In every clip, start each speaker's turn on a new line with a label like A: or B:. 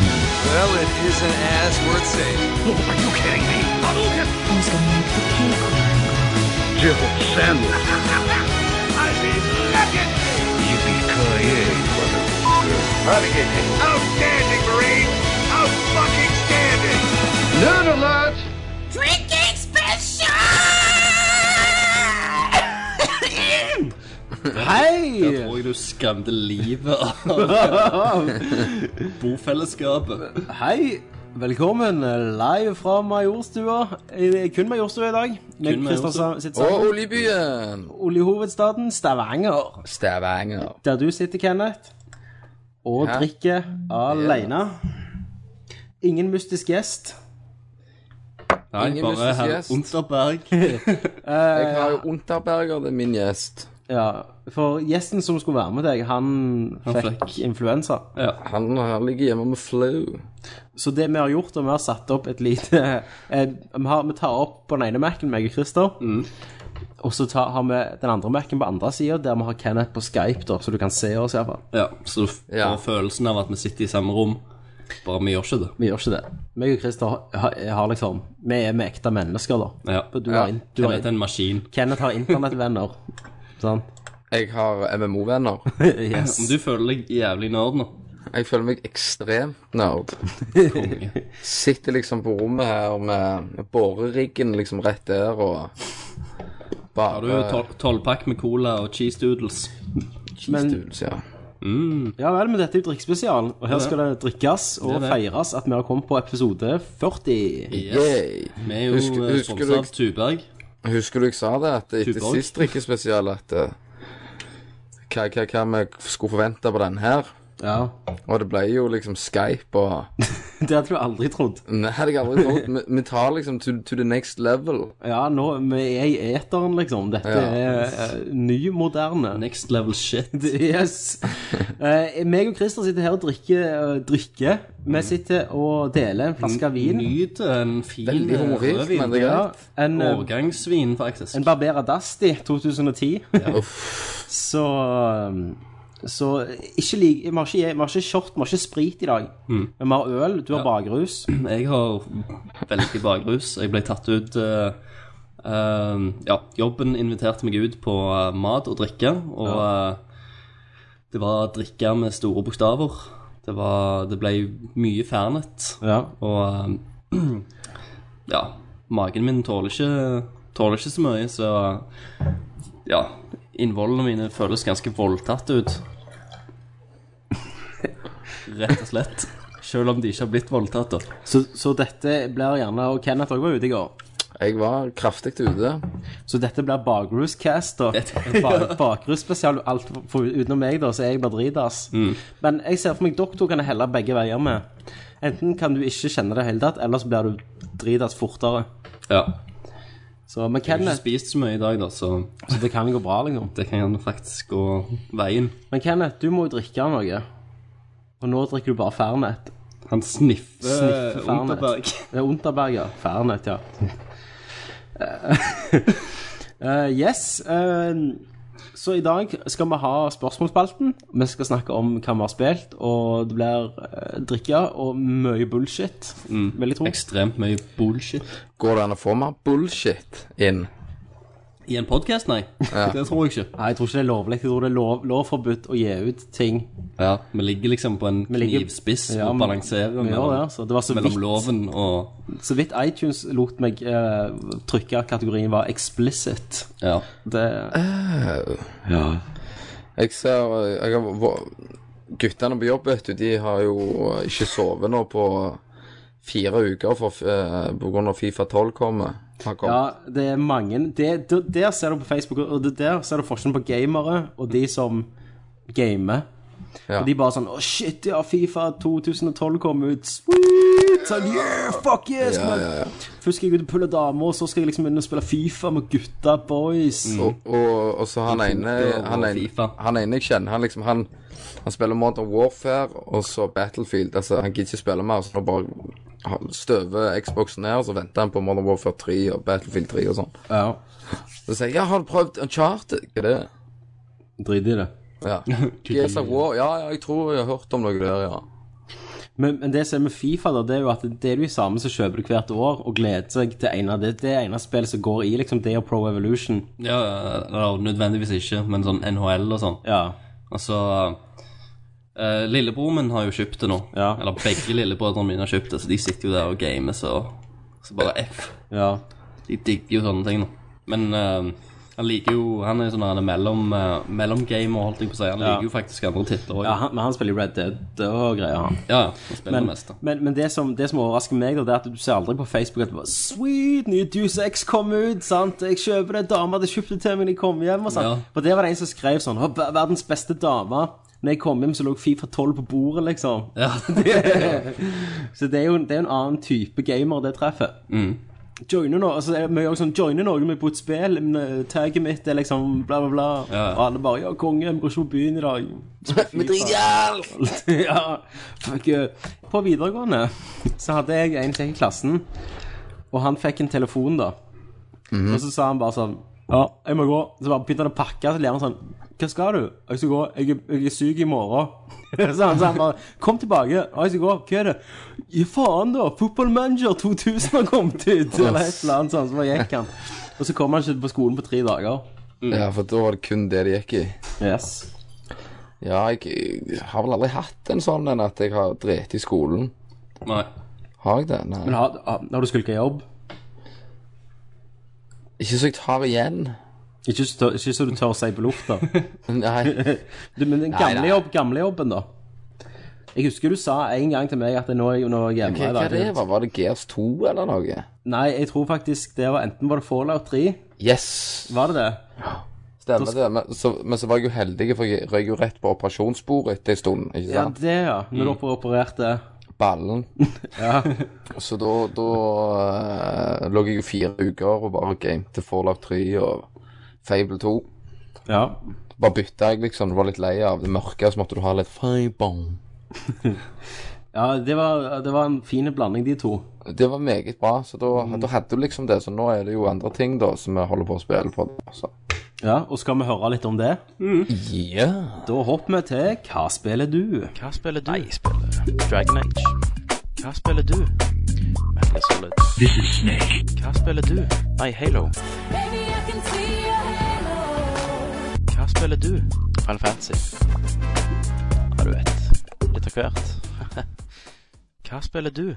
A: Well, it isn't as worth saving.
B: Are you kidding me? I mean, look at me! Yippee-ki-yay, motherfucker. Outstanding, Marine! Out-fucking-standing!
C: Drinking special!
D: Hei!
E: Jeg tror jeg du skremte livet av bofellesskapet.
D: Hei! Velkommen live fra Majorstua. Eh, Kun Majorstua i dag. Med
E: Kun Majorstua.
D: Kristiansand sitt
F: Og
D: sang.
F: oljebyen
D: Oljehovedstaden Stavanger.
F: Stavanger.
D: Der du sitter, Kenneth, og
F: Ja.
D: drikker alene. Ingen mystisk gjest.
E: Nei,
F: Ingen
E: bare
F: mystisk
E: herr
F: gjest.
E: Unterberg.
F: Jeg har jo Unterberger, det er min gjest.
D: Ja, for gjesten som skulle være med deg, han,
E: Han
D: fikk,
E: fikk.
D: influensa.
F: Han her ligger hjemme med flu.
D: Så det vi har gjort, og vi har satt opp et lite eh, vi, har, vi tar opp på den ene Mac-en, meg og Christer. Og så tar, har vi den andre Mac-en på andre sida, der vi har Kenneth på Skype, da, så du kan se oss iallfall.
E: Ja, så du f- får
F: Ja.
E: følelsen av at vi sitter i samme rom. Bare vi gjør ikke det.
D: Vi gjør ikke det. Meg og Christer har, har liksom Vi er med ekte mennesker, da.
E: Ja.
D: For du
F: Ja.
D: har, in- du
E: Du
D: har
E: er en maskin.
D: Kenneth har internettvenner. Sant?
F: Jeg har MMO-venner.
D: Yes.
E: Om du føler deg jævlig nerd nå.
F: Jeg føler meg ekstremt nerd.
E: Konge.
F: Sitter liksom på rommet her med boreriggen liksom rett der og
E: Har
F: bare
E: du tol- tolvpakk med cola og cheese doodles?
D: Men,
F: Tuls, ja.
D: ja vel, men dette er jo drikkespesialen, og her
E: det.
D: skal det drikkes og
E: Det er det.
D: feires at vi har kommet på episode 40.
F: Yay.
E: Vi er jo
F: Husker-
E: eh,
F: husker
E: sponset
F: du-
E: av Tuberg.
F: Husker du jeg sa det at etter
E: Tuborg.
F: sist drikkespesial at eh, hva, hva, hva vi skulle forvente på den her?
D: Ja.
F: Og det ble jo liksom Skype og
D: Det hadde du aldri trodd.
F: Nei, det hadde jeg aldri trodd. Vi- Vi tar liksom to, to the next level.
D: Ja, nå, vi er i eteren, liksom. Dette
F: Ja.
D: er uh, nymoderne.
E: Next level shit.
D: Yes. Uh, meg og Christer sitter her og drikker. eh, drikker. Vi sitter og deler en flaske vin.
E: Nyt en fin
F: Veldig
E: eh,
F: humorisk,
E: rødvin.
F: men det er
D: Ja,
F: greit.
D: en, eh,
E: Årgangsvin, faktisk.
D: en Barbera Dasti 2010.
F: Uff.
D: Så um, så ikke lik, vi, har ikke, vi har ikke short, vi har ikke sprit i dag. Men vi har øl, du har bakrus.
E: Jeg har veldig bakrus. Jeg ble tatt ut eh, eh, Ja, jobben inviterte meg ut på eh, mat og drikke, og eh, det var drikke med store bokstaver. Det, var, det ble mye fernet,
D: Ja.
E: og eh, ja, magen min tåler ikke, tåler ikke så mye, så eh, ja, innvollene mine føles ganske voldtatt ut. Rett og slett. Selv om de ikke har blitt voldtatt, da.
D: Så, så dette blir gjerne Og Kenneth også var ute i går.
F: Jeg var kraftig ute.
D: Så dette blir bakruscast. da.
E: Dette-
D: Ba- Bakrusspesial alt for, utenom meg, da, så jeg blir dritas.
E: Mm.
D: Men jeg ser for meg dere to kan helle begge veier med. Enten kan du ikke kjenne det i hele tatt, eller så blir du dritas fortere.
E: Ja.
D: Så, men
E: Jeg har ikke
D: Kenneth,
E: spist så mye i dag, da, så
D: så det kan gå bra, liksom.
E: det kan faktisk gå veien.
D: Men Kenneth, du må jo drikke noe. Og nå drikker du bare Fernet.
E: Han sniffer,
D: Sniffer
E: sniffer
D: fernet.
E: Unterberg.
D: Det er Unterberg, ja. Fernet, ja. Eh, yes. eh, så i dag skal vi ha spørsmålsspalten. Vi skal snakke om hva vi har spilt, og det blir uh, drikke og mye bullshit. Vil jeg tro.
E: Ekstremt mye bullshit.
F: Går det an å få mer bullshit inn?
E: I en podkast, nei. Det tror jeg ikke.
D: Nei, jeg tror ikke det er lovlig. Jeg tror det er lov, lovforbudt å gi ut ting.
E: Ja, Vi ligger liksom på en
D: ligger-
E: knivspiss
D: Ja,
E: og
D: men-
E: balanserer
D: Vi gjør det, altså. Det var så
E: mellom
D: vidt,
E: loven og
D: så vidt iTunes lot meg eh, trykke at kategorien var explicit.
E: Ja.
D: Det,
F: Jeg ser eh, jeg har, vå- Guttene på jobb, vet du, de har jo ikke sovet nå på fire uker for, eh, på grunn av Fifa 12 kommer. Har kommet.
D: ja, det er mange det, der, der ser du på Facebook, og det, der ser du forskjellen på gamere og de som gamer.
F: Ja.
D: Og de bare sånn Å, shit, ja, Fifa 2012 kom ut. Sweet! Sånn, yeah, fuck yes!
F: Ja, ja, ja.
D: Først skal jeg ut og pulle damer, og så skal jeg liksom begynne å spille Fifa med gutta boys.
F: Og, og, og så han ene
E: Computer og
F: han ene,
E: FIFA.
F: han ene jeg kjenner, han liksom Han, han spiller Modern Warfare og så Battlefield. Altså, han gidder ikke spille mer, så nå bare han støver Xboxen ned, og så venter han på Modern Warfare 3 og Battlefield 3 og sånn.
D: Ja,
F: Så sier jeg ja, har du prøvd Uncharted? Hva er det?
D: drit i det.
F: Ja. Gears of War? Ja, ja, jeg tror jeg har hørt om noe der, ja.
D: Men, men det som er med Fifa, da, det er jo at det er de samme som kjøper det hvert år og gleder seg til ene, det, det ene spillet som går i, liksom, det og Pro Evolution.
G: Ja, eller nødvendigvis ikke, men sånn NHL og sånn.
D: Ja.
G: Altså eh, Lillebroren min har jo kjøpt det nå.
D: Ja.
G: Eller begge lillebrødrene mine har kjøpt det, så de sitter jo der og gamer, så, så bare F.
D: ja.
G: De digger jo sånne ting, da. Men eh, han liker jo Han er jo sånn han er mellom, eh, mellomgamer, holdt jeg på å si. Han
D: Ja.
G: liker jo faktisk andre titler òg.
D: ja han, men han spiller jo Red Dead og greier, han.
G: Ja, ja. Han spiller
D: Men,
G: det meste.
D: men, men det, som, det som overrasker meg, da, det er at du ser aldri på Facebook at det bare, Sweet, nye Deuce X kom ut, sant? Jeg kjøper det, dama hadde kjøpt det til meg da jeg kom hjem. Og sånn.
G: Ja.
D: For der var det en som skrev sånn «Å, ver- Verdens beste dame. Når jeg kom hjem, så lå Fifa 12 på bordet, liksom.
G: Ja.
D: Så det er jo det er en annen type gamer det treffer.
G: Mm.
D: Joine nå, altså det er mye også sånn, joine noen med på et spill, men, eh, tagget mitt er liksom bla bla bla,
G: Ja.
D: og alle bare, ja konge, vi går ikke på byen i dag.
F: Vi driter i alt!
D: ja, fuck you. På videregående så hadde jeg en som gikk i klassen, og han fikk en telefon da, og så sa han bare sånn, ja, jeg må gå, så bare begynte han å pakke, så ler han sånn, hva skal du? Jeg skal gå, jeg, er- jeg er syk i morgen. så han sa han bare, kom tilbake, ja, jeg skal gå, hva er det? Ja, faen da, Football Manager 2000 har kommet ut, eller et eller annet sånt, så bare gikk han. Og så kom han ikke på skolen på tre dager.
F: Ja, for da var det kun det det gikk i.
D: Yes.
F: Ja, jeg har vel aldri hatt en sånn en at jeg har drept i skolen.
G: Nei.
F: Har jeg det? Nei.
D: Men har, har- har du skulket jobb?
F: Ikke så jeg tar igjen.
D: Ikke så, ikke så du tør å si på lufta.
F: Nei.
D: Du, men den
F: Nei,
D: gamle,
F: nei.
D: jobb, gamle jobben, da? Jeg husker du sa en gang til meg at nå er jeg, nå er jeg hjemme
F: Hva, hva
D: i dag.
F: det var Var det Gears 2 eller noe?
D: Nei, jeg tror faktisk det var enten var det Fallout 3.
F: Yes!
D: Var det det?
F: Stemmer det. Men så, men så var jeg jo heldig, for jeg røyk jo rett på operasjonsbordet etter en stund. Ikke
D: Ja,
F: sant?
D: det, ja. Når
C: Mm.
D: du opererte.
F: Ballen. Så da, da eh, lå jeg jo fire uker og bare gamete Fallout 3 og Fable 2.
D: Ja.
F: Bare bytta jeg, liksom. Du var litt lei av det mørke, så måtte du ha litt fiber.
D: ja det, var, det var en fin blanding, de to.
F: Det var meget bra, så da, da hadde du liksom det. Så nå er det jo andre ting da som vi holder på å spille på. Så.
D: Ja, Og skal vi høre litt om det?
F: Ja.
D: Da hopper vi til Hva spiller du?
C: Hva spiller du? Nei, jeg spiller Dragon Age. Hva spiller du? Metal Gear Solid. This is Snake. Hva spiller du? Nei, Halo.
H: Baby, I can see your halo.
C: Hva spiller du? Final Fantasy. Ja, du vet. Litt av hvert. Hva spiller du?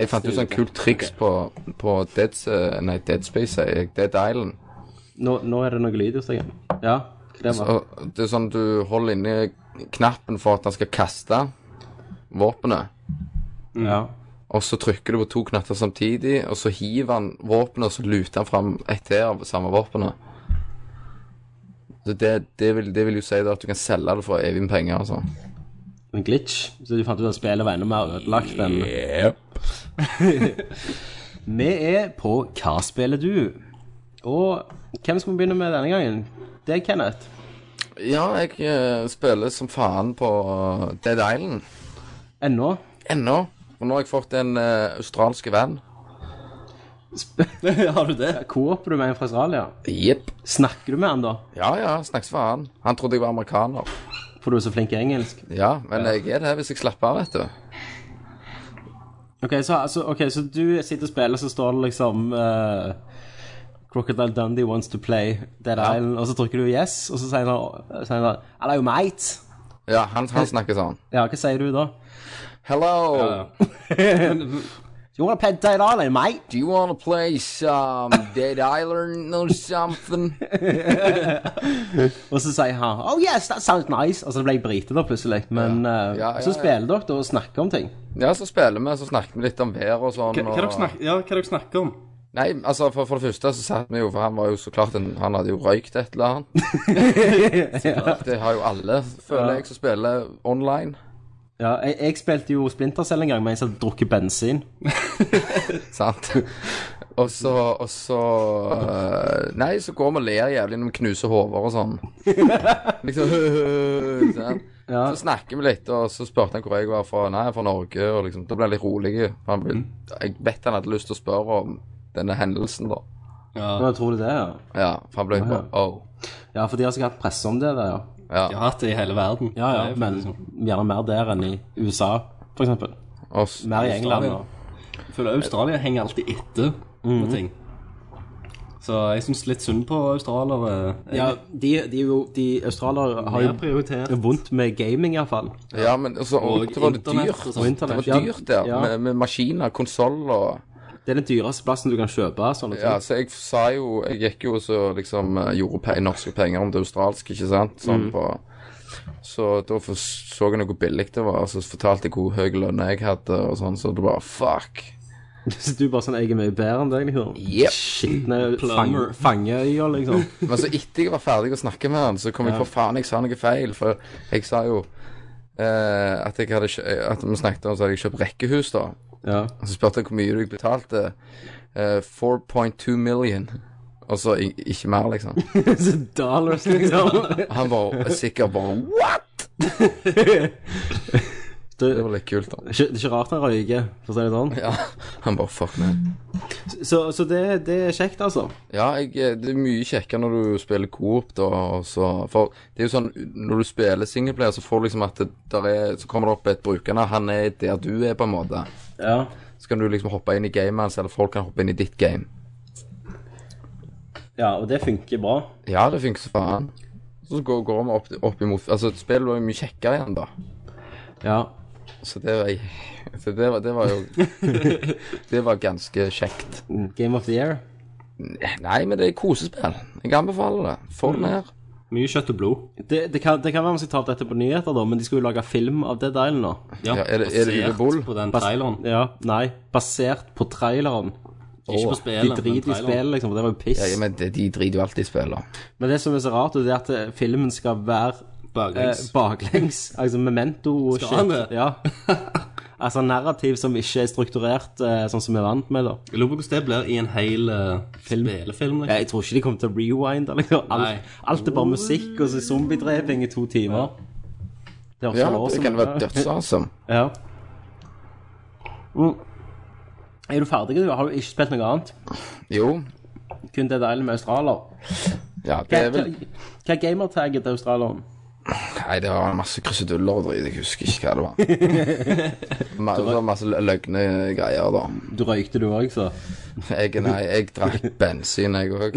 F: Jeg fant jo sånn kult triks på, på Dead, eh, nei, Dead Space, sier jeg. Dead Island.
D: Nå, nå er det noe lyd hos deg. Ja. Det var.
F: Og det er sånn du holder inni knappen for at han skal kaste våpenet.
D: Ja.
F: Og så trykker du på to knatter samtidig, og så hiver han våpenet, og så luter han fram ett til av samme våpenet. Så det, det, vil, det vil jo si da at du kan selge det for evig med penger, altså.
D: En glitch. Så du fant ut at spillet var enda mer ødelagt enn
F: Yep.
D: Vi er på Hva spiller du? Og hvem skal vi begynne med denne gangen? Det er Kenneth.
F: Ja, jeg eh, spiller som faen på Dead Island
D: Ennå.
F: ennå. Og nå har jeg fått en uh, australsk venn.
G: Har du det?
D: Kooper du med en fra Australia?
F: Jepp.
D: Snakker du med han da?
F: Ja ja, snakkes faen. Han trodde jeg var amerikaner.
D: For du er så flink i engelsk.
F: Ja, men jeg er det hvis jeg slapper av, vet du.
D: Ok, så, altså, ok, så du sitter og spiller, så står det liksom eh, Crocodile Dundee wants to play Dead Island, og så trykker du yes, og så sier han så sier han sånn Hello, mate.
F: Ja, han, han snakker sånn.
D: Ja, hva sier du da?
F: Hello,
D: Do you wanna play Dead Island, mate?
F: do you wanna play some Dead Island or something?
D: Og så sier han Oh yes, that sounds nice. Og så ble jeg brite da plutselig. Men eh,
F: Ja, ja,
D: så
F: ja.
D: spiller dere da og snakker om ting.
F: Ja, så spiller vi, så snakker vi litt om været og sånn.
G: Hva, hva,
F: og-
G: dere snakker, ja, hva dere snakker om?
F: Nei, altså, for, for det første så satt vi jo, for han var jo så klart en Han hadde jo røykt et eller annet. Så klart, Det har jo alle, føler jeg, som spiller online.
D: Ja, jeg, jeg spilte jo Splintercell en gang mens jeg hadde drukket bensin.
F: Sant? Og så Og så eh, Nei, så går vi og ler jævlig når vi knuser hoder og sånn. Liksom sant? Så snakker vi litt, og så spurte han hvor jeg var fra. Nei, jeg er fra Norge. Og liksom, Da ble jeg litt rolig. for Han, vil- jeg vet han hadde lyst til å spørre om denne hendelsen, da.
D: Ja. Jeg tror det, ja.
F: Ja, for han ble jo bare Oh.
D: ja, for de har sikkert hatt presse om det der, ja.
G: Jeg har hatt det i hele verden.
D: Ja, ja,
G: Det er
D: Men
G: faktisk sånn.
D: gjerne mer der enn i USA, for eksempel.
F: oss.
D: Mer i England nå.
E: Australia. Jeg føler Australia henger alltid etter med ting. Så jeg syns litt synd på
G: eh,
E: australiere.
D: Ja, de, de, er jo- de australiere har
E: Mer
D: jo
E: prioritert.
D: vondt med gaming, iallfall.
F: Ja, men altså, og,
E: Og
F: det var det
E: internett og sånn.
F: dyrt.
E: sånt.
D: Og
F: Det
D: internett.
F: var dyrt der,
D: Ja,
F: med,
D: ja.
F: med maskiner, konsoll og
D: Det er den dyreste plassen du kan kjøpe sånne ting.
F: Ja, så jeg sa jo Jeg gikk jo og så liksom eh, gjorde pe norske penger om det australske, ikke sant? Sånn på Så da for- så jeg hvor billig det var, og så fortalte jeg hvor høy lønn jeg hadde, og sånn, så det bare fuck.
D: Så du bare sånn Jeg er mye bedre enn deg, liksom.
F: Yep.
D: Shit, nei,
E: Plumber.
D: fang- Fangeøya, liksom.
F: Men så etter jeg var ferdig å snakke med han, så kom jeg på faen, jeg sa noe feil, for jeg sa jo eh, at jeg hadde kjø At vi snakket om, så hadde jeg kjøpt rekkehus, da.
D: Ja.
F: Og så spurte jeg hvor mye du betalte. Eh, 4.2 million. Og så i- ikke mer, liksom.
D: Så dollars, liksom.
F: Han var sikkert bare What?!
D: Det-
F: Det var litt kult, da.
D: Det er ikke- det er ikke rart han røyker, for å si det sånn.
F: Ja, han bare fuck man.
D: Så, så det, det er kjekt, altså.
F: Ja, jeg, eh, det er mye kjekkere når du spiller coop, da. og Så, for det er jo sånn når du spiller singleplayer, så får du liksom at det der er Så kommer det opp et brukernavn. Han er der du er, på en måte.
D: Ja.
F: Så kan du liksom hoppe inn i gamet hans, eller folk kan hoppe inn i ditt game.
D: ja, og det funker bra.
F: Ja, det funker så faen. Så går, går vi opp, opp imot Altså, spillet var jo mye kjekkere igjen, da.
D: Ja.
F: Så det var, så det var, det var jo Det var ganske kjekt.
D: Game of the year.
F: Nei, men det er kosespill. Jeg anbefaler det. Få det ned.
E: Mye kjøtt og blod.
D: Det, det, kan, det kan være man skal ta opp dette på nyheter, da, men de skulle jo lage film av Dead Island nå.
E: Ja,
F: er det- er det
E: basert
F: Ulleboll?
E: På den
D: Bas-
E: traileren.
D: Ja, nei, basert på traileren.
E: Ikke på
D: De
E: spillet, men
D: driter i spillet,
E: traileren.
D: liksom, for det var jo piss.
F: Ja, ja, men det, de driter jo alltid i spillet.
D: Men det som er så rart, det er at eh, filmen skal være eh,
E: Baklengs.
D: baklengs. Altså memento og
E: Skal
D: shit.
E: han det?
D: Ja. altså narrativ som ikke er strukturert eh, sånn som vi er vant med, da.
E: Jeg lurer på hvordan det blir i en hel eh,
D: Ja,
E: spillefilm. Liksom.
D: Jeg tror ikke de kommer til å rewinde. Liksom.
E: Nei.
D: Alt, alt er bare musikk og så zombiedreping i to timer. Det er også
F: Ja,
D: lov
F: det
D: som-
F: kan være dødsawesome.
D: Ja. Mm. Er du ferdig? Du har jo ikke spilt noe annet.
F: Jo.
D: Kun Dead Island med australier.
F: Ja, det
D: Hva,
F: er vel
D: hva, hva er gamertagget til australieren?
F: Nei, det var masse kruseduller og drit. Jeg husker ikke hva det var. Ma- det var masse lø- løgne greier, da.
D: Du røykte du òg, så.
F: Jeg, nei, jeg drakk bensin, jeg òg.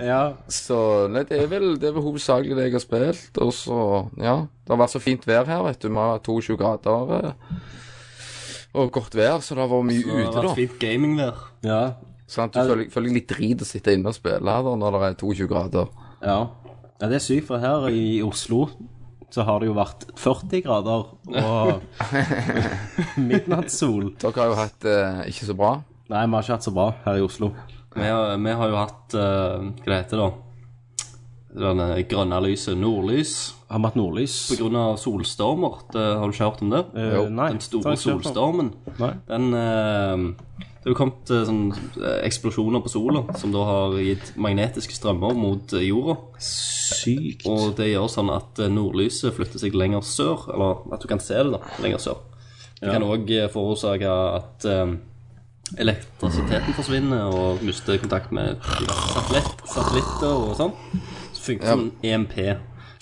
D: Ja.
F: Så nei, det er vel det er vel hovedsakelig det jeg har spilt. Og så, ja. Det har vært så fint vær her, vet du. Vi har hatt 22 grader eh, og godt vær, så det har vært mye
E: Det har
F: ute,
E: vært
F: da.
E: fint gamingvær.
D: Ja.
F: Sant? Sånn Du føler, føler litt drit å sitte inne og spille her da, når det er 22 grader.
D: ja. Ja, det er sykt, for her i Oslo så har det jo vært 40 grader og midnattssol.
F: Dere har jo hatt det ikke så bra.
D: Nei, vi har ikke hatt så bra her i Oslo.
E: Vi har, vi har jo hatt eh, Hva det heter det, da? Det grønne lyset. Nordlys.
D: Har vi hatt nordlys?
E: På grunn av solstormer. Det, har du ikke hørt om det?
D: Eh,
F: Jo,
D: nei.
E: Den
D: tar
E: store
D: jeg ikke på.
E: solstormen.
D: Nei.
E: Den eh, Det har jo kommet eh, sånn, eh, eksplosjoner på sola som da har gitt magnetiske strømmer mot eh, jorda.
D: Sykt.
E: Og det gjør sånn at eh, nordlyset flytter seg lenger sør. Eller at du kan se det, da. Lenger sør. Det kan òg forårsake at eh, elektrisiteten forsvinner og mister kontakt med satellitt, satellitter og sånn. Så funker sånn det som EMP.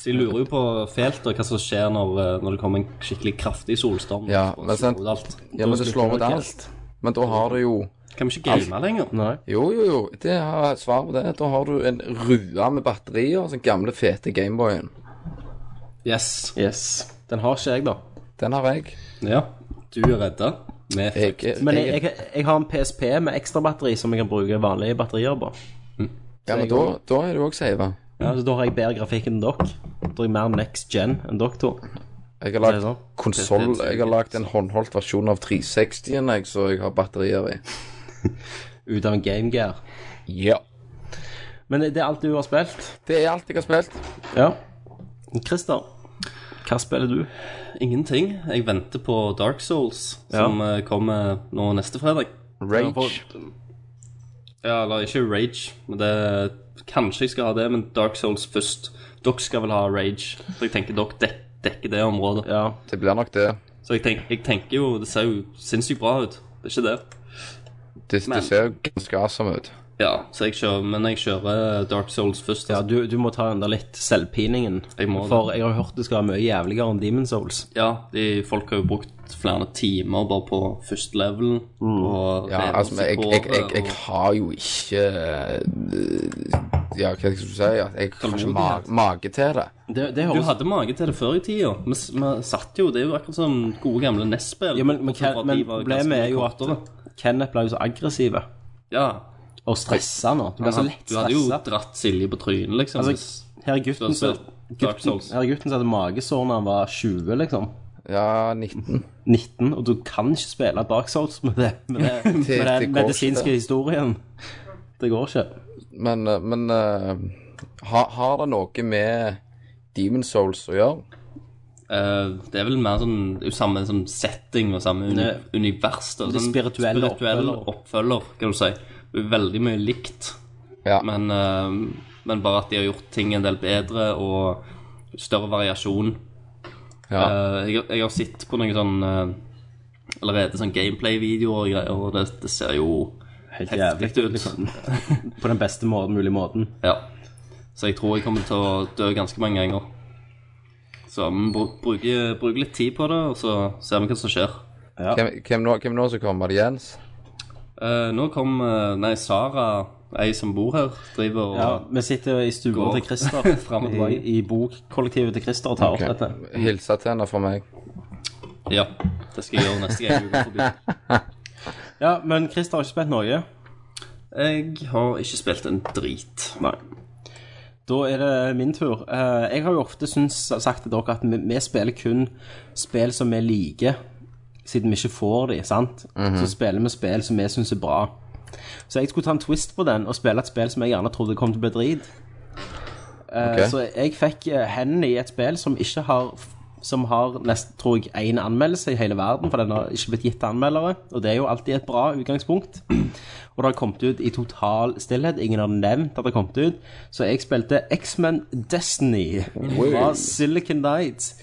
E: Så jeg lurer jo på felt og hva som skjer når, eh, når det kommer en skikkelig kraftig solstorm.
F: Ja,
E: og
F: men
E: slår
F: sant.
E: ut alt.
F: Ja, men det slår ut
E: ikke-
F: alt. Men da har du jo
E: Kan vi ikke game lenger?
D: Nei.
F: Jo, jo, jo. Det har svar på det. Da har du en rue med batterier, sånn gamle, fete Gameboyen.
E: Yes.
D: Yes. Den har ikke jeg, da.
F: Den har jeg.
E: Ja, du er redda. Vi er
F: jeg,
E: fucked.
F: jeg,
D: Men jeg, jeg, jeg har en PSP med ekstrabatteri som jeg kan bruke vanlige batterier på.
F: ja, men da, da er du òg sava.
D: Ja, så Da har jeg bedre grafikk enn dere. Da har jeg mer next gen enn dere to.
F: Jeg har
D: Det er sånn.
F: lagd konsoll Jeg har lagd en håndholdt versjon av 360-en, jeg, så jeg har batterier i.
D: Ut av en gamegear.
F: Ja.
D: Men det er alt du har spilt.
F: Det er alt jeg har spilt.
D: Ja. Christer, hva spiller du?
E: Ingenting. Jeg venter på Dark Souls, som eh, kommer nå neste fredag.
F: Rage.
E: Ja, eller ikke Rage. Men det, kanskje jeg skal ha det, men Dark Souls først. Dere skal vel ha Rage, så jeg tenker dere dek dekker det området.
D: Ja.
F: Det blir nok det.
E: Så jeg, tenk, jeg tenker jo Det ser jo sinnssykt bra ut. Det er ikke det.
F: Det, det
E: Men-
F: ser jo ganske awesome ut.
E: Ja, så jeg kjører, men jeg kjører Dark Souls først.
D: Ja,
E: Altså.
D: du, du må ta under litt selvpiningen.
E: Jeg må det.
D: For jeg har hørt det skal være mye jævligere enn Demon Souls.
E: Ja, de, folk har jo brukt flere timer bare på første level.
D: Mm.
E: Og
F: Ja,
E: revet
F: altså, men jeg,
E: håret,
F: jeg, jeg, jeg
E: og-
F: har jo ikke eh, Ja, hva skal du si? at Jeg har ikke ma mage til det.
D: Det, det
E: Du
D: høres
E: hadde mage til det før i tida. Vi, s- vi satt jo, Det er jo akkurat som gode gamle E NES-spill.
D: ja, men, men,
E: Bortsett fra at
D: men
E: de var
D: problemet
E: ganske
D: er jo
E: mye
D: at
E: kortere.
D: Kenneth ble jo så aggressiv
E: Ja.
D: og stressa nå. Du ble så lett
E: Du hadde jo
D: stressa.
E: dratt Silje på trynet, liksom.
D: Altså,
E: hvis-
D: her er gutten
E: hvis du
D: som
E: hadde sett Dark
D: gutten,
E: Souls.
D: her er gutten som hadde magesår da han var 20, liksom.
F: Ja, 19.
D: 19, og du kan ikke spille Dark Souls med, det, med, det, med
F: det går
D: den
F: ikke,
D: medisinske
F: det.
D: historien. Det går ikke.
F: Men, eh, men eh, ha, har det noe med Demon Souls å gjøre?
E: Eh, det er vel mer sånn det er jo samme sånn setting og samme uni
D: Nei.
E: univers. da.
D: Det
E: Sånn
D: spirituelle
E: spirituell
D: oppfølger.
E: oppfølger, kan du si. Det er Veldig mye likt,
F: Ja.
E: men, eh, men bare at de har gjort ting en del bedre og større variasjon.
F: ja.
E: Eh, jeg, jeg har sett på noen sånn eh, allerede sånn gameplay-videoer og greier, og det, det ser jo
D: Helt
E: heftig
D: jævlig.
E: ut.
D: Liksom. På den beste måten, mulige måten.
E: Ja. Så jeg tror jeg kommer til å dø ganske mange ganger. Så vi bru- bruker, bruker litt tid på det, og så ser vi hva som skjer.
F: Hvem, hvem, nå, hvem nå som kommer? Er det Jens?
E: Eh, nå kom eh, Nei, Sara, ei som bor her, driver og
D: Ja, vi sitter i
E: Går.
D: stua til Christer,
E: Frem og
D: i,
E: tilbake.
D: i bokkollektivet til Christer og tar opp dette.
F: Hilse til henne fra meg.
E: Ja, det skal jeg gjøre neste gang jeg går forbi.
D: Ja, men Christer har ikke spilt noe.
E: Jeg har ikke spilt en drit.
D: Nei. Da er det min tur. Eh, Jeg har jo ofte syns, sagt til dere at vi, vi spiller kun spill som vi liker, siden vi ikke får de, sant? Så spiller vi spill som vi syns er bra. Så jeg skulle ta en twist på den og spille et spill som jeg gjerne trodde kom til å bli drit. Eh,
F: Ok.
D: Så jeg fikk eh, hendene i et spill som ikke har som har nest, tror jeg, én anmeldelse i hele verden, for den har ikke blitt gitt til anmeldere. Og det er jo alltid et bra utgangspunkt. Og det har kommet ut i total stillhet. Ingen har nevnt at det har kommet ut. Så jeg spilte X-Men Destiny fra Silicon Nights.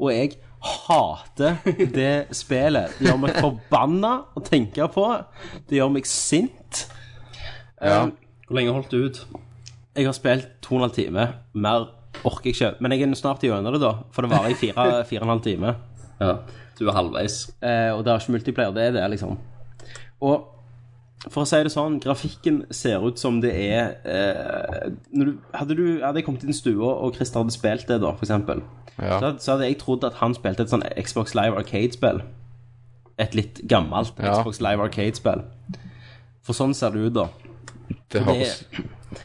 D: Og jeg hater det spillet. Det gjør meg forbanna å tenke på. Det gjør meg sint.
F: Ja.
E: Hvor lenge holdt du ut?
D: Jeg har spilt 2,5 timer. Mer orker jeg ikke. Men jeg er snart gjennom det, da. For det varer i fire- fire og en halv time.
E: Ja, du er halvveis.
D: Eh, og det er ikke multiplayer, det er det, liksom. Og for å si det sånn, grafikken ser ut som det er eh, når du, hadde, du, hadde jeg kommet inn i stua, og Christer hadde spilt det, da, for eksempel,
F: Ja.
D: så, hadde, så hadde jeg trodd at han spilte et sånn Xbox Live Arcade-spill. Et litt gammelt
F: Ja.
D: Xbox Live Arcade-spill. For sånn ser det ut, da.
F: Det høres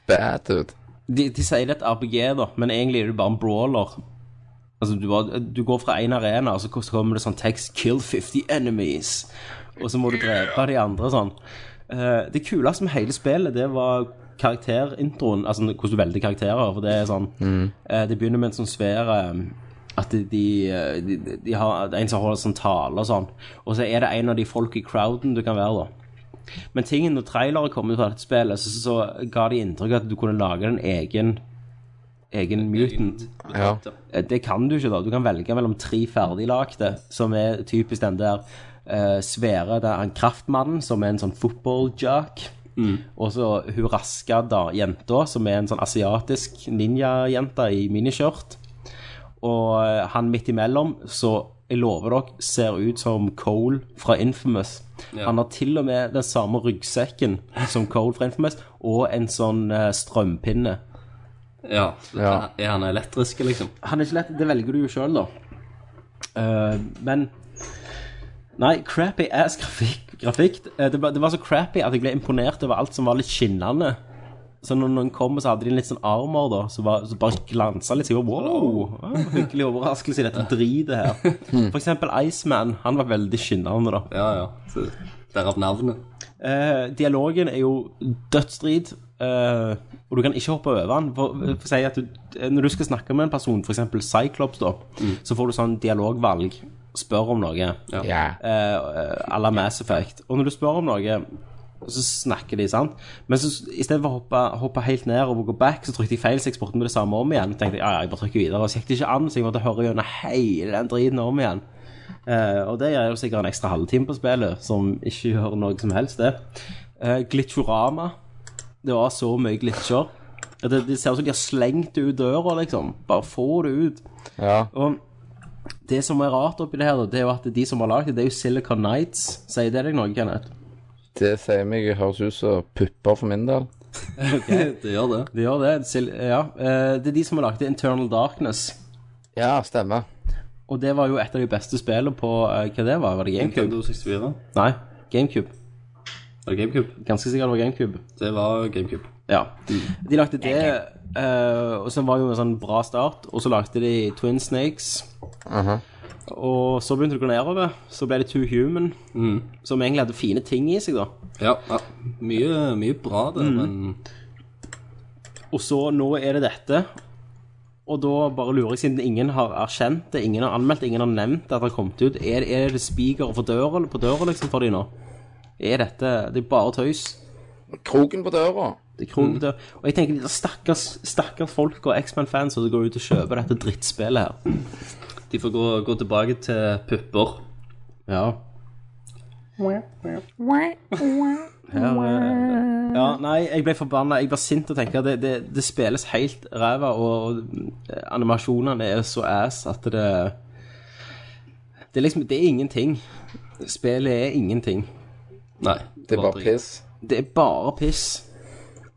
F: bad ut.
D: De, de sier det er et RPG, da, men egentlig er det bare en brawler. Altså, du, bare, du går fra én arena, og så kommer det sånn tekst 'Kill 50 enemies', og så må du drepe de andre sånn. Eh, det kuleste med hele spillet, det var karakterintroen, altså hvordan du velger karakterer. For det er sånn eh, Det begynner med en sånn svær eh, At de, de, eh, de, de har det er en som holder sånn tale og sånn, og så er det en av de folk i crowden du kan være, da. Men tingen når trailere kom ut fra dette spillet, så, så, så ga de inntrykk av at du kunne lage en egen Egen mutant.
F: Ja.
D: Eh, Det kan du ikke, da. Du kan velge mellom tre ferdiglagte, som er typisk den der eh, svære Det er han kraftmannen, som er en sånn football-jock. Og så hun raske da, jenta, som er en sånn asiatisk ninjajente i miniskjørt. Og eh, han midt imellom, så jeg lover dere, ser ut som Cole fra Infamous. Han har til og med den samme ryggsekken som Cole fra Infamous, og en sånn eh, strømpinne.
E: Ja.
F: Ja.
E: Er han elektrisk, liksom?
D: Han er ikke lett, det velger du jo sjøl, da. Eh, men Nei, crappy ass grafikk. grafikk. Eh, det, var- det var så crappy at jeg ble imponert over alt som var litt skinnende. Så når noen kom, så hadde de en litt sånn armor, da, så, var, så bare glansa litt. Så jeg var, wow, ah, Hyggelig overraskelse i dette dritet her. For eksempel Iceman. Han var veldig skinnende, da.
E: Ja, ja. Så Derav navnet.
D: Eh, dialogen er jo dødsstrid, eh, og du kan ikke hoppe over den. For, for å si at du, eh, når du skal snakke med en person, f.eks. Cyclops, da, så får du sånn dialogvalg. Spør om noe
E: Ja.
F: Ja.
D: eh, à la Mass Effect. Og når du spør om noe, så snakker de, sant? Men så istedenfor å hoppe, hoppe helt ned og gå back, så trykte jeg feil, så jeg spurte med det samme om igjen. Tenkte jeg, ja, ja, jeg bare trykker videre. Og så gikk det ikke an, så jeg måtte høre gjennom hele den driten om igjen. Eh, og det gjør jo sikkert en ekstra halvtime på spillet, som ikke gjør noe som helst, det. Uh, Eh, Glitchorama Det var så mye glitcher. At Det, det ser ut som de har slengt det ut døra, liksom. Bare få det ut.
F: Ja.
D: Og det som er rart oppi det her, det er jo at de som har lagd det, det er jo Silicon Nights. Sier det deg noe, Kenneth?
F: Det sier meg høres ut som pupper for min del.
E: Det gjør det.
D: Det gjør det. Sil ja. Eh, Det er de som har lagd Internal Darkness.
F: Ja, stemmer.
D: Og det var jo et av de beste spillene på eh, Hva det var? Var det GameCube?
E: Nintendo 64.
D: Nei, GameCube.
E: Eller GameCube.
D: Ganske sikkert det var GameCube.
E: Det var GameCube.
D: Ja. De lagde det, eh, og som var jo en sånn bra start. Og så lagde de Twin Snakes.
E: Mhm.
D: Og så begynte det å gå nedover. Så ble det Two Human, som egentlig hadde fine ting i seg, da.
E: Mm. Ja, ja. Mye, mye bra det, men
D: Og så nå er det dette. Og da bare lurer jeg, siden ingen har erkjent det, ingen har anmeldt, ingen har nevnt at det har kommet ut, er, er det spiker for døra, på døra liksom for de nå? Er dette Det er bare tøys.
F: Kroken på døra.
D: Det er kroner på døra. Og jeg tenker, de stakkars, stakkars folk og X-Man-fans som går ut og kjøper dette drittspillet her.
E: de får gå, gå tilbake til pupper.
D: Ja. Her, eh, ja, nei, jeg ble forbanna. Jeg ble sint og tenkte at det, det, det spilles helt ræva, og, og eh, animasjonene er så ass at det Det er liksom Det er ingenting. Spillet er ingenting.
E: Nei.
F: Det var
E: drit.
F: piss.
D: Det er bare piss.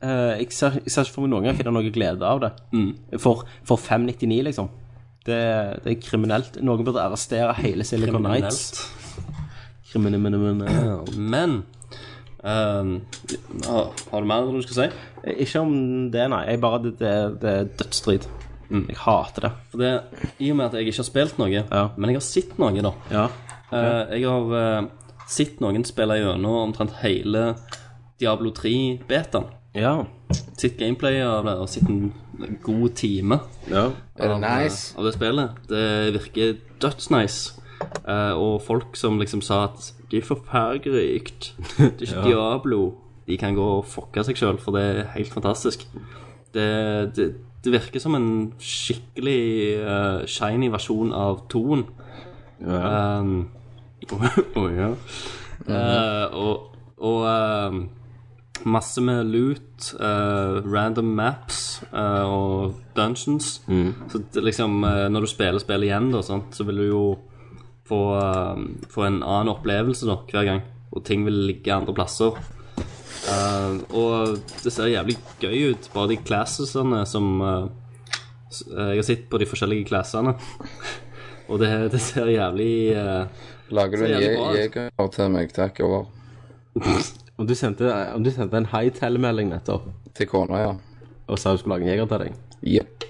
D: Eh, jeg, ser, jeg ser ikke for meg noen gang finne noe glede av det. For, for 599, liksom. Det, det er kriminelt. Noen burde arrestere hele Silicon Nights.
E: Kriminelt.
D: Kriminelt.
E: Men ehm, ja, Har du mer du skal si?
D: Ikke om det, nei. Jeg bare Det, det, det er dødsstrid. Jeg hater det.
E: For det, I og med at jeg ikke har spilt noe,
D: Ja.
E: men jeg har sett noe, da.
D: Ja.
E: Eh, jeg har eh, sett noen spille gjennom omtrent hele Diablo 3-betaen.
D: Ja.
E: Sett gameplay av det, og sett en god time
F: Er det
E: av,
F: nice?
E: av det spillet. Det virker dødsnice. Eh, og folk som liksom sa at det er forferdelig, det er ikke Diablo. De kan gå og fucke seg sjøl, for det er helt fantastisk. Det, det, det virker som en skikkelig eh, shiny versjon av toen. Um, oh, ja. Eh, og og ehm, masse med loot, eh, random maps eh, og dungeons. Så det, liksom, eh, når du spiller spill igjen, da, sant, så vil du jo få, eh, få en annen opplevelse da, hver gang. Og ting vil ligge andre plasser. Eh, og det ser jævlig gøy ut, bare de classesene som eh, s- eh, Jeg har sett på de forskjellige classene. Og det, det ser jævlig eh,
F: Lager du
E: Så
F: en
E: jævlig bra,
F: je- jeger til meg? Takk over.
D: Om du sendte, om du sendte en high-tell-melding nettopp
F: Til kona, ja.
D: og sa du skulle lage en jeger til deg
F: Jepp.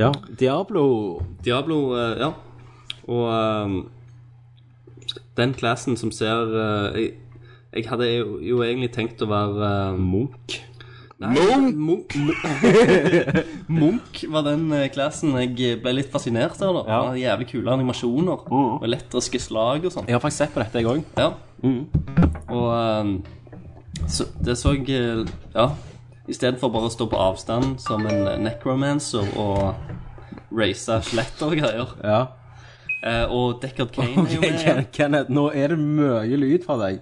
D: Ja. Diablo
E: Diablo, eh, ja. Og eh, den klassen som ser eh, jeg, jeg hadde jo, jo egentlig tenkt å være eh, Munch. Munch! Munch var den eh, klassen jeg ble litt fascinert av. da Han hadde Jævlig kule animasjoner og elektriske slag og sånn.
D: Jeg har faktisk sett på dette, jeg òg.
E: Ja. Og eh, så, det så jeg eh, Ja. Istedenfor bare å stå på avstand som en necromancer og race skjeletter og greier.
D: Ja.
E: Eh, og Deckard Kane er jo
D: Ken-
E: med.
D: Ken- Kenneth, nå er det mye lyd fra deg.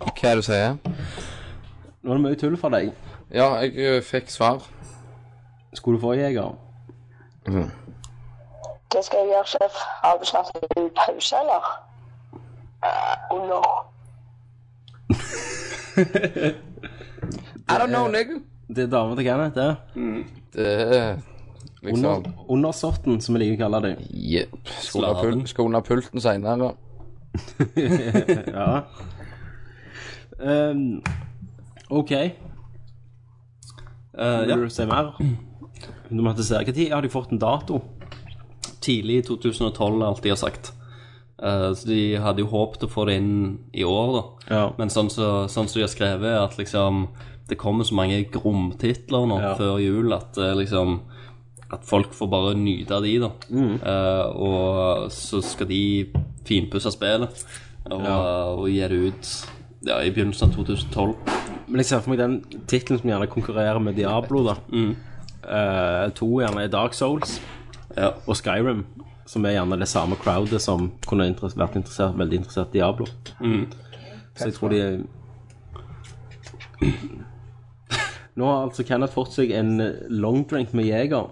F: Hva er det du sier?
D: Nå er det mye tull fra deg.
F: Ja, jeg ø, fikk svar.
D: Skulle du få jeger?
I: Det skal jeg gjøre, sjef. Har du snart en pause, eller? Uh, oh no.
F: I don't know, nigga.
D: Det er dama til Kenneth, det.
F: Det er liksom
D: Under, undersåtten, som vi liker å kalle det.
F: Jepp. Skal under
E: Slaven.
F: pul- skal under pulten seinere.
D: Ja. Um, OK.
E: Eh,
D: Vil
E: ja.
D: du se mer? Du måtte se. Hva tid har de fått en dato?
E: Tidlig i 2012 er alt de har sagt. Eh, så de hadde jo håpet å få det inn i år, da.
D: Ja.
E: Men sånn som sånn som de har skrevet, er at liksom det kommer så mange gromtitler nå
D: Ja.
E: før jul at eh, liksom At folk får bare nyte av de, da.
D: Mm.
E: Eh, og så skal de finpusse spillet og, og gi det ut ja, i begynnelsen av 2012.
D: Men jeg ser for meg den tittelen som gjerne konkurrerer med Diablo, da.
G: Mm.
D: Eh, to gjerne er Dark Souls
E: Ja.
D: og Skyrim, som er gjerne det samme crowdet som kunne inter-
G: Mm.
D: vært interessert, veldig interessert i Diablo. Så jeg tror de Nå har altså Kenneth fått seg en longdrink med Jeger.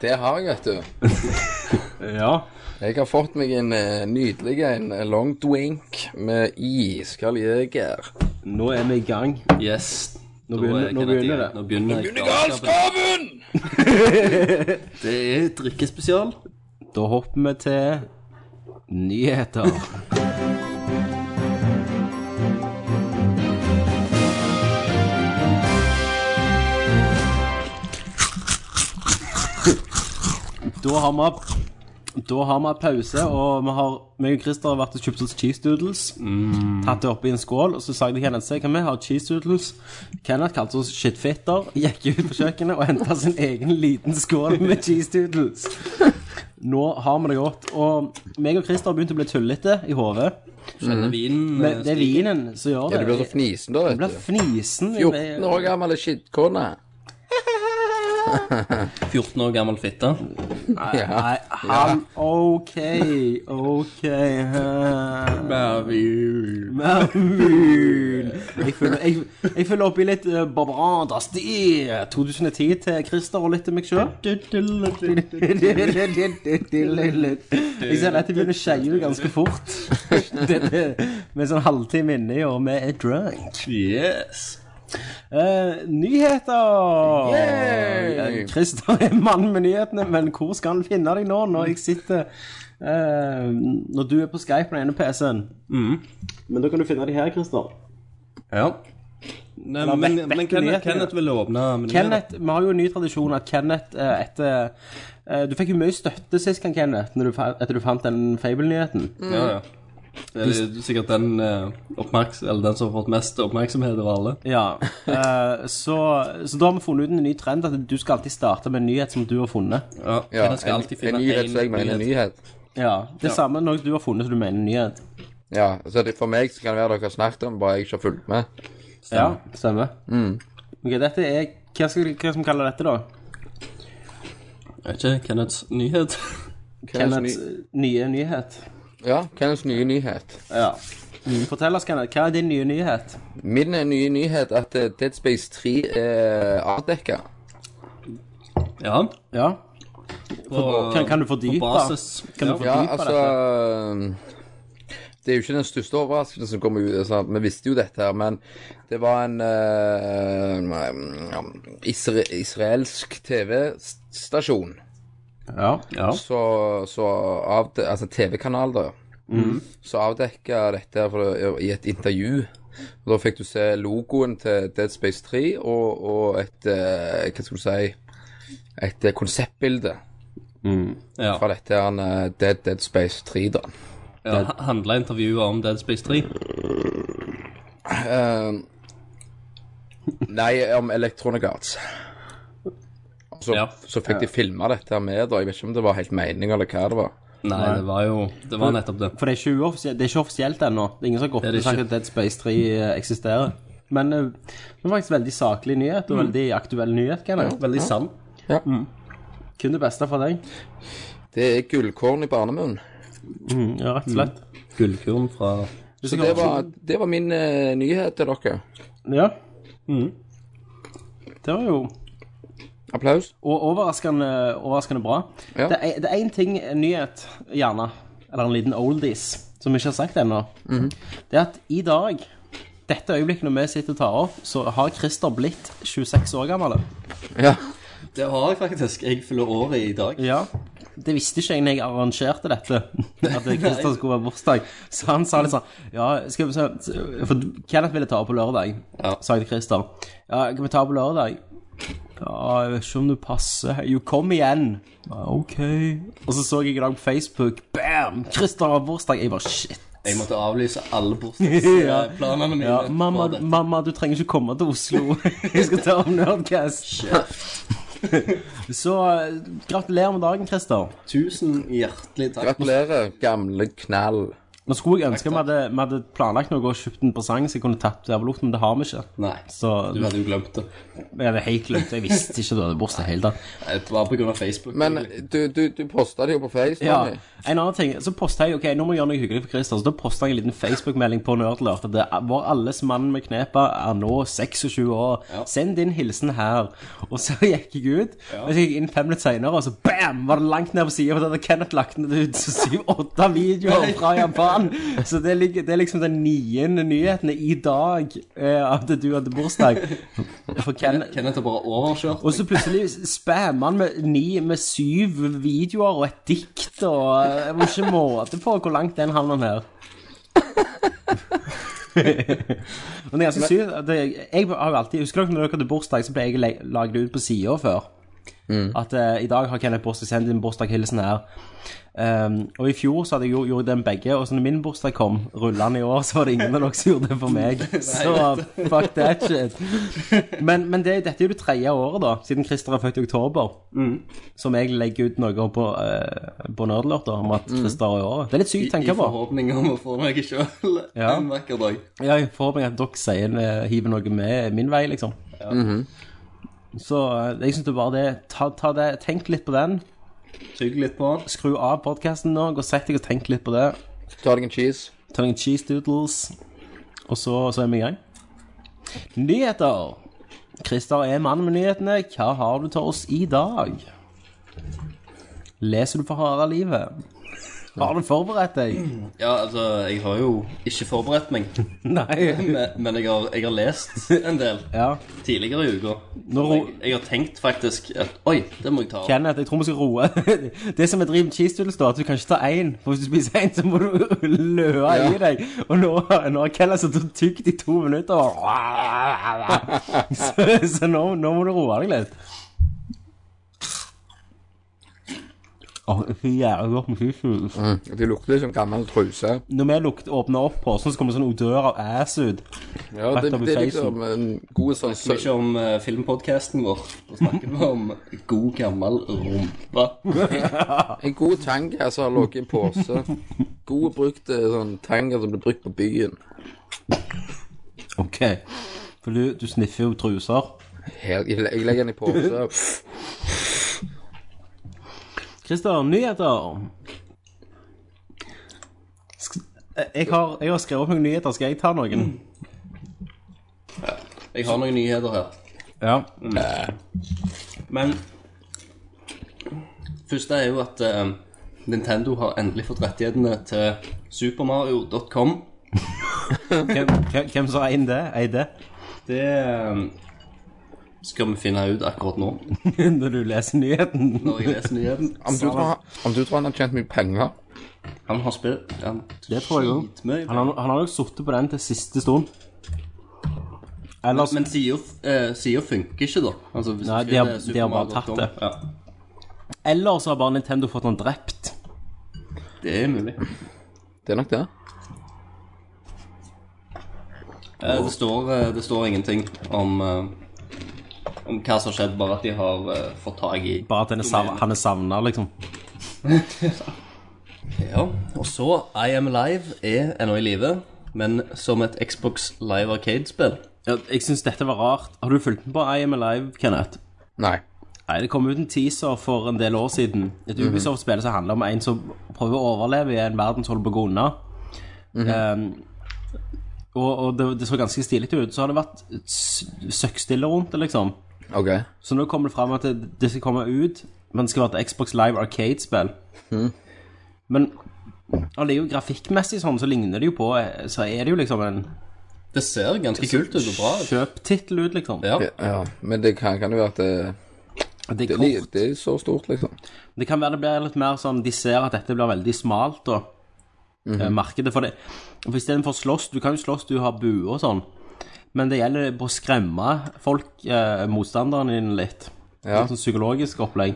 F: Det har jeg, vet du.
D: Ja.
F: Jeg har fått meg en eh, nydelig en eh, long drink med iskald jeger.
D: Nå er vi i gang.
G: Yes.
D: Nå
G: Da
D: begynner-
G: er
D: nå
G: Kenneth
D: begynner
G: i gang.
D: det.
G: Nå begynner, galskapen.
F: Galskapen!
G: Det er drikkespesial.
D: Da hopper vi til nyheter. da har vi da har vi pause, og vi har, meg og Christer har vært og kjøpt oss cheese doodles. Tatt det oppi en skål, og så sa jeg til Kenneth se hva vi har cheese doodles. Kenneth kalte oss shitfitter, gikk ut på kjøkkenet og henta sin egen liten skål med cheese doodles. Nå har vi det godt. Og meg og Christer har begynt å bli tullete i hodet.
G: Skjønner vinen
D: Men det er vinen som gjør det.
F: Ja, du blir så fnisen da,
D: Jeg blir
F: vet du.
D: fnisen.
F: 14 år gammel er skittkone.
G: 14 år gammel fitte.
F: Ja.
D: Nei, han OK, OK Mervin. Jeg føler, jeg, jeg føler oppi litt uh, Barbara Drasti 2010 til Christer og litt til meg sjøl. Jeg ser at jeg begynner å skeie ut ganske fort. Det, det, med sånn halvtime inni, og vi er drunk.
G: Yes.
D: Eh, nyheter! Eh, Christer er mann med nyhetene, men hvor skal han finne deg nå, når jeg sitter eh, Når du er på Skype på den ene PC-en? Men da kan du finne de her, Christer.
G: Ja. Nei,
D: La
G: men
D: vekk-
G: men
D: vekk
G: Kenneth,
D: nyhetene.
G: Kenneth ville åpne menyen.
D: Kenneth, Vi har jo en ny tradisjon at Kenneth eh, etter eh, Du fikk jo mye støtte sist gang, Kenneth, når du, fa- etter du fant den Fable-nyheten.
E: Mm.
G: Ja, ja. Det er sikkert den, eh, oppmerks eller den som har fått mest oppmerksomhet av alle.
D: Ja, eh, så, så da har vi funnet ut en ny trend, at du skal alltid starte med en nyhet som du har funnet.
G: Ja,
F: Ja,
G: Kenneth skal
F: en,
G: alltid
F: en
G: finne
F: nyhet
G: en
F: som jeg mener en nyhet.
D: Ja, Det samme når du har funnet som du mener en nyhet.
F: Ja, så det, For meg så kan det være dere har snakket om, bare jeg ikke har fulgt med.
D: Ja, stemmer. Ok, dette er Hva skal, hva skal vi kalle dette, da?
G: Er Ikke Kenneths nyhet.
D: Kenneths eh, nye nyhet.
F: Ja, Kenneths nye nyhet.
D: Ja. Fortell oss, Kenneth, hva er din nye nyhet?
F: Min eh, nye nyhet er at eh, Dead Space 3 er avdekka.
G: Ja.
D: Ja.
G: På,
D: Kan, kan du fordype?
G: På basis.
D: Kan du
G: Ja.
D: fordype
F: Ja, altså
D: dette?
F: Det er jo ikke den største overraskelsen som kommer ut. Altså, vi visste jo dette, her, men det var en eh, isre, israelsk TV-stasjon
D: Ja.
G: Ja.
F: så, så avde, Altså TV-kanal, da. Så avdekka dette her for- i et intervju. Og da fikk du se logoen til Dead Space 3 og, og et eh, Hva skal du si Et eh, konseptbilde
G: ja.
F: fra dette her eh, Dead Dead Space 3, da.
G: ja. ha- Handla intervjuet om Dead Space 3?
F: Nei, om Electronic Arts. Så,
G: Ja.
F: så fikk de filma dette her med, da. Jeg vet ikke om det var helt mening eller hva det var.
G: Nei, det var jo Det var nettopp det.
D: For det er ikke, uoffisielt, det er ikke offisielt ennå. Det er ingen som har gått
G: Det er
D: ut
G: det
D: og sagt
G: ikke.
D: at Dead Space 3 eksisterer. Men eh, det var faktisk veldig saklig nyhet,
G: Mm.
D: og veldig aktuell nyhet, Kenneth.
G: Veldig sann.
F: Ja.
D: Mm. Kun det beste for deg.
F: Det er gullkorn i barnemunn.
D: Ja,
G: Mm.
D: rett og slett.
G: Gullkorn fra
D: Du
F: Så
D: skal
F: det
D: kanskje-
F: var, det var min eh, nyhet til dere.
D: Ja. Mm. Det var jo
F: Applaus.
D: Og overraskende, overraskende bra.
F: Ja.
D: Det, er, det er én ting, en nyhet, gjerne, eller en liten oldies, som vi ikke har sagt ennå.
G: Mm.
D: Det er at i dag, dette øyeblikket når vi sitter og tar opp, så har Christer blitt 26 år gammel.
F: Ja.
G: Det har jeg faktisk. Jeg fyller året i dag.
D: Ja. Det visste ikke jeg når jeg arrangerte dette, at det Christer skulle være bursdag. Så han sa litt sånn Ja, skal vi se For Kenneth ville ta opp på lørdag,
G: Ja.
D: sa jeg til Christer. Ja, kan vi ta opp på lørdag? Ja, jeg vet ikke om du passer. Jo, kom igjen. Ja, OK. Og så så jeg i dag på Facebook Bam! Christer har bursdag. Jeg bare shit.
G: Jeg måtte avlyse alle
D: Ja.
G: bursdagsplanene mine.
D: Ja, mamma,
G: for det.
D: mamma, du trenger ikke komme til Oslo. Vi skal ta om Nerdcast. Så eh, gratulerer med dagen, Christer.
G: Tusen hjertelig takk.
F: Gratulerer, gamle knall.
D: Nå skulle jeg ønske vi hadde, vi hadde planlagt noe og kjøpt en presang så jeg kunne tatt Diabolot, men det har vi ikke.
E: Nei,
D: Så
E: du hadde jo glemt det.
D: jeg hadde helt glemt det. Jeg visste ikke du hadde bursdag hele tatt.
E: Nei, Det var Eh, på grunn av Facebook.
F: Men du, du, du posta det jo på Face,
D: Ja.
F: Tommy.
D: En annen ting, så postet jeg ok, nå må jeg gjøre noe hyggelig for Christer, så da postet jeg en liten Facebook-melding på Nerdlert. at Det var alles mann med knepa er nå 26 år. Send din hilsen her. Og så gikk jeg ut, og så gikk jeg inn fem minutter senere, og så bam, var det langt ned på siden, for da hadde Kenneth lagt ned ut syv-åtte videoer fra Japan. Så det, ligger- det er liksom den niende nyheten i dag eh, at du hadde bursdag. For Kenneth
E: Kenneth har bare overkjørt.
D: og så plutselig spammer han med ni med syv videoer og et dikt og Jeg må ikke måte på hvor langt den havner her. Men det er ganske sykt. at det- Jeg har jo alltid, Husker dere når dere hadde bursdag, så ble jeg le- lagd ut på sida før. At eh, i dag har Kenneth bursdag, send din bursdagshilsen her. Um, og i fjor så hadde jeg gjort, gjort den begge, og så når min bursdag kom rullende i år, så var det ingen av dere som gjorde det for meg. Så fuck that shit. Men, men det, dette er jo det tredje året, da, siden Christer er født i oktober,
E: Mm.
D: som jeg legger ut noe på, uh, på Nerdlert da, om at Christer er i året. Det er litt sykt å
E: Mm. I
D: tenke på.
E: forhåpning om å få meg sjøl
D: Ja.
E: en vakker dag.
D: Ja, jeg forhåpentlig at dere sier, eh, hiver noe med min vei, liksom. Så eh, jeg syns det er bare det ta, ta det, Tenk litt på den.
E: Tygg litt på den.
D: Skru av podkasten nå, gå og sett deg og tenk litt på det.
F: Ta deg en cheese.
D: Ta noen cheese doodles, og så, så er vi i gang. Nyheter! Christer er mannen med nyhetene. Hva har du til oss i dag? Leser du for harde livet? Har du forberedt deg?
E: Ja, altså, jeg har jo ikke forberedt meg,
D: Nei.
E: men men jeg har, jeg har lest en del
D: Ja.
E: tidligere i uka.
D: Nå ro-
E: Jeg, jeg har tenkt faktisk at Oi, det må jeg ta. opp.
D: Kenneth, jeg tror vi skal roe. Det som er drivet med cheese doodles, da, er at du kan ikke ta én. For hvis du spiser én, så må du løe i deg. Og nå, nå har Kenneth sittet og tygd i to minutter. og- Så, så nå, nå må du roe deg litt. Åh, det er så jævlig godt med cheese doodles.
F: Det lukter litt som gammel truse.
D: Når vi lukter, åpner opp posen, så kommer det sånn odør av ass ut.
F: Ja,
D: Rett
F: det,
D: over
F: det er
D: feisen.
F: liksom en god sånn
E: Snakker vi ikke om uh, filmpodkasten vår. Da snakker vi om god, gammel rumpe.
F: En god tanga som har ligget i en pose. God brukt eh, sånn tanga som blir brukt på byen.
D: OK. For du, du sniffer jo truser.
F: Helt, jeg, jeg legger den i pose.
D: Christer, nyheter. Sk- eh, Jeg har, jeg har skrevet opp noen nyheter. Skal jeg ta noen?
E: Jeg har noen nyheter her.
D: Ja.
E: Men Første er jo at eh, Nintendo har endelig fått rettighetene til supermario.com.
D: Hvem, hvem- hvem som eier det? Eier det?
E: Det eh, skal vi finne ut akkurat nå,
D: Når du leser nyheten.
E: når jeg leser nyheten.
F: Om du, tror, han- om du tror han har tjent mye penger
E: Han har spilt han,
D: Det tror jeg òg.
E: skitmye.
D: Han, har- han har nok sittet på den til siste stund. Ellers
E: Men sida uh, funker ikke, da. Altså, hvis
D: Nei,
E: du
D: de har-
E: skriver
D: de har bare
E: supermario.com,
D: tatt det.
E: Ja,
D: Eller så har bare Nintendo fått han drept.
E: det er mulig.
F: Det er nok det.
E: Eh, det, står, eh, det står ingenting om eh, om hva som har skjedd, bare at de har eh, fått tak i
D: Bare at han er sav- han er savna, liksom.
E: Ja, og så I Am Alive er ennå i live, men som et Xbox Live Arcade-spill.
D: Ja, jeg syns dette var rart. Har du fulgt med på I Am Alive, Kenneth?
F: Nei.
D: Nei, Det kom ut en teaser for en del år siden. Et
E: Mhm.
D: Ubisoft-spill som handler om en som prøver å overleve i en verden som holder på å gå unna.
E: Mhm.
D: Ehm, og og det, det så ganske stilig ut. Så har det vært s- søkkstille rundt det, liksom.
F: OK.
D: Så nå kommer det fram at det, det skal komme ut, men det skal være et Xbox Live Arcade-spill.
E: Mhm.
D: Men allikevel, grafikkmessig sånn, så ligner det jo på Så er det jo liksom en
E: Det ser ganske kult ut og bra ut.
D: kjøptittel ut, liksom.
E: Ja.
F: Ja, men det kan, kan jo være at det,
D: Det er
F: det, li-
D: kort.
F: det er så stort, liksom.
D: Det kan være det blir litt mer sånn De ser at dette blir veldig smalt da eh, Markedet for det For i stedet for slåss, du kan jo slåss Du har bue og sånn Men det gjelder på å skremme folk eh, Motstanderen din litt
F: Ja.
D: Litt sånn psykologisk opplegg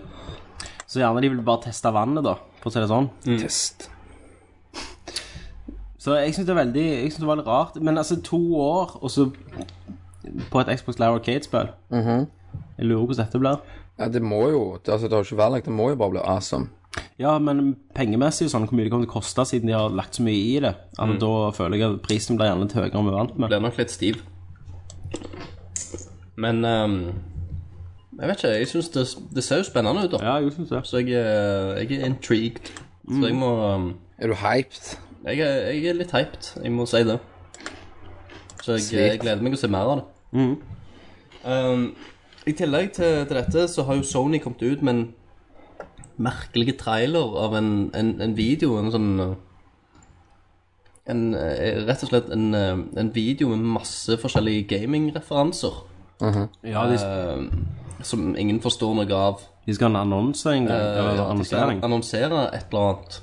D: Så gjerne de vil bare teste vannet da For å si det sånn
F: Test.
D: Så jeg synes det er veldig Jeg synes det var litt rart Men altså to år Og så på et Xbox Live Arcade-spill Jeg lurer på hvordan dette blir
F: Ja, det må jo det, Altså, det har jo ikke vært lagt, det må jo bare bli awesome.
D: Ja, men pengemessig og sånn, hvor mye det kommer til å koste siden de har lagt så mye i det.
E: Mm.
D: Altså, Da føler jeg at prisen blir gjerne litt høyere enn vi er vant med.
E: Blir nok litt stiv. Men ehm, jeg vet ikke. Jeg syns det, det ser jo spennende ut, da.
D: Ja, jeg syns det.
E: Så jeg, eh, jeg er intrigued. Så jeg må ehm,
F: Er du hyped?
E: jeg er, jeg er litt hyped, jeg må si det. Så jeg, jeg gleder meg å se mer av det. Um, I tillegg til, til dette så har jo Sony kommet ut med en merkelig trailer av en, en, en video. En sånn uh, en, eh, Rett og slett en, eh, en video med masse forskjellige gamingreferanser.
D: Ja, de,
E: eh, som ingen forstår noe av.
D: de skal ha en annonse en gang.
E: Eh,
D: eller
E: ja, de skal
D: annonsering.
E: Annonsere et eller annet.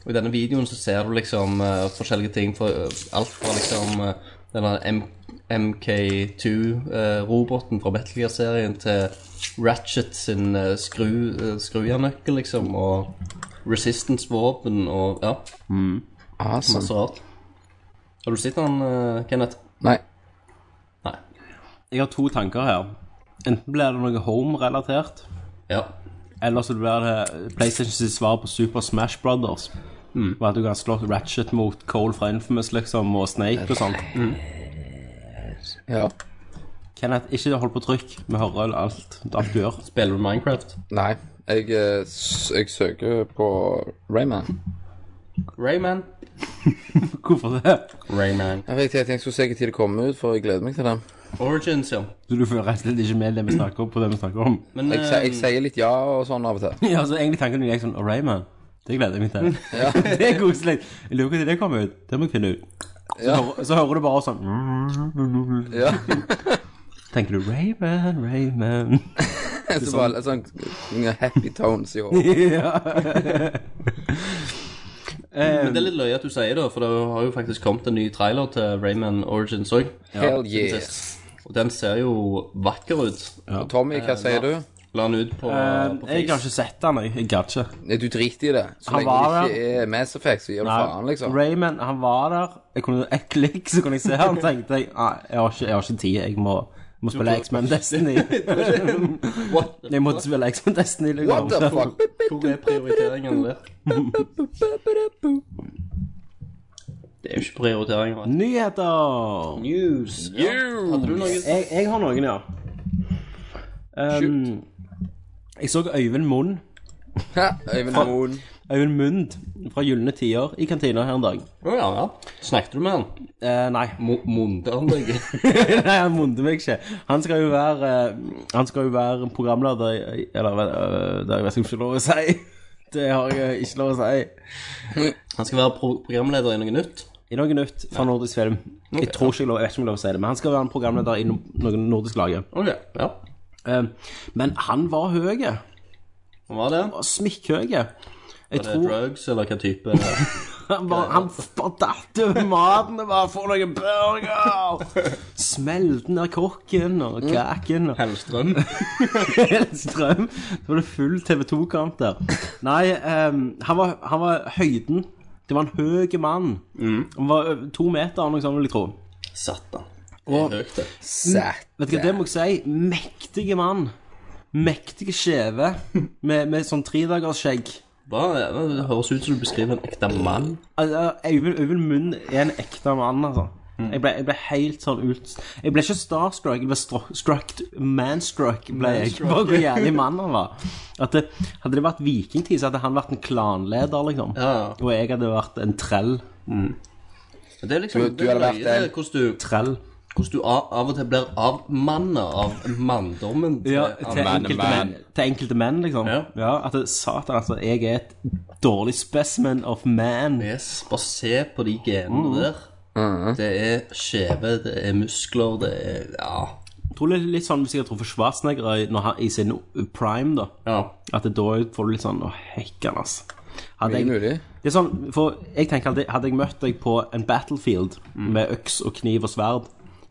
E: Og I denne videoen så ser du liksom eh, forskjellige ting. For, eh, alt fra liksom eh, denne M MK2-roboten fra Metal Gear-serien til Ratchet sin eh, skru, eh, skrujernøkkel, liksom. Og Resistance-våpen og ja,
F: Awesome.
E: masse rart. Har du sett den, eh, Kenneth?
F: Nei.
E: Nei.
D: Jeg har to tanker her. Enten blir det noe home-relatert,
E: Ja.
D: eller så blir det PlayStation sitt svar på Super Smash Brothers.
E: Mm.
D: Og at du kan slå Ratchet mot Cole fra Infamous, liksom, og Snake og sånt.
F: Ja.
D: Kenneth, ikke hold på trykk. Vi hører alt, alt du gjør.
E: Spiller du Minecraft?
F: Nei. Jeg, eh, s- jeg søker på Rayman.
E: Rayman?
D: Hvorfor det?
E: Rayman.
F: Jeg vet ikke, jeg tenkte jeg skulle se hvilken tid det kommer ut, for jeg gleder meg til det.
E: Origins, ja.
D: Så du føler rett og slett ikke med det vi snakker om, på det vi snakker om?
E: Men
F: Jeg, se-
E: eh,
F: jeg sier litt ja og sånn av og til.
D: Ja, så egentlig tanken min gikk sånn «Å, Rayman, det gleder jeg meg til. det er koselig. Jeg lurer på når det kommer ut. Det må jeg finne ut. Så,
F: Ja.
D: hører, så hører du bare sånn
F: Ja.
D: Tenker du Rayman, Rayman
F: Så bare litt sånn happy tones i håret.
D: Ja.
E: Men det er litt løye at du sier det, for det har jo faktisk kommet en ny trailer til Rayman Origins òg.
F: Hell yeah.
E: Og den ser jo vakker ut.
F: Og Tommy, hva sier du?
E: La den ut på,
D: Eh,
E: på
D: jeg har ikke sett han, jeg. Jeg gadd ikke.
F: Nei, Du driter i det. Så
D: Han
F: lenge det
D: var
F: ikke er Mass Effect, så gir du faen, liksom.
D: Rayman, han var der. Jeg kunne Ett klikk, så kunne jeg se han. Tenkte jeg Nei, jeg har ikke, jeg har ikke tid. Jeg må, må spille X-Man Destiny. jeg måtte spille X-Man Destiny. liksom.
F: What the fuck?
E: Hvor er prioriteringene der? Det er jo ikke prioriteringer. vet du.
D: Nyheter!
E: News. Ja. Hadde du noe
D: Jeg, jeg har noen, ja. Um, jeg så Øyvind Munn
F: Ha, Øyvind Moen.
D: Øyvind Mund fra Gylne tider i kantina her en dag.
F: Eh.
E: Å ja, ja. Snakket du med han?
D: Eh, nei.
E: Mo- Munde han deg?
D: nei, han munte meg ikke. Han skal jo være eh, Han skal jo være programleder i- Eller eh, det vet jeg ikke lov å si. Det har jeg ikke lov å si.
E: Han skal være pro programleder i noe nytt.
D: I noe nytt fra nordisk film. Jeg tror ikke jeg, lov, jeg vet ikke om jeg har lov å si det, men han skal være en programleder i no- noe nordisk laget.
E: Ok, ja.
D: Eh, men han var høy.
E: Hva var det?
D: var Smikkhøy. Jeg
E: Var det
D: tror
E: drugs, eller hva type
D: Han bare, han bare datt over maten og bare får noen burger. Smelte ned kokken og kaken og
E: Hellstrøm?
D: helt strøm. Så var det full TV 2-kamp der. Nei, ehm, han, var, han var høyden. Det var en høy mann. Han var over to meter eller noe sånt, vil jeg tro.
E: Satan. Det er høyt, det.
F: Sæt.
D: Vet du hva, det må jeg si. Mektige mann. Mektige skjeve med, med sånn tredagersskjegg.
E: Hva er det? Det høres ut som du beskriver en ekte mann.
D: Altså, Øyvind, Øyvind Munn er en ekte mann, altså.
E: Mm.
D: Jeg, ble, jeg ble helt sånn ut... Jeg ble ikke starstruck, jeg ble stro- struck, manstruck ble jeg. Bare hvor jævlig mann han var. At det, hadde det vært vikingtid, så hadde han vært en klanleder, liksom.
E: Ja.
D: Og jeg hadde vært en trell.
E: Det er liksom
F: Du- du
E: det er
F: hadde vært
E: løye,
F: en-
E: det, hvordan du,
D: Trell.
E: hvordan du av, av og til blir avmanna av manndommen. til
D: Ja,
E: andre.
D: til enkelte menn, til enkelte menn liksom.
E: Ja.
D: at det, satan, altså. Jeg er et dårlig specimen of man.
E: Yes, bare se på de
F: Mm.
E: genene der. Det er skjeve, det er muskler, det er Ja.
D: Jeg tror det er litt sånn hvis jeg tror for Schwarzenegger i- når han, i sin prime, da.
E: ja.
D: At det, da får du litt sånn Å, hekken, ass. Hadde
F: Mye
D: jeg,
F: mulig.
D: det er sånn, for jeg tenker alltid Hadde jeg møtt deg på en battlefield med øks og kniv og sverd,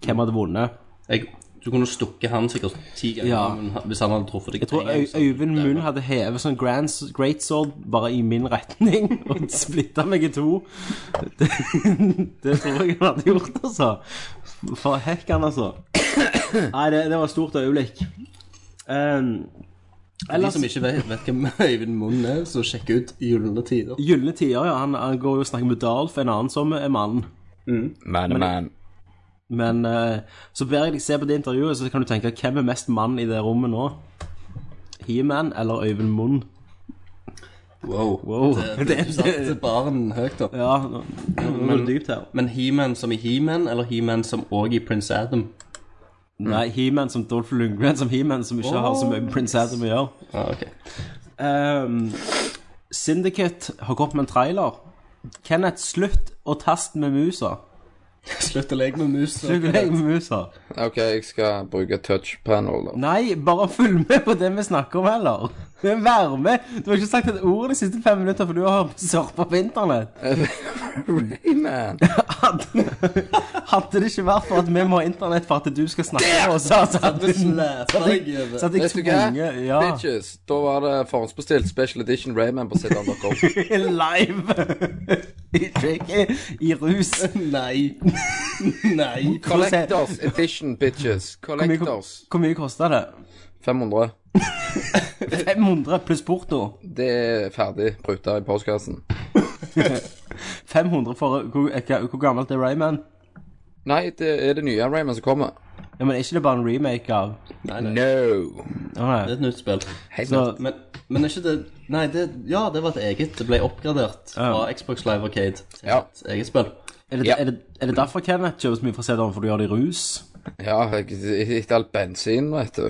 D: hvem hadde vunnet?
E: Jeg, du kunne stukket han sikkert ti ganger
D: Ja.
E: men han- hvis han hadde truffet deg.
D: Jeg tror
E: en gang,
D: Øy
E: så-
D: Øyvind Munn hadde hevet sånn grand great sword bare i min retning og splitta meg i to. Det, det tror jeg han hadde gjort, altså. For hekken, altså. Nei, det, det var et stort øyeblikk. Ehm,
G: Ellers-
E: De som ikke vet, vet hvem Øyvind Munn er, så sjekk ut Gyllene tider.
D: Gylne tider, ja. Han, han går jo og snakker med Dalf, en annen som er mann.
F: Man, man.
D: Men eh, så ber jeg deg se på det intervjuet, så kan du tenke hvem er mest mann i det rommet nå? He-Man eller Øyvind Munn?
E: Wow.
D: Wow.
E: Det, det, du satte baren høyt opp.
D: Ja, nå nå går det dypt her.
E: Men He-Man som i He-Man, eller He-Man som òg i Prince Adam?
D: Mm. Nei, He-Man som Dolph Lundgren som He-Man, som ikke har så mye med Prince Adam å gjøre.
E: Ja, Ah, ok.
D: Ehm, Syndicate har gått med en trailer. Kenneth, slutt å taste med musa.
E: Slutt å leke med mus.
D: Slutt å leke med musa.
F: OK, jeg skal bruke touch panel, da.
D: Nei, bare følg med på det vi snakker om heller. Vær med. Du har ikke sagt et ord de siste fem minutter, for du har surfa på internett.
F: Rayman.
D: Hadde, hadde det ikke vært for at vi må ha internett for at du skal snakke med oss, så hadde så hadde jeg så hadde jeg
F: Vet du hva?
D: tvunget ja,
F: Bitches. Da var det forhåndsbestilt special edition Rayman på sidan.com.
D: live i, drikke, i rus.
E: Nei. Nei.
F: Collectors edition, bitches. Collectors.
D: Hvor mye kosta det?
F: 500.
D: 500 pluss porto.
F: Det er ferdig pruta i postkassen.
D: 500 for Hvor, hva- hvor gammelt er Rayman?
F: Nei, det er det nye Rayman som kommer.
D: Ja, men Er ikke det bare en remake av
F: No.
D: Å, nei.
E: Det er et nytt spill.
F: Helt
D: Så,
E: Men, men er ikke det Nei, det, ja, det var et eget. Det ble oppgradert fra Xbox Live Arcade til
F: Ja.
E: et eget spill.
D: er, det,
F: Ja.
D: er, det, er det derfor Kenneth kjøper så mye fra CD-en? For du gjør det i rus?
F: Ja, etter all bensin, vet du.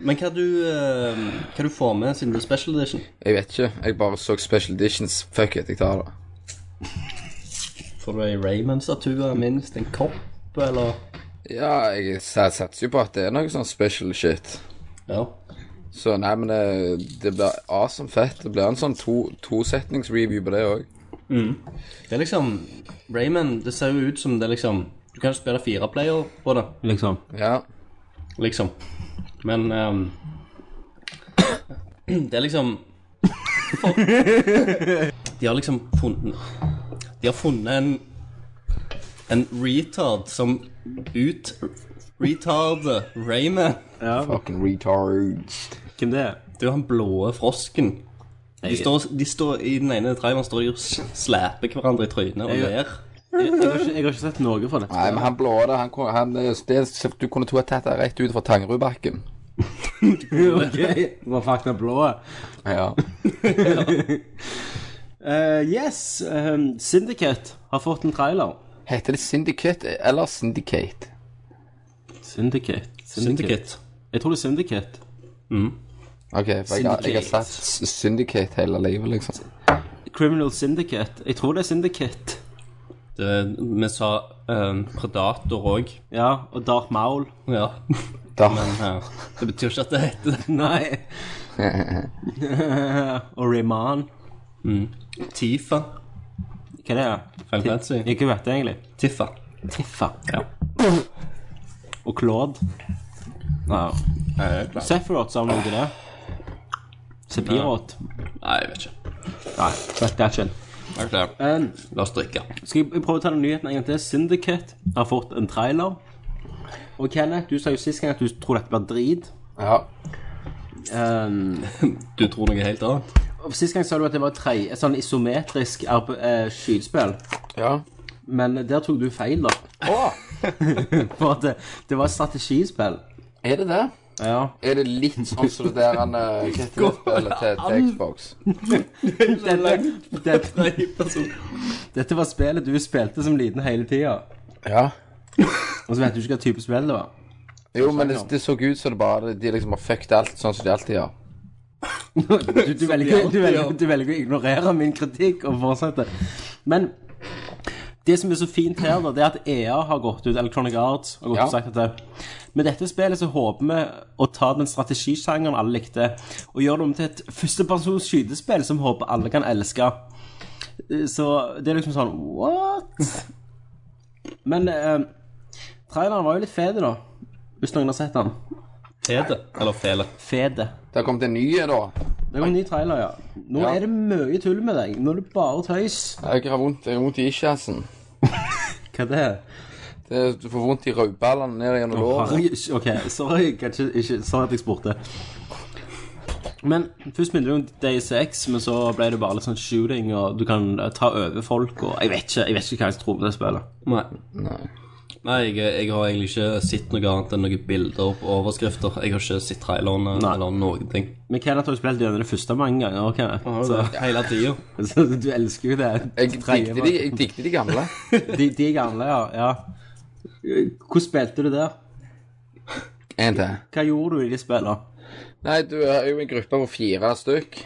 E: Men hva du, eh, hva du får med siden det er special edition?
F: Jeg vet ikke. Jeg bare så special editions. Fuck it, jeg tar det.
E: Får du ei Rayman-statue, minst en kopp, eller
F: Ja, jeg s- satser jo på at det er noe sånn special shit.
E: Ja.
F: Så nei, men det, det blir awesome fett. Det blir en sånn to- tosetnings-review på det òg.
E: Det er liksom Rayman, det ser jo ut som det er liksom Du kan jo spille fire player på det,
D: Liksom.
F: Ja.
E: liksom. Men ehm, Det er liksom De har liksom funnet De har funnet en En retard som ut Retarder Rayman.
F: Fucking retards.
D: Hvem det er?
E: Det er jo han blåe frosken. De står, de står I den ene traileren står de og s- slæper hverandre i trynet og
D: Jeg-
E: ler.
D: Jeg, jeg, har ikke, jeg har ikke sett noe fra dette.
F: Nei, men han blå der, han, kon- han eh, det, Du kunne to ha tatt det rett ut fra Tangerudbakken.
D: Ok, Hva fakta blå?
F: Ja.
D: Eh, yes, ehm, Syndicate har fått en trailer.
F: Heter det Syndicate eh, eller Syndicate?
D: Syndicate.
E: Syndicate.
D: Jeg tror det er Syndicate.
F: OK, for jeg, har- jeg har sagt s- Syndicate hele livet, liksom.
D: Criminal Syndicate. Jeg tror det er Syndicate.
E: Det, eh, vi sa ehm, Predator òg.
D: Ja, og Dark Maul.
E: Ja.
F: Da.
E: Men eh, det betyr ikke at det heter det.
D: Nei. og Rayman.
E: Tifa.
D: Hva er det?
E: Final Fantasy.
D: Ikke vet det egentlig.
E: Tiffa.
D: Tiffa. og Claude. Nei. Sephiroth sa han noe til det. Sephiroth.
E: Nei, jeg vet ikke.
D: Nei, vet det ikke.
E: Er klar.
D: Um,
E: La oss drikke.
D: Skal jeg prøve å ta den nyheten en gang til? Syndicate har fått en trailer. Og Kenneth, du sa jo sist gang at du tror dette blir drit.
F: Ja.
D: Um,
E: Du tror noe helt annet?
D: og Sist gang sa du at det var et, tre, et sånn isometrisk RP, eh, skytespill.
F: ja.
D: Men der tok du feil, da.
F: Å,
D: For at det, det var et strategispill.
F: er det det?
D: Ja.
F: Er det litt sånn som det der han eh, Hva heter det spillet til, til Xbox?
D: Dette, dette,
E: Nei, altså. person.
D: dette var spillet du spilte som liten hele tida.
F: Ja.
D: Og så vet du ikke hva type spill det var.
F: Jo, men det, det så ut som det bare De liksom har fucket alt sånn som de alltid gjør.
D: Du, du, velger, du, velger, du velger å ignorere min kritikk og fortsette. Men det som er så fint her, da, det er at EA har gått ut, Electronic Arts har gått
F: Ja.
D: ut og sagt at det, med dette spillet så håper vi å ta den strategisjangeren alle likte, og gjøre det om til et førstepersons skytespill som håper alle kan elske. Eh, Så det er liksom sånn What? Men eh, traileren var jo litt fede, da. Hvis noen har sett den.
E: Tede. Eller Fele.
D: Fede.
F: Det har kommet en ny, da.
D: Det kom en ny trailer, ja. Nå
F: Ja.
D: er det mye tull med deg. Nå er det bare tøys.
F: Jeg har vondt, jeg har vondt i isjassen.
D: Hva er det?
F: Det, du får vondt i rødballene ned gjennom låret.
D: Herregud, ok, sorry, kanskje ikke Sorry at jeg spurte. Men først minner det om Days X, men så ble det bare litt sånn shooting, og du kan eh, ta over folk, og jeg vet ikke, jeg vet ikke hva jeg tror om det spillet.
E: Nei. Nei, jeg, jeg har egentlig ikke sett noe annet enn noen bilder og overskrifter. Jeg har ikke sett trailerne
D: Nei.
E: eller noen ting.
D: Men Kenneth har jo spilt gjennom det første mange ganger, Kenneth.
E: Så, Hele tida.
D: Så, så du elsker jo det.
F: Jeg
D: Tredje
F: dikter
D: var-
F: de, jeg dikter de gamle.
D: De, de gamle, ja. ja. Hvordan spilte du der?
F: En til.
D: Hva gjorde du i de spillene?
F: Nei, du er jo en gruppe på fire stykk.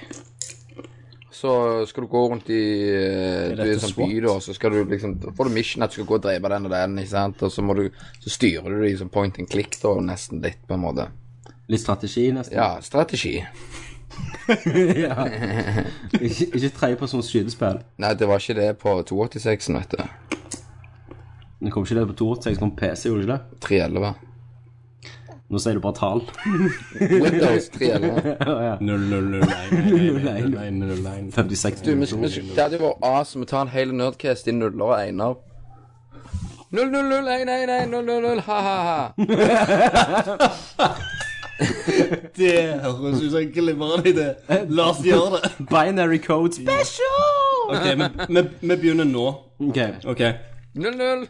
F: Så skal du gå rundt i eh, Du er i en sånn by, da, så skal du liksom da får du mission at du skal gå og drepe den og den, ikke sant. Og så må du Så styrer du dem som point and click, da, nesten litt, på en måte.
D: Litt strategi, nesten?
F: Ja, strategi.
D: Ja. Ikke, ikke tredjepersons skytespill.
F: Nei, det var ikke det på 286-en, vet du.
D: Det kom ikke det på 286, det kom på PC, gjorde det ikke det?
F: 311.
D: Nå sier du bare tall.
F: Windows 311.
E: Null, null, null, nei, nei, nei, nei, nei, null, nei, nei.
D: 56
F: Du, vi skal- vi skal- det hadde jo vært awesome å ta en hel Nerdcast i nuller og einer. 00011100, ha-ha-ha.
E: Det høres ut som en glimrende idé. La oss gjøre det.
D: Binary code special!
E: Ok, vi, vi, vi begynner nå.
D: Ok.
E: Ok.
F: 00.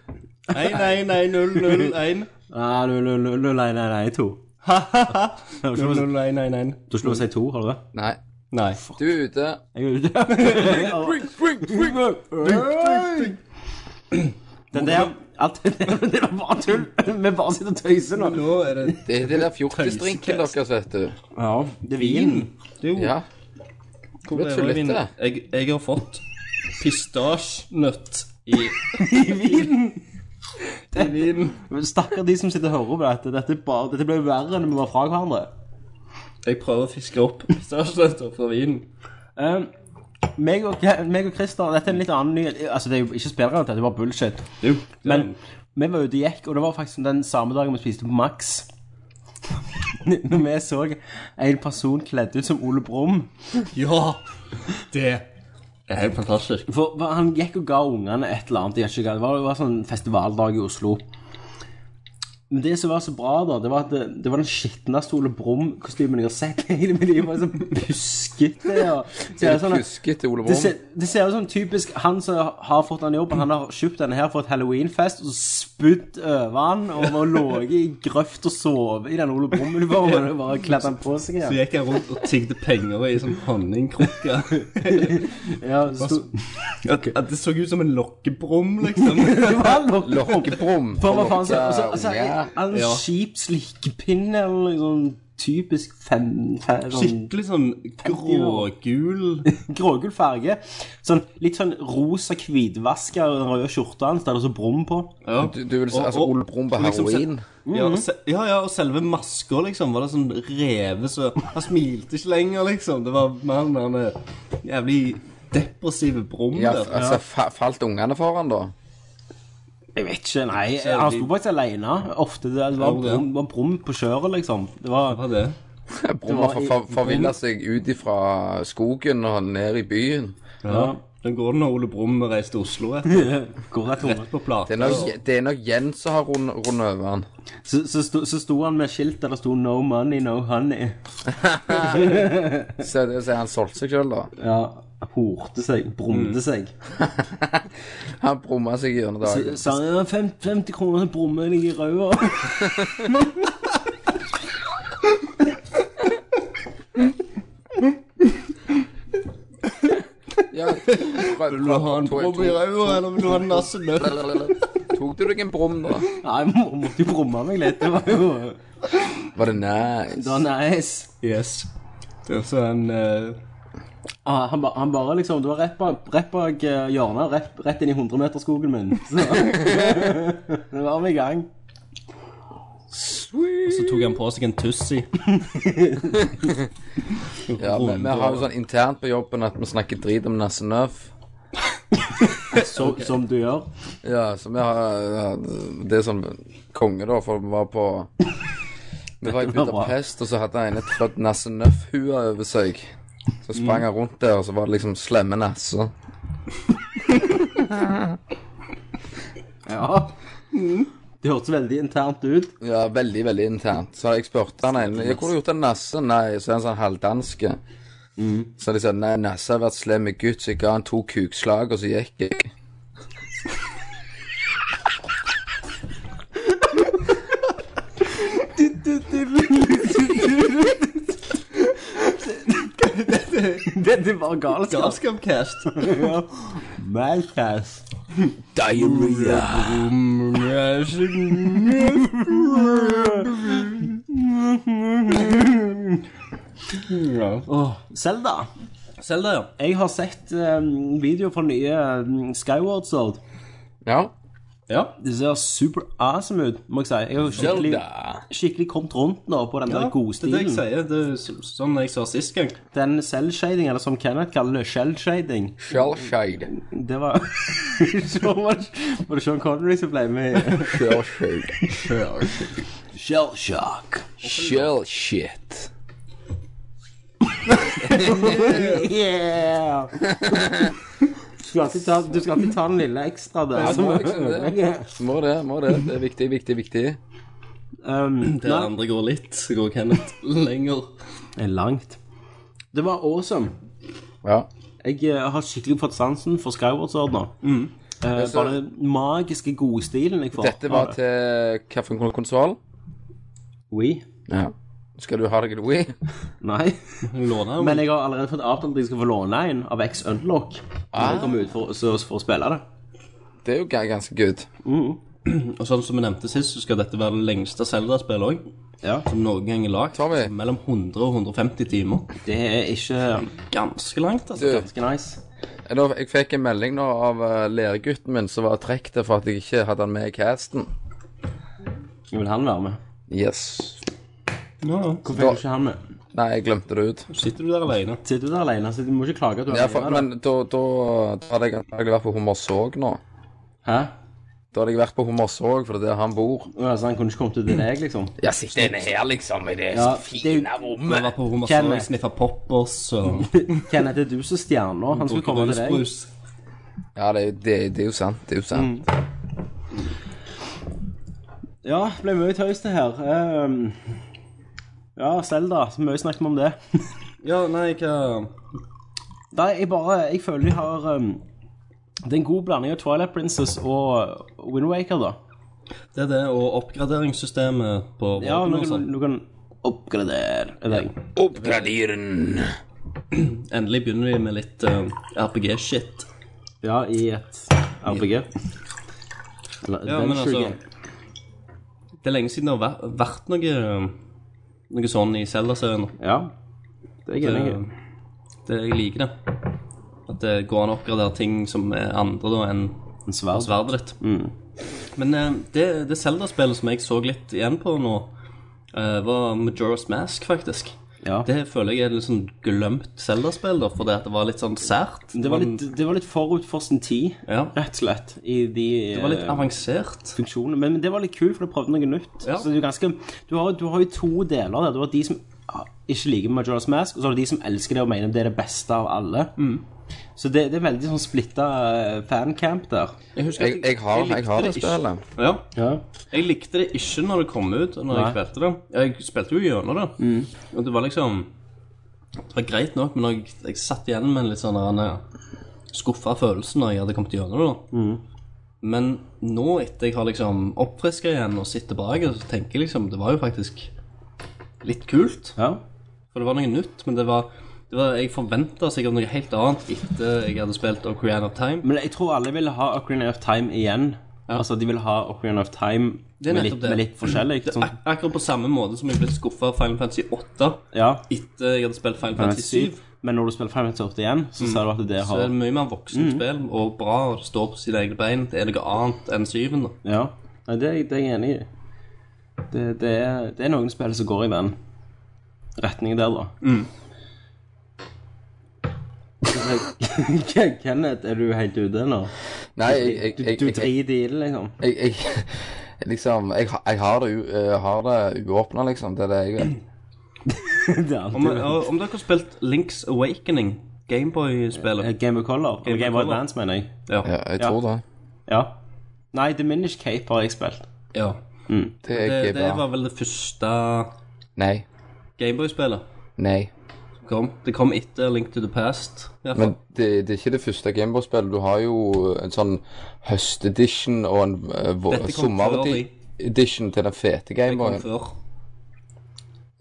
E: Nei, nei, nei, null, null, én.
D: Ah, null, null, null, null, nei, nei, nei, to. Du har
E: Null,
D: ikke
E: null, én, én, én.
D: lov å si to, har du det?
F: Nei,
E: Nei.
F: du er ute.
D: Jeg er ute. Den der Alt det der det var bare tull. Vi bare sitter og tøyser nå.
E: Nå er det
F: Det er det der fjortisdrinken deres, vet du.
D: Ja, det er vin.
F: Ja.
E: Hvor
F: ble
E: er
F: tullete.
E: vinen? Jeg, jeg har fått pistasjenøtt i I vinen.
D: Men Stakkar de som sitter og hører på dette. Dette, er bare, dette ble jo verre enn vi var fra hverandre.
E: Jeg prøver å fiske opp pistasjenøtter fra vinen.
D: Um, meg og, meg og Christer, dette er en litt annen nyhet. Altså, det er jo ikke spillrelatert, det er bare bullshit.
E: Jo, det er
D: Men
E: den.
D: vi var ute og gikk, og det var faktisk den samme dagen vi spiste på Max. Når vi så en person kledd ut som Ole Brumm.
E: Ja! Det er helt fantastisk.
D: For for han gikk og ga ungene et eller annet. Jeg vet ikke hva. Det var, det var sånn festivaldag i Oslo. Men det som var så bra, da, det var at det, det var den skitneste Ole Brumm-kostymen jeg har sett i hele mitt liv. Det var Sånn buskete og så er det sånn at-
F: Kuskete Ole
D: det
F: Brumm.
D: ser, det ser ut som typisk han som har fått den jobben. Han har kjøpt denne her for et halloweenfest og så spydd over han og har ligget i grøft og sovet i den Ole Brumm-uniformen og bare kledd den på seg
E: Så
D: igjen.
E: gikk jeg rundt og tigde penger i sånn honningkrukke.
D: Ja, så sto-
E: At, at det så ut som en lokkebrum, liksom.
D: Det var lokk-
F: Lokkebrum.
D: For hva faen så, så, så,
F: Ja.
D: er det en kjip slikepinne eller noe sånn typisk fem, fem, sånn
E: Skikkelig sånn grågul
D: grågul farge. Sånn litt sånn rosa hvitvasker og den røde skjorta hans, der det er så brum på.
E: ja.
F: Du, du vil si altså
E: Og- og-
F: Ole Brumm på
E: liksom se-
F: heroin?
E: Ja, og se- ja, ja, og selve maska, liksom, var det sånn reve så Han smilte ikke lenger, liksom. Det var mer den der eh, jævlig depressive brum
F: Ja,
E: der.
F: altså, fa falt ungene foran, da?
D: Jeg vet ikke, nei. Han sto faktisk alene. Ofte det det var
E: Ja, det.
D: brum, det var brum på kjøret, liksom. Det var
E: Hva var det?
F: Brumm har for- for- forvilla seg ut ifra skogen og ned i byen.
E: Ja. Den går det når Ole Brumm reiser til Oslo etter
D: Går det, Tore?
E: på
F: Det er
E: plate.
F: nok, det er nok Jens som har rund- rundet over han.
D: Så, så, sto- så sto han med skilt der det sto 'No money, no honey'.
F: Så det sier han solgte seg sjøl, da.
D: Ja, Horte seg. Brumte seg.
F: Han brumma seg gjennom dagen.
D: Sa han «Ja, fem- 50 kroner, så brummer jeg deg i ræva.
F: Ja, prøv-
E: Vil du ha en
F: prøv-
E: brum i ræva, eller vil du ha en nassenøtt?
F: Tok du deg en brum, da?
D: Nei, jeg må- måtte jo brumme meg litt. Det var jo
F: Var det nice?
D: Det var nice.
E: Yes. Det er så en eh,
D: Ah, han, ba, han bare liksom Det var rett bak, rett bak eh, hjørnet, rett, rett inn i 100-meterskogen min. Så det var vi i gang.
E: Så tok han på seg en tussi.
F: Ja, vi, vi har jo sånn internt på jobben at vi snakker drit om Nasse Nøff.
D: Så, Som du gjør.
F: Ja, så vi har ja, Det er sånn konge, da, for vi var på Vi var i
D: var bra.
F: Budapest, og så hadde han et flott Nasse Nøff-hue over seg. Så sprang han rundt der, og så var det liksom slemme Nasse.
D: Ja. Mm. Det hørtes veldig internt ut.
F: Ja, veldig, veldig internt. Så jeg spurte han ene Hvor har du gjort av Nasse? Nei, så er han sånn halvdanske. Så de sa nei, Nasse har vært slem med gutt, så jeg ga han to kukslag, og så gikk jeg.
D: Det, det var galskap.
E: Galskapcast.
D: Malcast.
F: Diarrhea.
D: Åh, Zelda.
E: Selda, ja.
D: Jeg har sett um, videoer fra nye um, Skyward Sword.
F: Ja.
E: ja.
D: Det ser super awesome ut, må jeg si. Jeg har skikkelig,
F: Zelda.
D: skikkelig kommet rundt nå på den
E: Ja,
D: der gode
E: Det er det jeg
D: stilen.
E: sier. Det er jo så- sånn jeg sa sist gang.
D: Den selvshading, eller som Kenneth kaller det, shellshading,
F: Shellshade.
D: det var Så var det- var det Sean Connery som ble med.
F: Shellshade.
D: Shellshock.
F: Shellshit.
D: Yeah! Du skal alltid ta, du skal alltid ta den lille ekstra der.
F: må liksom det. Må det, må det. Det er viktig, viktig, viktig.
D: Um,
E: Der andre går litt, så går Kenneth lenger.
D: er langt. Det var awesome.
F: Ja.
D: Jeg eh, har skikkelig fått sansen for Skyward Sword nå.
F: Mm.
D: Eh, bare den magiske gode stilen jeg får. Ah,
F: Dette var til hvilken konsoll?
D: We?
F: Ja. Skal du ha deg en Wii?
D: Nei.
E: Låner
D: Men jeg har allerede fått avtalt at jeg skal få låne en av X Unlock. Når
F: Ah.
D: jeg kommer ut for, så, for å spille det.
F: Det er jo ga- ganske good.
E: Og sånn som vi nevnte sist, så skal dette være det lengste Zelda-spillet òg.
D: Ja.
E: Som noen gang er lagd.
F: Tommy.
E: Mellom 100 og 150 timer.
D: Det er ikke
E: Ganske langt, altså.
F: Du,
D: ganske nice.
F: Eller, jeg fikk en melding nå av eh, læregutten min som var trekt for at jeg ikke hadde han med i casten.
D: Vil han være med?
F: Yes.
E: Ja, ja.
D: Hvorfor er ikke han med?
F: Nei, jeg glemte det ut.
E: Sitter du der alene?
D: Sitter du der alene, så du må ikke klage at du er
F: Ja, for,
D: alene, da.
F: men da, da, da hadde jeg antagelig vært på Hummersåk nå.
D: Hæ?
F: Da hadde jeg vært på Hummersåk, for det er der han bor.
D: Altså, han kunne ikke kommet ut til deg, liksom?
F: Ja, sitter inne her, liksom, i det
D: Ja, det er jo-
E: Vi har
F: rommet.
E: vært på Romersorg,
D: Kenneth.
E: sniffa poppers og
D: Kenneth, det er du som er stjerna. Han skulle komme til deg.
E: rusbrus.
F: Ja, det, er jo- det, det er jo sant. Det er jo sant.
D: Ja, det ble mye tøys, det her. Ehm, ja, Selda. Mye snakket vi om det.
E: Ja, nei, hva
D: Nei, jeg bare Jeg føler jeg har ehm, Det er en god blanding av Twilight Princess og Windwaker, da.
E: Det er det, og oppgraderingssystemet på
D: Ja,
E: våpen og
D: noen,
E: sånn.
D: noen oppgradere er det.
F: Oppgraderen.
E: Endelig begynner vi med litt eh, RPG-shit.
D: Ja, i et RPG. Eller
E: Ja, men
D: adventure
E: altså
D: game.
E: Det er lenge siden det har vært, vært noe eh, Noe sånn i Zelda-serien.
D: Ja. Det er jeg enig i.
E: Det, det, jeg liker det. At det går an å oppgradere ting som er andre da enn
D: En sverd.
E: sverdet ditt. Men eh, det, det Zelda-spillet som jeg så litt igjen på nå, eh, var Majora's Mask, faktisk.
D: Ja.
E: Det føler jeg er et litt sånn glemt Zelda-spill, da, fordi at det var litt sånn sært.
D: Det var,
E: Men-
D: litt, det var litt forut for sin tid,
E: Ja.
D: rett og slett, i de
E: Det var litt
D: eh,
E: avansert.
D: funksjonene. Men, men det var litt kult, for du prøvde noe nytt.
E: Ja.
D: Så det er jo ganske, du, har, du har jo to deler der. Du har de som ah, ikke liker Majora's Mask, og så har du de som elsker det og mener det er det beste av alle.
E: Mm.
D: Så det, det er veldig sånn splitta fancamp der.
E: Jeg husker
F: Jeg, jeg har, jeg har det
E: likte ikke.
F: spillet.
E: Ja,
D: Ja.
E: jeg likte det ikke når det kom ut, og når
D: Nei.
E: jeg
D: Mm.
E: spilte det. Jeg spilte jo gjennom det. Og det var liksom Det var greit nok, men jeg, jeg satt igjen med en litt sånn skuffa følelse når jeg hadde kommet gjennom det. da.
D: Mm.
E: Men nå, etter jeg har liksom oppfriska igjen og sitter bak, så tenker jeg liksom Det var jo faktisk litt kult.
D: ja.
E: For det var noe nytt, men det var, det var Jeg forventa sikkert noe helt annet etter jeg hadde spilt Ocarina of Time.
D: Men jeg tror alle ville ha Ocarina of Time igjen. Altså, de vil ha Ocarina of Time
E: Det er
D: med
E: nettopp
D: litt,
E: det.
D: med litt forskjellig.
E: Det er
D: Sånn.
E: ak akkurat på samme måte som jeg ble skuffa av Final Fantasy 8
D: Ja.
E: etter jeg hadde spilt Final
D: Men
E: Fantasy 7.
D: når du spiller Final Fantasy 8 igjen, så ser du at det
E: Mm. Så er
D: har
E: det mye mer voksenspill og bra og det står på sine egne bein. Det er noe annet enn 7. Da.
D: Ja, Nei, det, er- det er jeg enig i. Det, det, er, det er noen spill som går i den retningen der, da.
E: Mm.
D: K- Kenneth, er du helt ute nå?
F: Nei, jeg, jeg,
D: Du,
F: jeg,
D: du
F: jeg, jeg,
D: driter i det, liksom?
F: jeg, Liksom, jeg, har- jeg har det, u- jeg har det uåpna, liksom. Det er det jeg vet.
D: Det er alltid-
E: Om, og om dere har spilt Links Awakening,
D: Eh,
E: Gameboy-spillet
D: Game of Color? Game,
E: of
D: Game of
E: Color.
D: Advance, mener jeg.
E: ja.
F: Ja, jeg tror det.
D: Ja. Nei, Diminish Cape har jeg spilt.
E: Ja.
F: Det er
E: Det,
F: ikke
E: det
F: bra.
E: var vel det første
F: Nei.
E: Gameboy-spillet
F: Nei.
E: som kom. Det kom etter Link to the Past. i hvert fall.
F: Men det, det er ikke det første Gameboy-spillet. Du har jo en sånn høstedition og en eh, vå-
E: Dette kom før de.
F: sommeredition til den fete
E: det kom
F: Gameboyen.
E: før.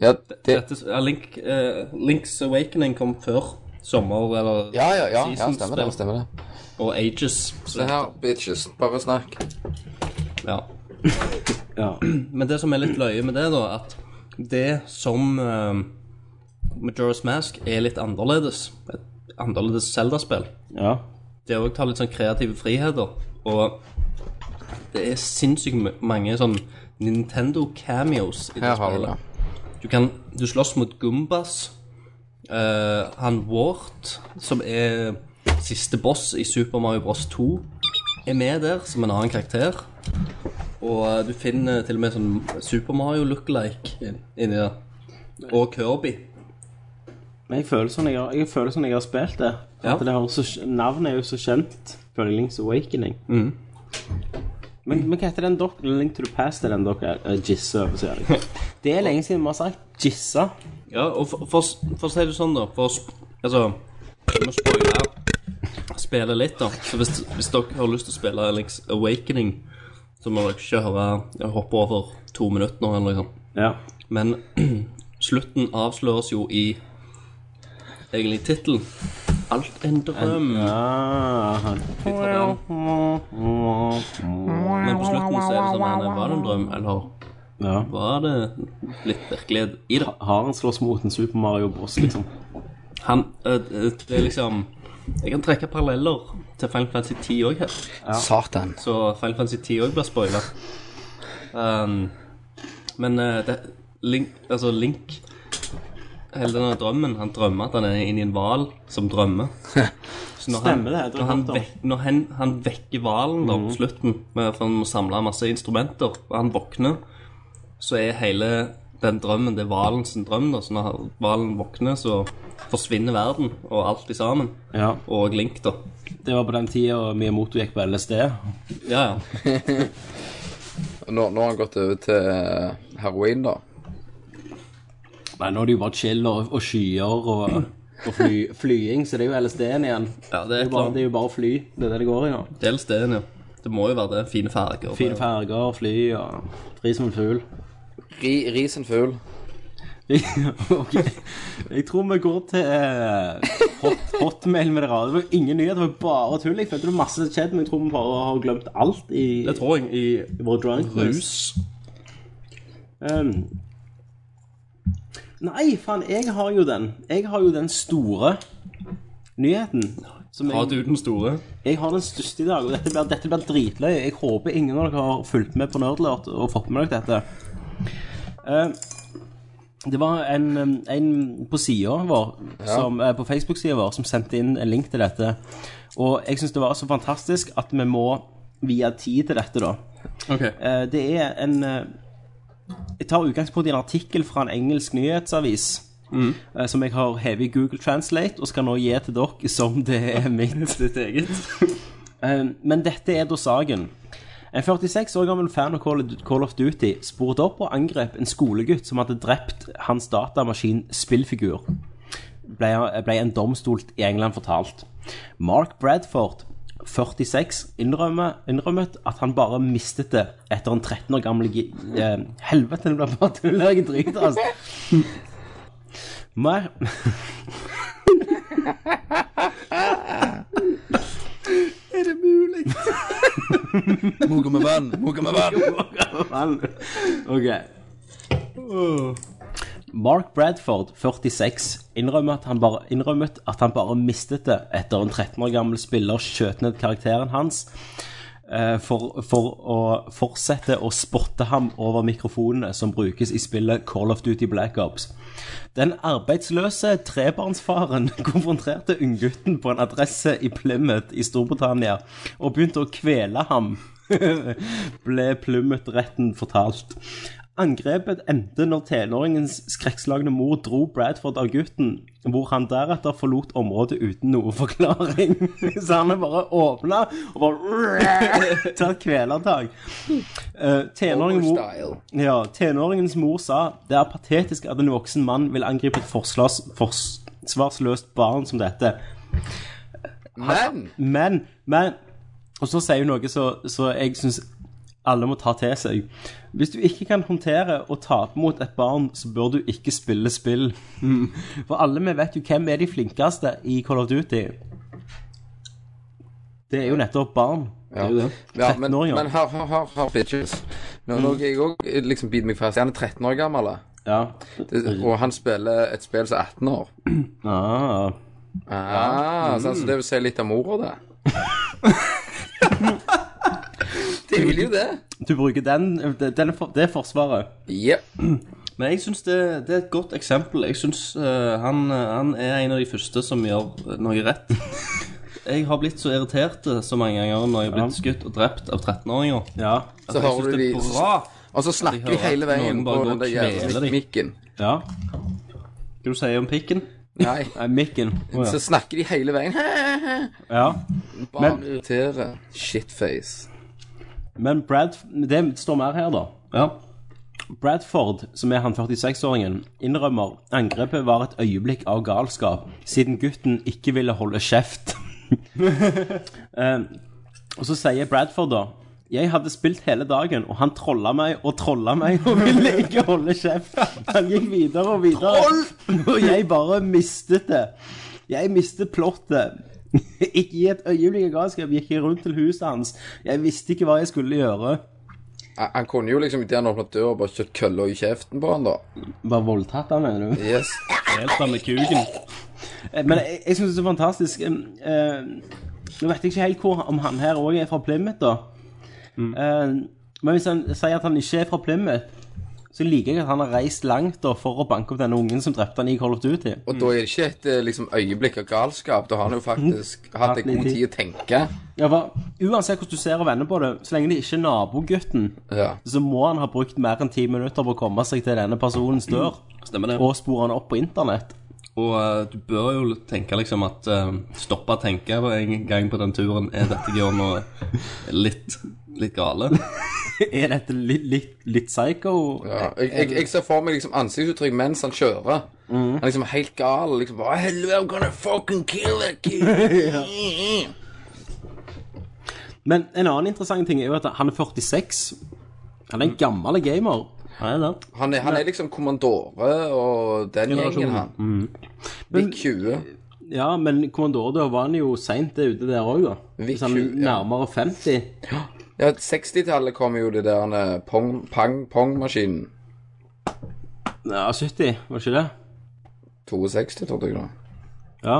F: Ja, det,
E: Dette, ja, Link, eh, Link's Awakening kom før sommer eller
F: ja, ja, ja, ja,
E: seasonspill
F: stemmer det. stemmer det.
E: Og Ages.
F: Se her, bitches. Bare snakk.
E: Ja.
D: Ja.
E: Men det som er litt løye med det, da, at det som uh, Majora's Mask er litt annerledes. Et annerledes Zelda-spill.
D: Ja.
E: Det òg tar litt sånn kreative friheter. Og det er sinnssykt ma- mange sånn Nintendo-cameos i det
F: Her har du det.
E: spillet. Du kan Du slåss mot Gumbas. eh, han Wart, som er siste boss i Super Mario Bros 2, er med der som en annen karakter. Og eh, du finner til og med sånn Super Mario look-like in- inni der. Og Kirby.
D: Men jeg føler sånn jeg har, jeg føler sånn jeg har spilt det.
E: Ja.
D: At det har så, navnet er jo så kjent. Føler jeg Link's Awakening. Men, men hva heter den dere Link to the Past er den dere eh, jisser over, sier jeg. Det er lenge siden vi har sagt jissa.
E: Ja, og for, for, for å si det sånn, da For å sp- Altså, vi må spoile spillet litt, da. Så hvis, hvis dere har lyst til å spille Link's Awakening, så må dere ikke høre ja, hoppe over to minutter nå, eller noe sånt.
D: Ja.
E: Men slutten avsløres jo i egentlig tittelen. Alt en drøm.
D: Ah,
E: Fy for den. Men på slutten så er det sånn her, Var det en drøm, eller
D: ja.
E: var det litt virkelighet i det?
D: Har han slåss mot en Super Mario Bros, liksom?
E: Han øh, øh, Det er liksom Jeg kan trekke paralleller til Final Fantasy 10 òg her.
F: Satan.
E: Så Final Fantasy 10 òg blir spoila. Um, men eh, det, Link, altså Link Hele denne drømmen Han drømmer at han er inni en hval som drømmer. Så når
D: Stemmer det, jeg
E: Han,
D: tror jeg har
E: når han,
D: hørt om. Mhm.
E: vek, når han, han vekker hvalen da på slutten, med, for han må samle masse instrumenter, og han våkner, så er hele den drømmen det er hvalen sin drøm. da Så når hvalen våkner, så forsvinner verden og alt i sammen.
D: Ja.
E: Og Link, da.
D: Det var på den tida Miyamoto gikk på LSD.
E: Ja, ja.
F: Nå, nå har han gått over til eh, heroin, da.
D: Nei, nå er det jo bare chill og, og skyer og, og fly, flying, så det er jo LSD-en igjen.
E: Ja, det er
D: jo bare,
E: klart.
D: det er jo bare å fly. Det er det det går i nå.
E: Dels det, ja. Det må jo være det. Fine farger.
D: Fine farger, fly og fri som en fugl.
F: Ri, ris en fugl.
D: ok. Jeg tror vi går til eh, hot, hotmail med det rare. Det var ingen nyhet, det var bare tull. Jeg følte det var masse som skjedde, men jeg tror vi bare har glemt alt i,
E: Det tror jeg i
D: i vår drunk list.
E: rus.
D: Um, nei, faen, jeg har jo den. Jeg har jo den store nyheten. Som
E: Har
D: jeg,
E: du den store?
D: jeg har den største i dag, og dette blir, dette blir dritløye. Jeg håper ingen av dere har fulgt med på Nerdlert og fått med dere dette. Um, det var en, um, en på sida vår, som, eh, på Facebook-sida vår, som sendte inn en link til dette. Og jeg syns det var så fantastisk at vi må vie tid til dette, da.
E: Ok.
D: Eh, Det er en eh, Jeg tar utgangspunkt i en artikkel fra en engelsk nyhetsavis. eh, Som jeg har hevet i Google Translate og skal nå gi til dere som det er mitt.
E: Ditt eget.
D: Eh, Men dette er da saken. En 46 år gammel fan av Call- Call of Duty sporet opp og angrep en skolegutt som hadde drept hans datamaskin-spillfigur ble, ble en domstol i England fortalt. Mark Bradford, 46, innrømmer, innrømmet at han bare mistet det etter en 13 år gammel gi- eh, Helvete, det ble bare tull. Jeg driter, altså. Mar
F: Moga med vann, moga med vann.
D: Ok. Mark Bradford, 46, innrømmet at, han bare, innrømmet at han bare mistet det etter en 13 år gammel spiller skjøt ned karakteren hans eh, for, for å fortsette å spotte ham over mikrofonene som brukes i spillet Call of Duty Black Ops. Den arbeidsløse trebarnsfaren konfronterte unggutten på en adresse i Plymouth i Storbritannia og begynte å kvele ham, ble Plymouth-retten fortalt. Angrepet endte når tenåringens skrekkslagne mor dro Bradford av gutten, hvor han deretter forlot området uten noe forklaring. Så han er bare åpna og bare tatt kvelertak. Eh, tenåringen mor-
F: Style.
D: ja, tenåringens mor sa det er patetisk at en voksen mann vil angripe et forsvars, forsvarsløst barn som dette.
F: Men
D: Men, men Og så sier hun noe så, så jeg syns alle må ta til seg. Hvis du ikke kan håndtere å tape mot et barn, så bør du ikke spille spill. For alle vi vet jo hvem er de flinkeste i Call of Duty. Det er jo nettopp barn.
F: ja.
E: jo det.
F: Ja, men,
D: 13-åringer.
F: men her, her, her, her bitches. Nå
E: Mm.
F: nå jeg også liksom biter meg fast. Han er 13 år gammel, da.
D: Ja.
F: Det- og han spiller et spill som er 18 år.
D: Ah.
F: Ah, så
E: Mm.
F: altså, det vil si litt av mora, det. det vil jo det.
D: Du bruker den, den, det forsvaret.
F: Jepp.
E: Men jeg syns det, det er et godt eksempel. Jeg syns han, eh, han er en av de første som gjør noe rett. Jeg har blitt så irritert eh, så mange ganger når jeg har blitt skutt og drept av 13-åringer.
D: Ja.
F: Så
E: Jeg
F: hører
E: syns
F: du
E: det
F: de
E: er bra.
F: Og så snakker de
E: hører
F: hele
E: at
F: veien
E: noen
F: på
E: bare går
F: den
E: og
F: der
E: kveler
F: jævla
E: dem.
F: mikken.
D: ja.
E: Hva du sier om pikken?
F: Nei.
D: Nei, Mikken. Å,
F: Så snakker de hele veien.
D: ja.
F: Bare
D: Men-
F: irriterer. Shitface.
D: Men Brad Det står mer her, da.
E: Ja.
D: Bradford, som er han 46-åringen, innrømmer angrepet var et øyeblikk av galskap, siden gutten ikke ville holde kjeft. Eh, og så sier Bradford da jeg hadde spilt hele dagen, og han trolla meg og trolla meg og ville ikke holde kjeft. Han gikk videre og videre, og jeg bare mistet det. Jeg mistet plottet. Ikke i et øyeblikk av galskap gikk jeg rundt til huset hans. Jeg visste ikke hva jeg skulle gjøre.
F: Han han kunne jo liksom idet han åpnet døra, bare kjørt kølla i kjeften på han, da.
D: Bare voldtatt han, mener du?
F: Yes.
E: Helt av med kuken.
D: Eh, Men jeg, jeg syns det er så fantastisk eh, eh, Nå vet jeg ikke helt hvor, om han her òg er fra Plymouth, da. Eh, men hvis han sier at han ikke er fra Plymouth, så liker jeg at han har reist langt da for å banke opp denne ungen som drepte han i Call of Duty.
F: Og da er det ikke et eh, liksom, øyeblikk av galskap. Da har han jo faktisk hatt en god tid å tenke.
D: Ja, for Uansett hvordan du ser og vender på det, så lenge det ikke er nabogutten,
F: Ja.
D: så må han ha brukt mer enn ti minutter på å komme seg til denne personens dør
E: Stemmer det.
D: og spore han opp på internett.
E: Og eh, du bør jo tenke liksom at uh, Stoppe å tenke på en gang på den turen. Er dette gjør noe litt, litt gale?
D: Er dette litt, litt, litt psycho?
F: Ja. Jeg, jeg, jeg ser for meg liksom ansiktsuttrykk mens han kjører. Han er liksom helt gal. liksom bare, Hello, I'm gonna fucking kill that kid.
D: Men en annen interessant ting er jo at han er 46. Han er en gammel gamer.
E: Nei da.
F: Han er, han er liksom kommandore og den gjengen, han. Vik 20.
D: Ja, men kommandore da var han jo seint ute der òg, da.
F: Hvis
D: Hvis
F: han
D: han
F: Viktig, ja.
D: nærmere 50.
F: Ja, 60-tallet kom jo det der eh, pong- pang-pong-maskinen.
D: Ja, 70, var det ikke det?
F: 62, trodde jeg da.
D: Ja.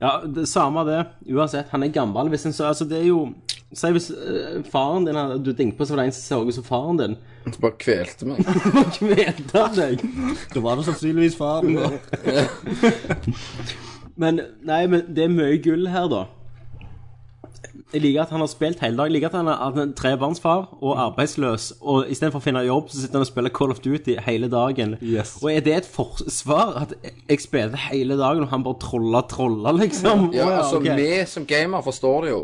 D: Ja, det samme det. Uansett, han er gammel. Hvis en så Altså, det er jo Si hvis eh, faren din hadde- Du tenker på så var det en som så ut som faren din.
F: Så bare kvelte meg.
D: Kvelte han deg?
E: Da var det sannsynligvis faren. da.
D: Men nei, men det er mye gull her, da. Jeg liker at han har spilt hele dag. Jeg liker at han er at han er trebarnsfar og arbeidsløs. Og istedenfor å finne jobb, så sitter han og spiller Call of Duty hele dagen.
E: Yes.
D: Og er det et forsvar at jeg spilte hele dagen, og han bare trolla, trolla, liksom?
F: Ja,
D: Å,
F: altså,
D: ok.
F: vi som gamer forstår det jo.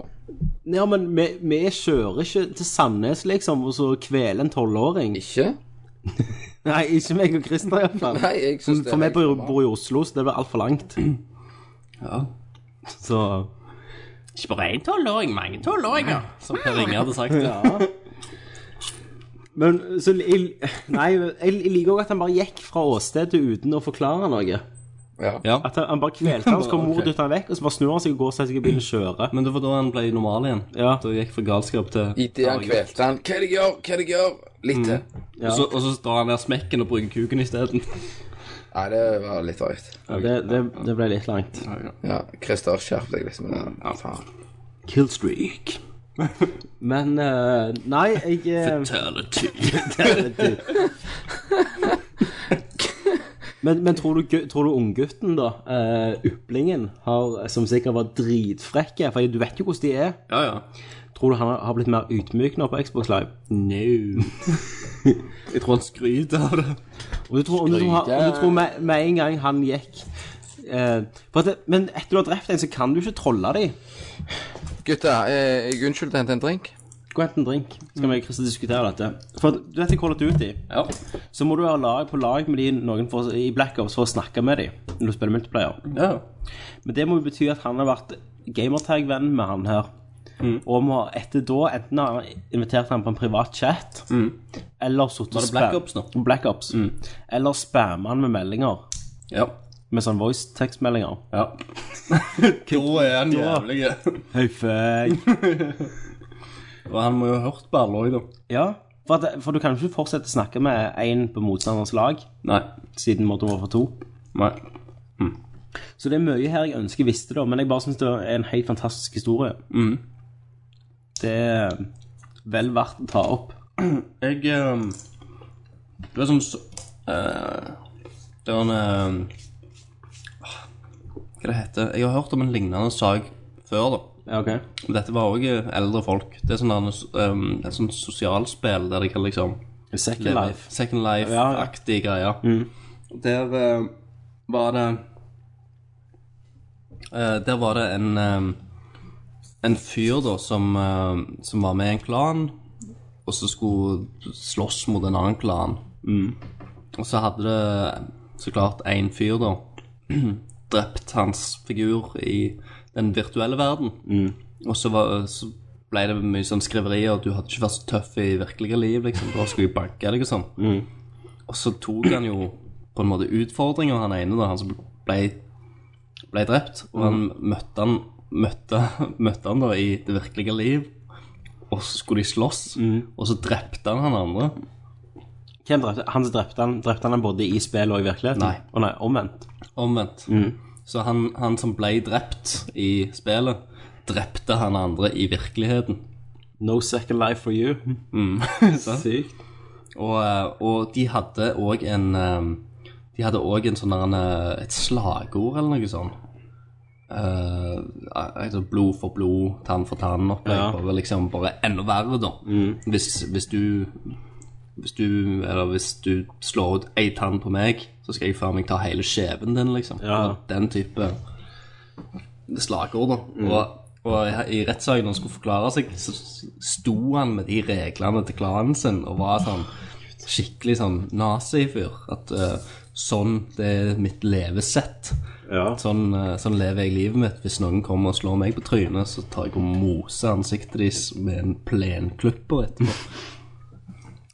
D: ja men vi, vi kjører ikke til Sandnes, liksom, og så kveler en tolvåring.
F: Ikke?
D: Nei, ikke meg og Christer, iallfall.
F: Nei, jeg synes det er
D: For vi
F: helt
D: bor,
F: normalt.
D: bor i Oslo, så det blir altfor langt.
E: Ja.
D: Så
E: Ikke bare én tolvåring, mange tolvåringer. Som Per Inge hadde sagt. Ja.
D: Men så jeg, Nei, jeg, jeg liker òg at han bare gikk fra åstedet uten å forklare noe.
F: Ja.
E: Ja.
D: At han, han bare kvelte han, så kom mor
E: Ok.
D: og dytta han vekk, og så bare snur han seg og går og setter seg i bilen og kjører.
E: Men det var da han ble normal igjen.
D: Ja.
E: Da gikk fra galskap til
F: Idet han kvelte han. Hva er det jeg gjør? Hva er det jeg gjør?
G: Mm.
F: Litt til.
E: Og, så, og så drar han ned smekken og bruker kuken isteden.
F: Nei, det var litt drøyt.
D: Ja, det, det, det ble litt langt.
F: Ja, Christer, skjerp deg liksom. Ja, faen.
D: Killstreak. Men eh, Nei, jeg eh,
E: Eternity.
D: Men, men tror, du, gu- tror du unggutten, da, eh, uplingen, har, som sikkert var dritfrekke For du vet jo hvordan de er.
E: Ja, ja.
D: Tror du han har blitt mer ydmyk nå på Xbox Live? No.
E: Jeg tror han skryter av det.
D: Om du tror, om du tror, han- om du tror med, med en gang han gikk eh, for at det, Men etter du har drept en, så kan du ikke trolle dem.
F: Gutter, eh, jeg unnskylder å hente en drink.
D: Gå og hent en drink, så kan vi Christer, diskutere dette. For at du vet jeg holder ut i.
E: Ja.
D: Så må du ha lag på lag med de noen for, i Black Ops for å snakke med dem når du spiller multiplayer.
E: ja.
D: Men det må jo bety at han har vært gamertag-venn med han her.
E: Mm.
D: Og må etter da enten ha invitert han på en privat chat, eller sittet
E: Mm. Var det Black Ops Mm. nå?
D: Black Ops. Eller spamma han med meldinger.
E: Ja.
D: Med sånn voice tekstmeldinger.
E: ja. da er han jævlig.
D: Høyfeg.
E: Og han må jo ha hørt på alle òg, da.
D: ja. For, at, for du kan jo ikke fortsette å snakke med én på motstanders lag,
E: Nei.
D: siden måtte være for to.
E: Nei.
D: Så det er mye her jeg ønsker jeg visste, da, men jeg bare syns det er en helt fantastisk historie. Det er vel verdt å ta opp.
E: Jeg ehm, Det er som så- eh, Det var en ehm, ah, Hva det heter Jeg har hørt om en lignende sak før, da.
D: Ja, ok.
E: Men Dette var òg eldre folk. Det er sånn der, ehm, et sånt sosialspill der de kan liksom
D: Second
E: leve-
D: Life.
E: Second Life-aktige greier. Der eh, var det eh, Der var det en eh, En fyr da som, eh, som var med i en klan, og så skulle slåss mot en annen klan. Og så hadde det så klart én fyr, da, drept hans figur i den virtuelle verden. Og så, var, så ble det mye sånn skriverier at du hadde ikke vært så tøff i virkelige liv, liksom. Da skulle jeg banke deg og sånn. Og så tok han jo på en måte utfordringer, han ene, da, han som ble, ble drept. Og han møtte han, møtte, møtte han da i det virkelige liv. Og så skulle de slåss, og så drepte han han andre.
D: Hvem drepte han? som drepte han? Drepte han han både i spillet og i virkeligheten?
E: Nei.
D: Å nei, omvendt.
E: Omvendt. Så han, han som ble drept i spillet, drepte han andre i virkeligheten.
D: No second life for you.
E: Sant?
D: Sykt.
E: Og, eh, og de hadde òg en eh, De hadde òg en sånn der en, eh, et slagord eller noe sånt. Eh, altså blod for blod, tann for tann. Opplegg,
D: Ja. Mm.
E: bare, liksom, bare enda verre, da. Hvis, hvis du Hvis du Eller hvis du slår ut ei tann på meg, så skal jeg faen meg ta hele skjeven din, liksom.
D: Ja.
E: Den type slagord, da.
D: Mm.
E: Og, og i rettssaken når han skulle forklare seg, så sto han med de reglene til klanen sin og var sånn skikkelig sånn nazifyr. At eh, sånn, det er mitt levesett.
D: Ja.
E: Sånn, eh, sånn lever jeg livet mitt. Hvis noen kommer og slår meg på trynet, så tar jeg og moser ansiktet deres med en plenklipper etterpå.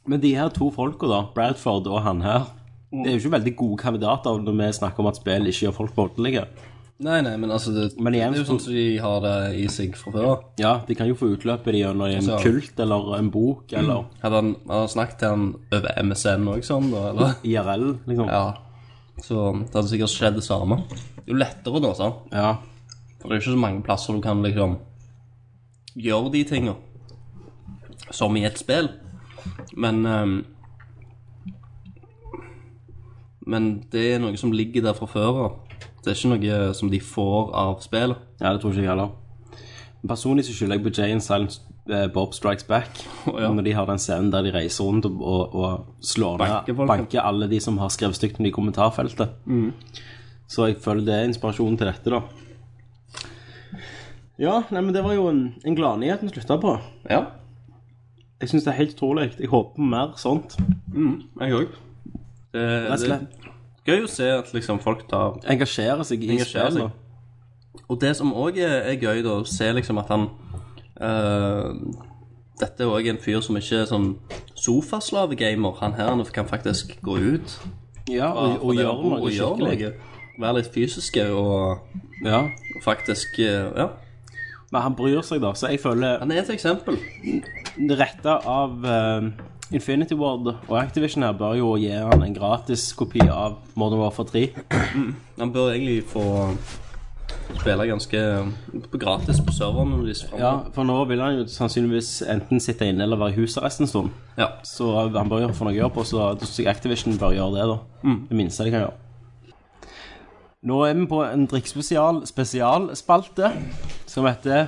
D: Men de her to folka, da, Bradford og han her,
E: Mm.
D: det er jo ikke veldig gode kandidater når vi snakker om at spill ikke gjør folk voldelige.
E: Nei, nei, men altså det,
D: Men igjen-
E: det er jo sånn som de har det i seg fra før.
D: Ja, de kan jo få utløp i det gjennom en
E: Altså- Mm.
D: kult eller en bok eller
E: Hadde han, hadde han snakket til han over MSN òg sånn, da? eller?
D: IRL, liksom.
E: Ja. Så det hadde sikkert skjedd det samme. Det er jo lettere da, sant?
D: ja.
E: For det er ikke så mange plasser du kan liksom gjøre de tinga. Som i et spill. Men ehm, Men det er noe som ligger der fra før av. Det er ikke noe som de får av spillet.
D: Ja, det tror ikke jeg heller. Personlig så skylder jeg på Jay and Silent eh, Bob Strikes Back.
E: ja.
D: Når de har den scenen der de reiser rundt og, og, og slår
E: Banker
D: ned
E: folk, ja. Mm.
D: Banker alle de som har skrevet stygt om det i kommentarfeltet. Så jeg føler det er inspirasjonen til dette, da. Ja, nei, men det var jo en, en gladnyhet vi slutta på.
E: Ja,
D: Jeg syns det er helt utrolig. Jeg håper på mer sånt.
E: jeg òg. Det,
D: Rett og
E: det
D: slett.
E: gøy å se at liksom folk tar
D: Engasjere seg i
E: Engasjere seg.
F: altså.
D: spillet.
E: Og det som òg er, er gøy, da, å se liksom at han eh, Dette er òg en fyr som ikke er sånn sofaslavegamer. Han her han kan faktisk gå ut
D: Ja, og, og,
E: fra det
D: gjøre
E: han bor,
D: noe
E: og gjøre
D: skikkelig.
E: noe. Være litt fysiske og
D: Ja.
E: faktisk eh, Ja,
D: Men han bryr seg, da. Så jeg føler
E: han er et eksempel.
D: retta av eh, Infinity Ward og Activision her bør jo gi han en gratis kopi av Modern Warfare 3.
E: Han bør egentlig få spille ganske på gratis på serverne deres.
D: Ja,
E: fremover.
D: For nå vil han jo sannsynligvis enten sitte inne eller være i huset resten av stunden.
E: ja.
D: Så han bør jo få noe å gjøre på, så da synes jeg Activision bør gjøre det, da. Det minste de kan gjøre. Nå er vi på en drikkspesial spesialspalte som heter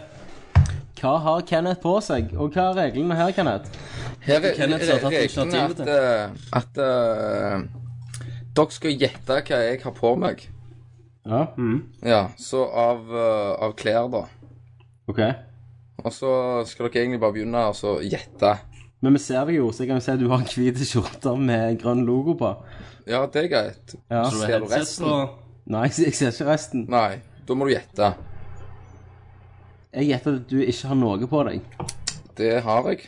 D: Hva har Kenneth på seg? Og hva er reglene her, Kenneth?
F: Her er
G: Kenneth som har tatt
F: reglene
G: initiativet
F: at,
G: til.
F: eh, at eh, dere skal gjette hva jeg har på meg.
D: Ja,
F: Ja, så av, eh, av klær, da.
D: ok.
F: Og så skal dere egentlig bare begynne å altså, gjette.
D: Men vi ser deg jo, så jeg kan jo si at du har en hvit skjorte med en grønn logo på.
F: Ja, det er greit.
D: Ja.
G: Så
F: Ser du
G: headset
F: resten?
G: på-
D: Nei, jeg ser ikke resten.
F: Nei, da må du gjette.
D: Jeg gjetter at du ikke har noe på deg.
F: Det har jeg.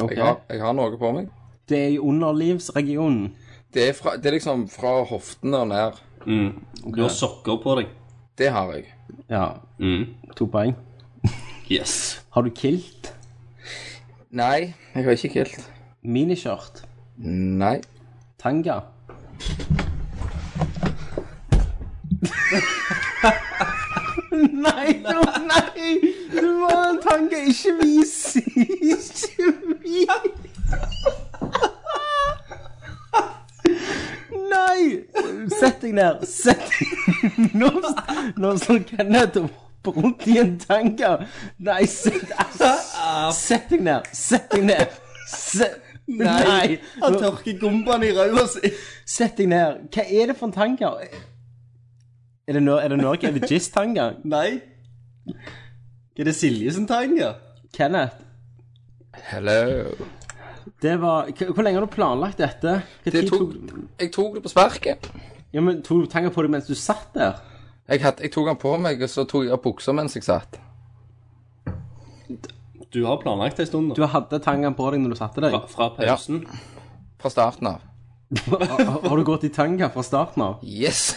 D: Ok.
F: Jeg har, jeg har noe på meg.
D: Det er i underlivsregionen.
F: Det er, fra, det er liksom fra hoftene og ned.
G: Du har sokker på deg.
F: Det har jeg.
D: Ja,
E: Mm.
D: to poeng.
G: Yes.
D: Har du kilt?
F: Nei, jeg har ikke kilt.
D: Miniskjørt?
F: Nei.
D: Tanga? nei, no, nei! Du må ha en tanga, ikke vis! Ikke vis! Nei! Sett deg ned. Sett deg Nå, nå står Kenneth og hopper rundt i en tanga. Nei, sett Sett deg ned. Sett deg ned. Sett Nei.
G: Han tørker gombaen i ræva si.
D: Sett deg ned. Hva er det for en tanga? Er det, no er det Norge? Er det Jizz-tanga?
G: Nei. Er det Siljesen-tanga?
D: Kenneth,
F: Hello.
D: det var H Hvor lenge har du planlagt dette? Hva
F: Det
D: tid
F: tok, jeg tok det på sparket.
D: Ja, men Tok du tanga på deg mens du satt der?
F: Jeg, hadde, jeg tok den på meg, og så tok jeg av buksa mens jeg satt.
G: Du har planlagt det en stund,
D: Du hadde tangaen på deg når du satte deg?
G: Fra, fra pausen.
F: Fra starten av.
D: Har, har du gått i tanga fra starten av?
F: Yes!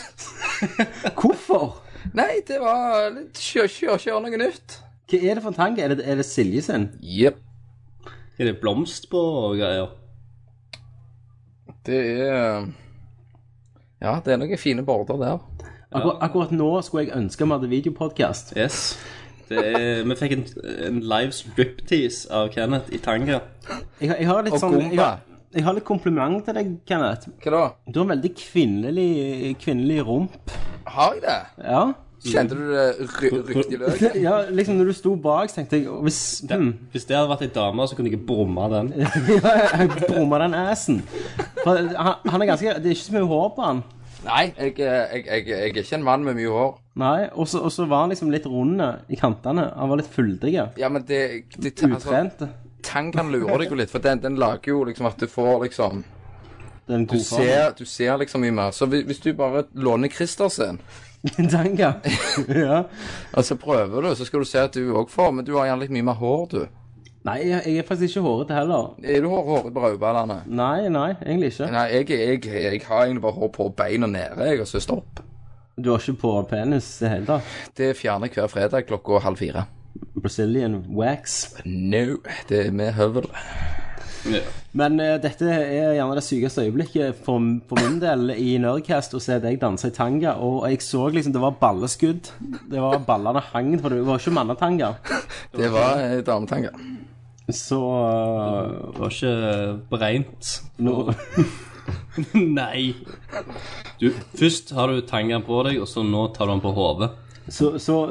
D: Hvorfor?
F: Nei, det var litt kjør, kjør, kjør noe nytt.
D: Hva er det for en tanga? Er det, er det Silje sin?
F: Jepp.
G: Er det blomst på og greier?
F: Det er Ja, det er noen fine border der.
D: Akkur akkurat nå skulle jeg ønske vi hadde videopodkast.
G: Yes. Det er, vi fikk en, en live striptease av Kenneth i tanga.
D: Jeg, har- jeg har litt
F: Og
D: sånn jeg,
F: gomba.
D: har- jeg har litt kompliment til deg, Kenneth.
F: Hva da?
D: Du har en veldig kvinnelig, kvinnelig rump.
F: Har jeg det?
D: Ja.
F: Kjente du det ry- rykt i løk?
D: ja, liksom når du sto bak, så tenkte jeg hvis, hmm,
G: Hvis det hadde vært ei dame, så kunne jeg brumma den.
D: Ja, jeg brummer den assen. For han, han er ganske Det er ikke så mye hår på han.
F: Nei, jeg, eh, jeg, jeg, jeg er ikke en mann med mye hår.
D: Nei, Og så og så var han liksom litt rund i kantene. Han var litt fyldig.
F: Ja, men det, det altså,
D: Utrent.
F: Tang kan lure deg jo litt, for den, den lager jo liksom at du får liksom
D: Det er en
F: Du
D: god form.
F: ser, du ser liksom mye mer. Så hvis, hvis du bare låner Christer sin,
D: Tanga. ja.
F: og så prøver du, så skal du se at du òg får, men du har gjerne litt mye mer hår, du.
D: Nei, jeg, jeg er faktisk ikke hårete heller.
F: Er du hår, håret på rødballene?
D: Nei, nei, egentlig ikke.
F: Nei, jeg, jeg, jeg har egentlig bare hår på beina nede, jeg, og så stopp.
D: Du har ikke på penis i det hele tatt.
F: Det fjerner jeg hver fredag klokka halv fire.
D: Brazilian wax.
F: No, det er med høvel.
D: Men eh, dette er gjerne det sykeste øyeblikket for, for min del i Nerdcast å se deg danse i tanga. Og jeg så liksom det var balleskudd. Det var Ballene hang, for det var ikke mannetanga.
F: Det var eh, dametanga.
D: Så
G: Det var ikke beregnet.
D: eh, nå,
G: Nei. Du, først har du tangaen på deg, og så nå tar du den på hodet.
D: så, så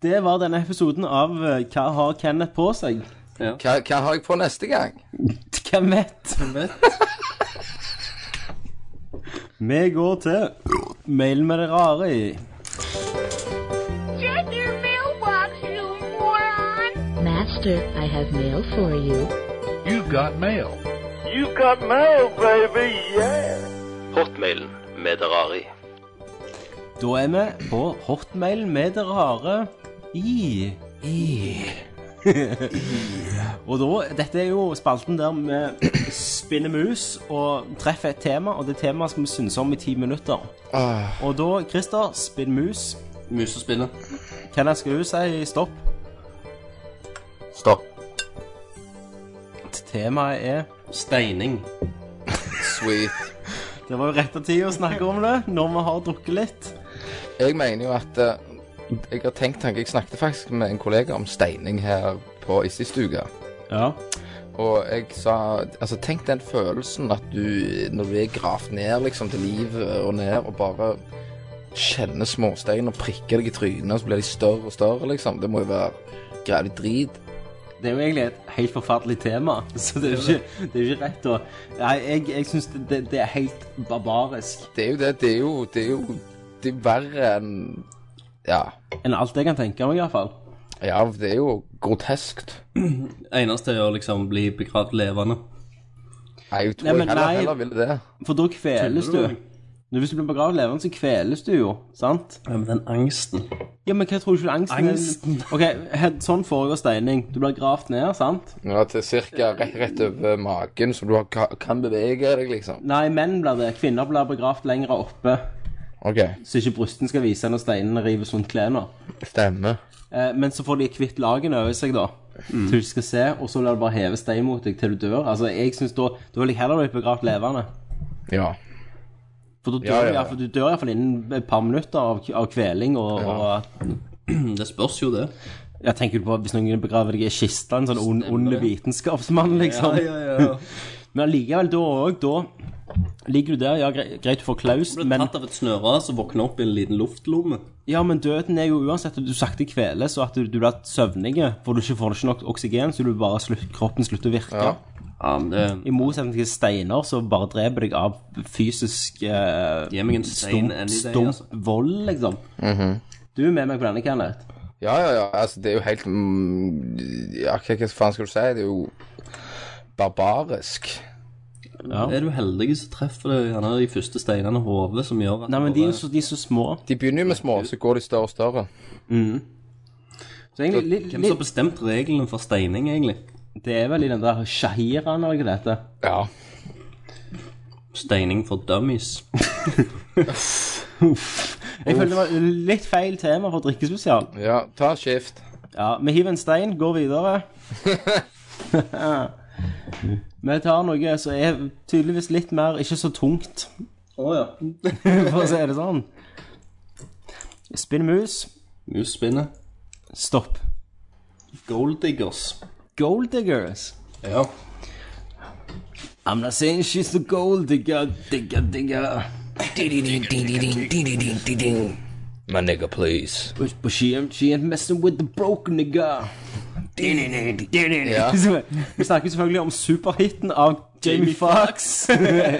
D: det var denne episoden av eh, Hva har Kenneth på seg?
F: Hva, hva har jeg på neste gang?
D: Hvem vet? Vi går til mailen med det rare i.
H: Check your mailbox, you moron!
J: Master, I have mail for you.
B: You've got mail.
C: Hotmailen med Derari.
D: Da er vi på hotmail med det rare i. I. og da, dette er jo spalten der vi spinner mus og treffer et tema, og det temaet skal vi synse om i ti minutter. Og da, Christer, spinn mus.
G: Musespillet.
D: Kenneth, skal du si stopp?
F: Stopp.
D: Temaet er
G: Steining.
F: Sweet.
D: Det var jo rett av tid å snakke om det når vi har drukket litt.
F: Jeg mener jo at eh, Jeg har tenkt tanken Jeg snakket faktisk med en kollega om steining her på i sist uke.
D: Ja.
F: Og jeg sa Altså, tenk den følelsen at du Når du er gravd ned, liksom, til livet og ned, og bare kjenner småstein og prikker deg i trynet, og så blir de større og større, liksom. Det må jo være grælig drit.
D: Det er jo egentlig et helt forferdelig tema, så det er jo ikke, det er jo ikke rett å Nei, jeg, jeg syns det, det, det er helt barbarisk.
F: Det er jo det. Det er jo, det er jo det er verre enn Ja.
D: Enn alt jeg kan tenke meg, iallfall.
F: Ja, det er jo groteskt.
E: Eneste er å liksom bli begravd levende.
F: Nei, jeg tror
D: Nei, men
F: jeg heller,
D: nei.
F: heller ville det.
D: For da kveles du. Nå, Hvis du blir begravd levende, så kveles du jo, sant?
E: Ja, men den angsten.
D: Ja, men hva tror du ikke angsten er?
E: Angsten.
D: Ok, he- sånn foregår steining. Du blir gravd ned, sant?
F: Ja, til cirka rett, rett over magen, så du har, ka- kan bevege deg, liksom.
D: Nei, menn blir det. Kvinner blir begravd lenger oppe,
F: OK.
D: så ikke brysten skal vise når steinene rives rundt klærne.
F: Stemmer.
D: Eh, men så får de kvitt lagene over seg, da. Til du skal se, og så blir det bare hevet stein mot deg til du dør. Altså, jeg synes Da da vil jeg heller bli begravd levende.
F: Ja.
D: For da dør
F: Ja, ja,
D: i
F: ja.
D: hvert fall- du dør iallfall innen et par minutter av, av kveling og, og at-
E: Det spørs jo, det.
D: Jeg tenker du på hvis noen begraver deg i kista, en sånn ond, ond vitenskapsmann, liksom.
E: ja.
D: Men allikevel, da òg, da ligger du der. Ja, gre- greit, du får klaus,
E: Blir
D: men
E: tatt av et snøras og våkner opp i en liten luftlomme.
D: Ja, men døden er jo uansett at du sakte kveles, og at du, du blir søvnig, for du ikke får ikke nok oksygen, så du bare slutt, kroppen slutter å virke.
E: Ja, men det
D: I motsetning til steiner, så bare dreper deg av fysisk eh,
E: Gi meg en stein
D: stump,
E: any day,
D: stump
E: altså.
D: vold, liksom. Du er med meg på denne, Kenneth.
F: Ja, ja, ja. Altså, det er jo helt mm, Ja, hva, hva faen skal du si? Det er jo barbarisk.
D: Ja.
E: Er du heldig, så treffer du gjerne de første steinene i hodet som gjør at
D: Nei, men de er jo så, de er så små.
F: De begynner jo med små, så går de større og større.
D: Så egentlig, litt,
E: Hvem som har
D: litt,
E: bestemt reglene for steining, egentlig?
D: det er vel i den der shahiraen eller hva det heter.
F: Ja.
E: Steining for dummies.
D: Jeg føler det var litt feil tema for drikkespesial.
F: ja ta skift.
D: Ja, Vi hiver en stein, går videre. vi tar noe som er tydeligvis litt mer ikke så tungt,
E: Å ja.
D: for å si det sånn. Spinnmus.
E: Musspinnet.
D: Stopp.
E: Golddiggers.
D: Gold diggers.
E: Ja.
D: I'm not saying she's the gold digger, digger, digger.
F: My nigga, please.
D: But, but she, ain't- she ain't messing with the broke nigger.
F: Ja.
D: Vi snakker selvfølgelig om superhiten av Jamie Fox.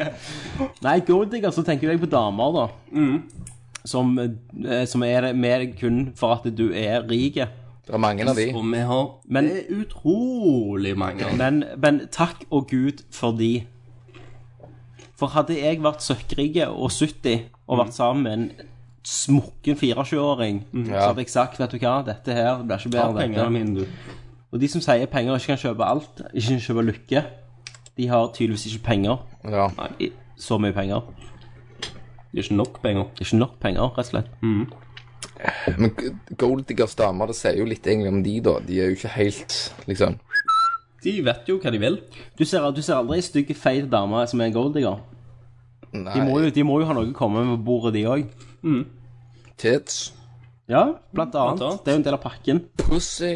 D: Nei, Goldigger, så tenker jeg på damer, da. Som, eh, som er det- med deg kun for at du er rik.
F: Det er mange av de.
E: Og vi har
D: Men-
E: Det er utrolig mange. av dem.
D: Men, men takk og Gud for de. For hadde jeg vært søkkrik og 70 og
E: Mm.
D: vært sammen med en smukken 24-åring, så hadde jeg sagt vet du hva, dette her det blir ikke
E: Ta
D: bedre. enn dette.
E: pengene mine, du.
D: Og de som sier penger ikke kan kjøpe alt, ikke kan kjøpe lykke, de har tydeligvis ikke penger.
F: Ja.
E: Nei,
D: Så mye penger.
E: det er ikke nok penger.
D: Ikke nok penger, rett og slett.
E: Mm.
F: Men Goldiggers damer, det sier jo litt egentlig om de, da. De er jo ikke helt liksom
E: De vet jo hva de vil.
D: Du ser, du ser aldri ei stygg, feit dame som er en golddigger.
F: Nei.
D: De, må jo- de må jo ha noe å komme med på bordet, de òg.
F: Tits.
D: Ja, blant annet.
E: annet.
D: Det er jo en del av pakken.
F: Pussy.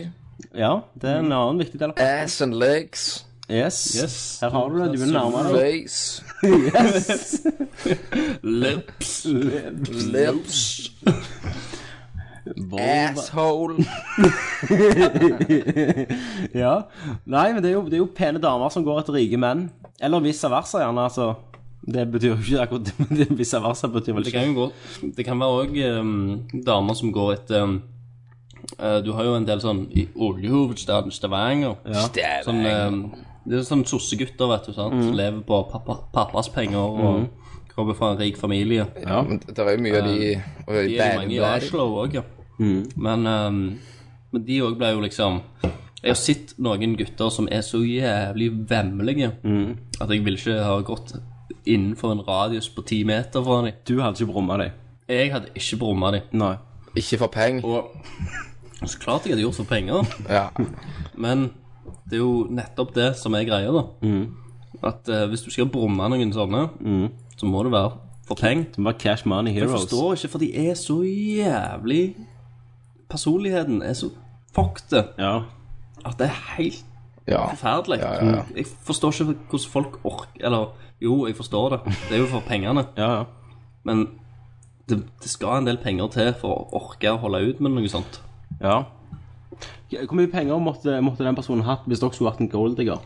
D: Ja, det er en annen viktig del av pakken.
F: Ass and legs.
D: Yes.
E: Mm. Yes.
D: Her har du det. Du er nærmere deg.
F: Face.
E: Lips.
F: Lips.
D: Volva.
F: Asshole.
D: Ja. Nei, men det er, jo, det er jo pene damer som går etter rike menn. Eller vice versa, gjerne. altså. Det betyr jo ikke akkurat det, men det vice versa betyr vel
E: Det
D: ikke
E: kan jo gå Det kan være òg damer som går etter um, eh, Du har jo en del sånn i oljehovedstaden Stavanger. Som, eh, det er sånn sossegutter, vet du, sant? som lever på pappa, pappas penger og kommer fra en rik familie.
F: Ja, men det er jo mye av de og
E: De er jo
F: bad
E: mange i
F: bad.
E: Oslo òg, ja. Men, eh, men de òg ble jo liksom Jeg har sett noen gutter som er så jævlig vemmelige at jeg ville ikke ha gått innenfor en radius på ti meter fra dem.
D: Du hadde ikke brumma deg.
E: Jeg hadde ikke brumma dem.
D: Nei.
F: Ikke for penger.
E: Og så klart jeg hadde gjort for penger,
F: Ja.
E: men det er jo nettopp det som er greia, da. At eh, hvis du skal brumme noen sånne, så må det være for penger.
D: Det var Cash Money
E: Mm. Jeg
D: Heroes.
E: forstår ikke, for de er så jævlig Personligheten er så fucked at
D: Ja.
E: det er helt
F: ja.
E: forferdelig. Mm. Jeg forstår ikke hvordan folk orker Eller jo, jeg forstår det. Det er jo for pengene.
D: Ja, ja.
E: Men det, det skal en del penger til for å orke å holde ut med noe sånt.
D: Ja. Hvor mye penger måtte, måtte den personen hatt hvis dere skulle vært en golddigger?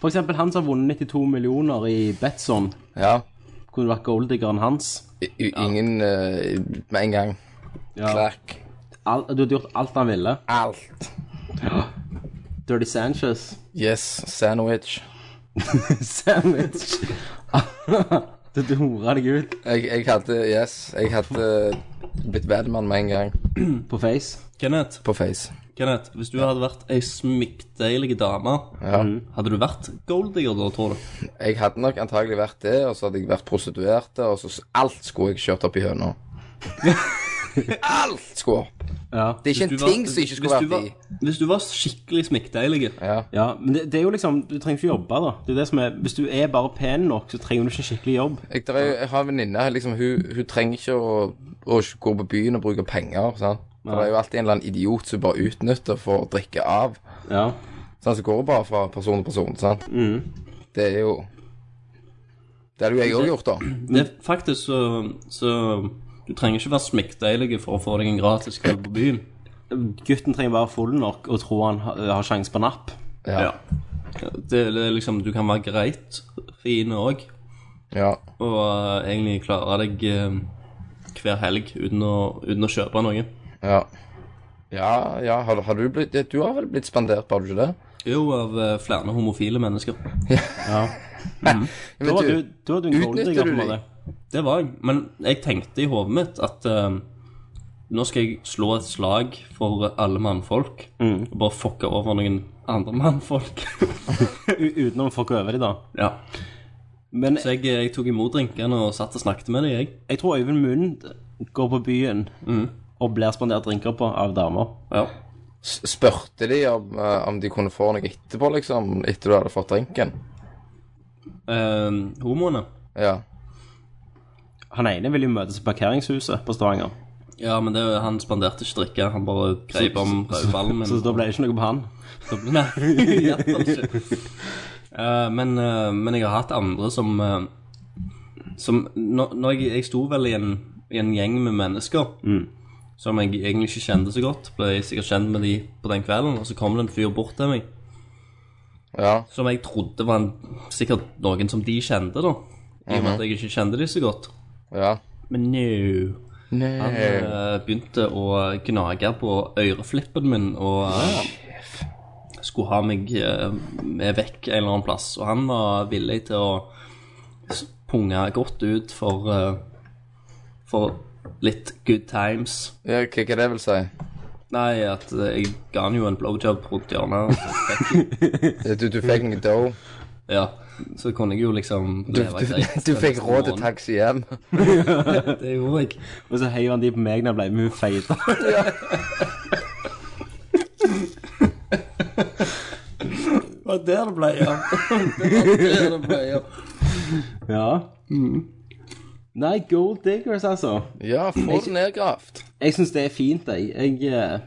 D: For eksempel han som har vunnet 92 millioner i Betson,
F: Ja.
D: kunne vært golddiggeren hans.
F: I- i- Ingen eh, med en gang. Klakk.
D: Al- du hadde gjort alt han ville.
F: Alt.
D: Dirty Sanchez.
F: Yes, sandwich.
D: Sandwich. du du hora deg ut
F: Jeg, jeg hadde Yes, jeg hadde blitt Vedman med en gang.
D: på face.
E: Kenneth,
F: På Face.
E: Kenneth hvis du hadde vært ei smykkdeilig dame, hadde du vært golddigger da, tror du?
F: Jeg hadde nok antagelig vært det, og så hadde jeg vært prostituerte, og så s- alt skulle jeg kjørt opp i høna. alt skulle opp.
D: Ja.
F: Det er ikke en
E: du var-
F: ting som ikke skulle
E: hvis du
F: vært i.
E: var- Hvis du var skikkelig smykkdeilig
F: Ja.
D: ja. Men det, det er jo liksom Du trenger ikke jobbe, da. Det er det som er Hvis du er bare pen nok, så trenger du ikke en skikkelig jobb.
F: Jeg, der er, jo- jeg har en venninne liksom, hun, hun trenger ikke å, å gå på byen og bruke penger. Sant? Det er jo alltid en eller annen idiot som bare utnytter for å drikke av.
D: Ja.
F: Sånn, så går det bare fra person til person. Sant? Det er jo Det hadde jo jeg òg gjort, da.
E: Det er faktisk så, så Du trenger ikke være smykkdeilig for å få deg en gratis kveld på byen.
D: Gutten trenger være full nok og tro han har, har sjanse på napp.
F: Ja.
E: Det, det er liksom, du kan være greit fin òg,
F: Ja.
E: og eh, egentlig klare deg eh, hver helg uten å, uten å kjøpe noe.
F: Ja, ja, ja. Har, har du blitt Du har vel blitt spandert, har du ikke det?
E: Jo, av eh, flere homofile mennesker.
D: Da
F: Men
D: var
F: du,
D: du, da var du en
F: utnytter du
D: golddigger. på en
F: de?
D: måte.
E: Det var jeg. Men jeg tenkte i hodet mitt at eh, nå skal jeg slå et slag for alle mannfolk.
D: Mm.
E: Og bare fucke over noen andre mannfolk.
D: U- Uten å fucke over dem, da.
E: ja.
D: Men
E: Så jeg, jeg tok imot drinkene og satt og snakket med dem, jeg.
D: jeg tror Øyvind Mund går på byen og blir spandert drinker på av damer.
E: Ja.
F: s- spurte de om, eh, om de kunne få noe etterpå, liksom? Etter du hadde fått drinken?
E: Eh, homoene.
F: Ja.
D: Han ene vil jo møtes i parkeringshuset på Stavanger,
E: Ja, men det, han spanderte ikke drikke. Han bare grep om rødballen min.
D: så da ble det ikke noe på han.
E: Nei, i hvert fall ikke. Eh, men, eh, men jeg har hatt andre som eh, Som Når, når jeg, jeg sto vel i en, i en gjeng med mennesker som jeg egentlig ikke kjente så godt, ble jeg sikkert kjent med de på den kvelden, og så kom det en fyr bort til meg
F: Ja.
E: som jeg trodde var en, sikkert noen som de kjente, da. I og med at jeg ikke kjente de så godt.
F: ja.
E: Men no.
F: Nei.
E: Han eh, begynte å gnage på øreflippen min og eh, skulle ha meg eh, med vekk en eller annen plass. Og han var villig til å s- punge godt ut for, eh, for litt good times.
F: Ja, hva hva det vil si?
E: Nei, at eh, jeg ga han jo en blowjob rundt hjørnet. og så fikk-
F: Du, du fikk en dough.
E: Ja, så kunne jeg jo liksom
F: Du,
E: leve
F: du,
E: greit.
F: du fikk råd til
E: Morgen.
F: taxi hjem.
E: Det gjorde jeg.
D: Og så heiv han de på meg når jeg ble mye feita.
E: Det var der det ble av. Det var der det ble av.
D: Ja. Nei, gold diggers, altså.
F: Ja, få det nedgravd.
D: Jeg syns det er fint, jeg. jeg eh,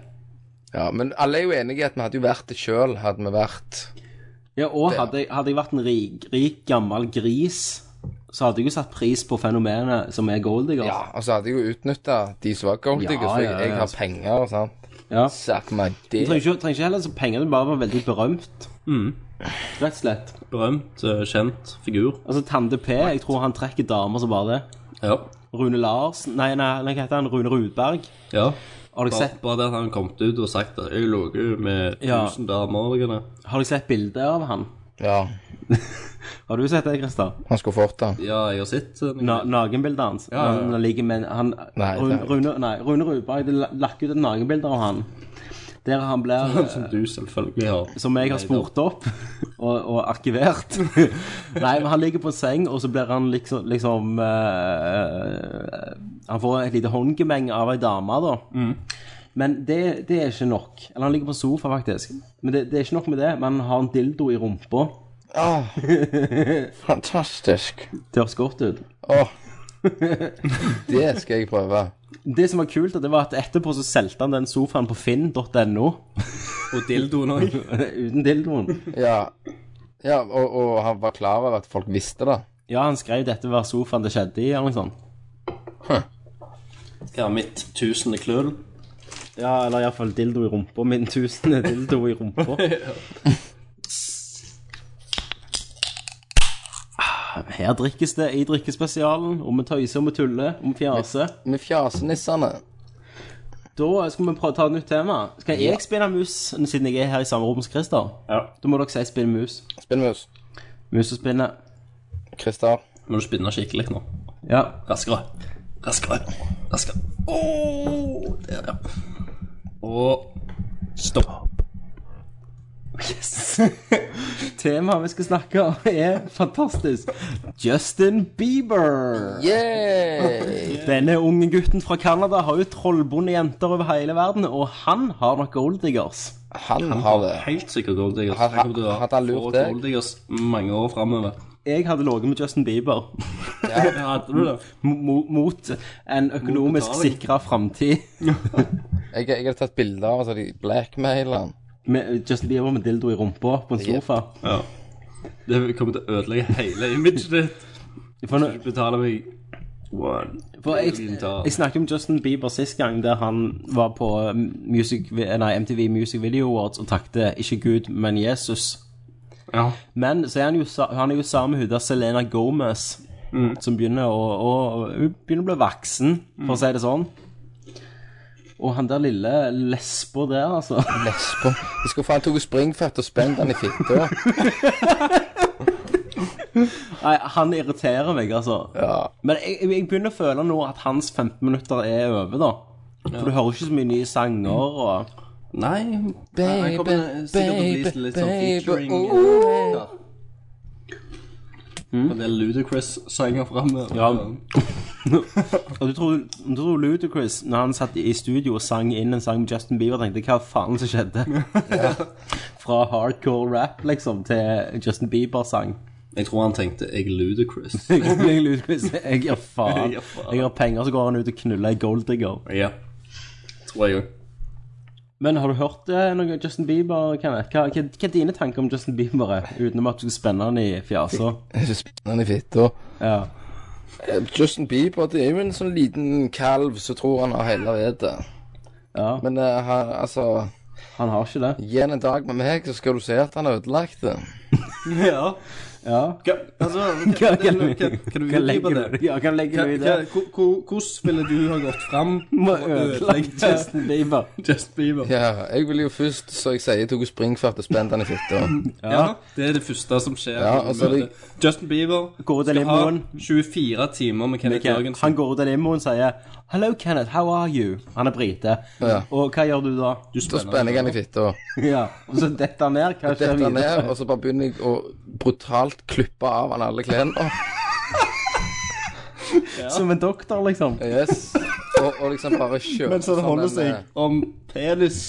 F: Ja, men alle er jo enige i at vi hadde jo vært det sjøl, hadde vi vært
D: ja, og hadde jeg, hadde jeg vært en rik, rik gammel gris, så hadde jeg jo satt pris på fenomenet som er gold digger.
F: Ja, og så hadde jeg jo utnytta de som var golddiggers,
D: Ja,
F: for jeg,
D: ja,
F: jeg
D: ja.
F: har penger, sant.
D: Ja.
F: Suck my
D: Du
F: dick.
D: trenger ikke, trenger ikke heller så penger, du bare var veldig berømt.
E: Mm.
D: Rett og slett.
E: Berømt, eh, kjent figur.
D: Altså Tande P, jeg tror han trekker damer som bare det.
E: Ja.
D: Rune Larsen Nei, nei, nei, hva heter han? Rune Rudberg.
E: ja.
D: Har dere
E: Bare,
D: sett,
E: bare det at han kom ut og sagt at 'jeg lå jo med
D: Ja.
E: tusen damer' og greier.
D: har dere sett bilder av han?
F: Ja,
D: Har du sett det, Christer?
F: han skulle fått det.
E: Ja, jeg har sett eh,
D: Na nakenbildet hans.
E: Ja, ja, ja.
D: Han, han ligger med en- han,
F: Nei,
D: Rune,
F: det er-
D: Rune, nei, Rune Rudberg det la- lagt ut et nakenbilde av han. Der han blir
E: noen som du selvfølgelig har.
D: Som jeg har spurt opp og, og arkivert. Nei, men han ligger på en seng, og så blir han liksom, liksom eh, Han får et lite håndgemeng av ei dame, da. Men det, det er ikke nok. Eller han ligger på en sofa, faktisk. Men det, det er ikke nok med det. Men han har en dildo i rumpa.
F: Åh, Ah. fantastisk.
D: Det høres godt ut.
F: Åh, det skal jeg prøve.
D: Det som var kult, det var at etterpå så solgte han den sofaen på finn.no
E: Og dildoen òg.
D: uten dildoen.
F: Ja, ja og, og han var klar over at folk visste det.
D: Ja, han skrev dette var sofaen det skjedde i, eller noe sånt.
E: Ja, mitt tusende kløl.
D: Ja, eller iallfall dildo i rumpa. Min tusende dildo i rumpa. Ah, Her drikkes det i drikkespesialen, og vi tøyser og vi tuller og vi fjaser.
F: Med fjasenissene.
D: Da skal vi prøve å ta et nytt tema. Skal jeg spinne mus, siden jeg er her i samme rom som Christer?
E: Ja.
D: Da må dere si spinn mus.
F: Spinnmus.
D: Mus og spinne.
F: Christer.
E: Må du spinne skikkelig nå.
D: Ja.
E: Raskere. Raskere. Raskere. Åh, der, ja. Og stopp.
D: Yes. Temaet vi skal snakke om, er fantastisk. Justin Bieber.
F: Yay!
D: Denne unge gutten fra Canada har jo trollbonde jenter over hele verden, og han har nok golddiggers.
F: Han har det.
E: Helt sikkert Gold Diggers.
F: Har- har-
E: Jeg kommer til å
F: hadde han lurt
E: få
F: deg?
E: Gold Diggers mange år framover.
D: Jeg hadde ligget med Justin Bieber
E: Hadde du det?
D: mo- mot en økonomisk
E: betaling.
D: sikra framtid.
F: Jeg, jeg har tatt bilder av altså, de blackmailer han.
D: Med Justin Bieber med dildo i rumpa på en sofa.
E: Ja. Det kommer til å ødelegge hele imaget ditt.
D: For, nå-
E: Betaler meg one
D: for jeg,
E: million dollar.
D: jeg snakket om Justin Bieber sist gang, der han var på music, nei, MTV Music Video Awards og takte ikke Gud, men Jesus.
E: Ja.
D: Men så er han jo, sa- han er jo sammen med hun der Selena Gomez, som begynner å, å, hun begynner å bli voksen, for å si det sånn. Og han der lille lesbo der, altså.
F: Lesbo. De skulle faen tatt springfett og spent han i fitta.
D: Nei, han irriterer meg, altså.
F: Ja.
D: Men jeg, jeg begynner å føle nå at hans 15 minutter er over, da. For du hører ikke så mye nye sanger og
E: Nei
F: Baby,
E: jeg kommer sikkert til å
F: baby,
E: bli litt sånn
F: baby,
E: featuring
F: oh.
E: ja. Og det er Ludacris-sanger framme.
D: Ja. Og du tror, du tror Ludacris, når han satt i studio og sang inn en sang med Justin Bieber, tenkte hva faen som skjedde? Fra hardcore rap, liksom, til Justin Bieber-sang.
E: Jeg tror han tenkte 'jeg Ludacris'.
D: Jeg blir Ludacris. Jeg gir faen.
E: Jeg gir faen.
D: Jeg har penger, så går han ut og knuller ei golddigger.
E: ja. Tror jeg òg.
D: Men har du hørt eh, noe Justin Bieber, Kenneth? Hva, hva, hva er dine tanker om Justin Bieber, eh, utenom at du skal spenne han i fjasa?
F: Ikke spent han i fitta.
D: Ja.
F: Eh, Justin Bieber det er jo en sånn liten kalv som tror han har hele vettet.
D: ja.
F: Men eh, han, altså
D: Han har ikke det.
F: Gi han en dag med meg, så skal du se at han har ødelagt det.
E: Ja.
D: Ja.
E: Hva, altså,
D: Hva,
E: hva,
D: legger
E: hva, hva du
D: du
E: utdype det?
D: i det? Ja, hva legger du i det?
E: Hva- hva- hvor- Hvordan ville du ha gått fram
D: Må
E: og ødelagt
D: ødelegge Justin Bieber.
E: Just Bieber? Ja.
F: Ja, jeg ville jo først, så jeg sier, tok springfart og spent han i fitta.
E: Det er det første som skjer.
F: Ja,
E: når du
F: altså,
E: møter-
F: det-
E: Justin Bieber
D: Går ut av
E: skal ha
D: limoen.
E: 24 timer med Kenneth
D: Ikke-
E: Jørgensen.
D: Han går ut av limoen og sier 'Hello, Kenneth. How are you?' Han er brite.
F: Ja.
D: Og hva gjør du da?
E: Du
F: Da spenner jeg han i fitta.
D: Ja, Og så detter han ned. Hva skjer
F: Detter han
D: videre?
F: ned, og så bare begynner jeg å brutalt klippe av han alle klærne.
D: Som en doktor, liksom.
F: Yes. Og, og liksom bare kjører
E: Mens han
F: sånn en,
E: holder
F: eh,
E: seg om penis.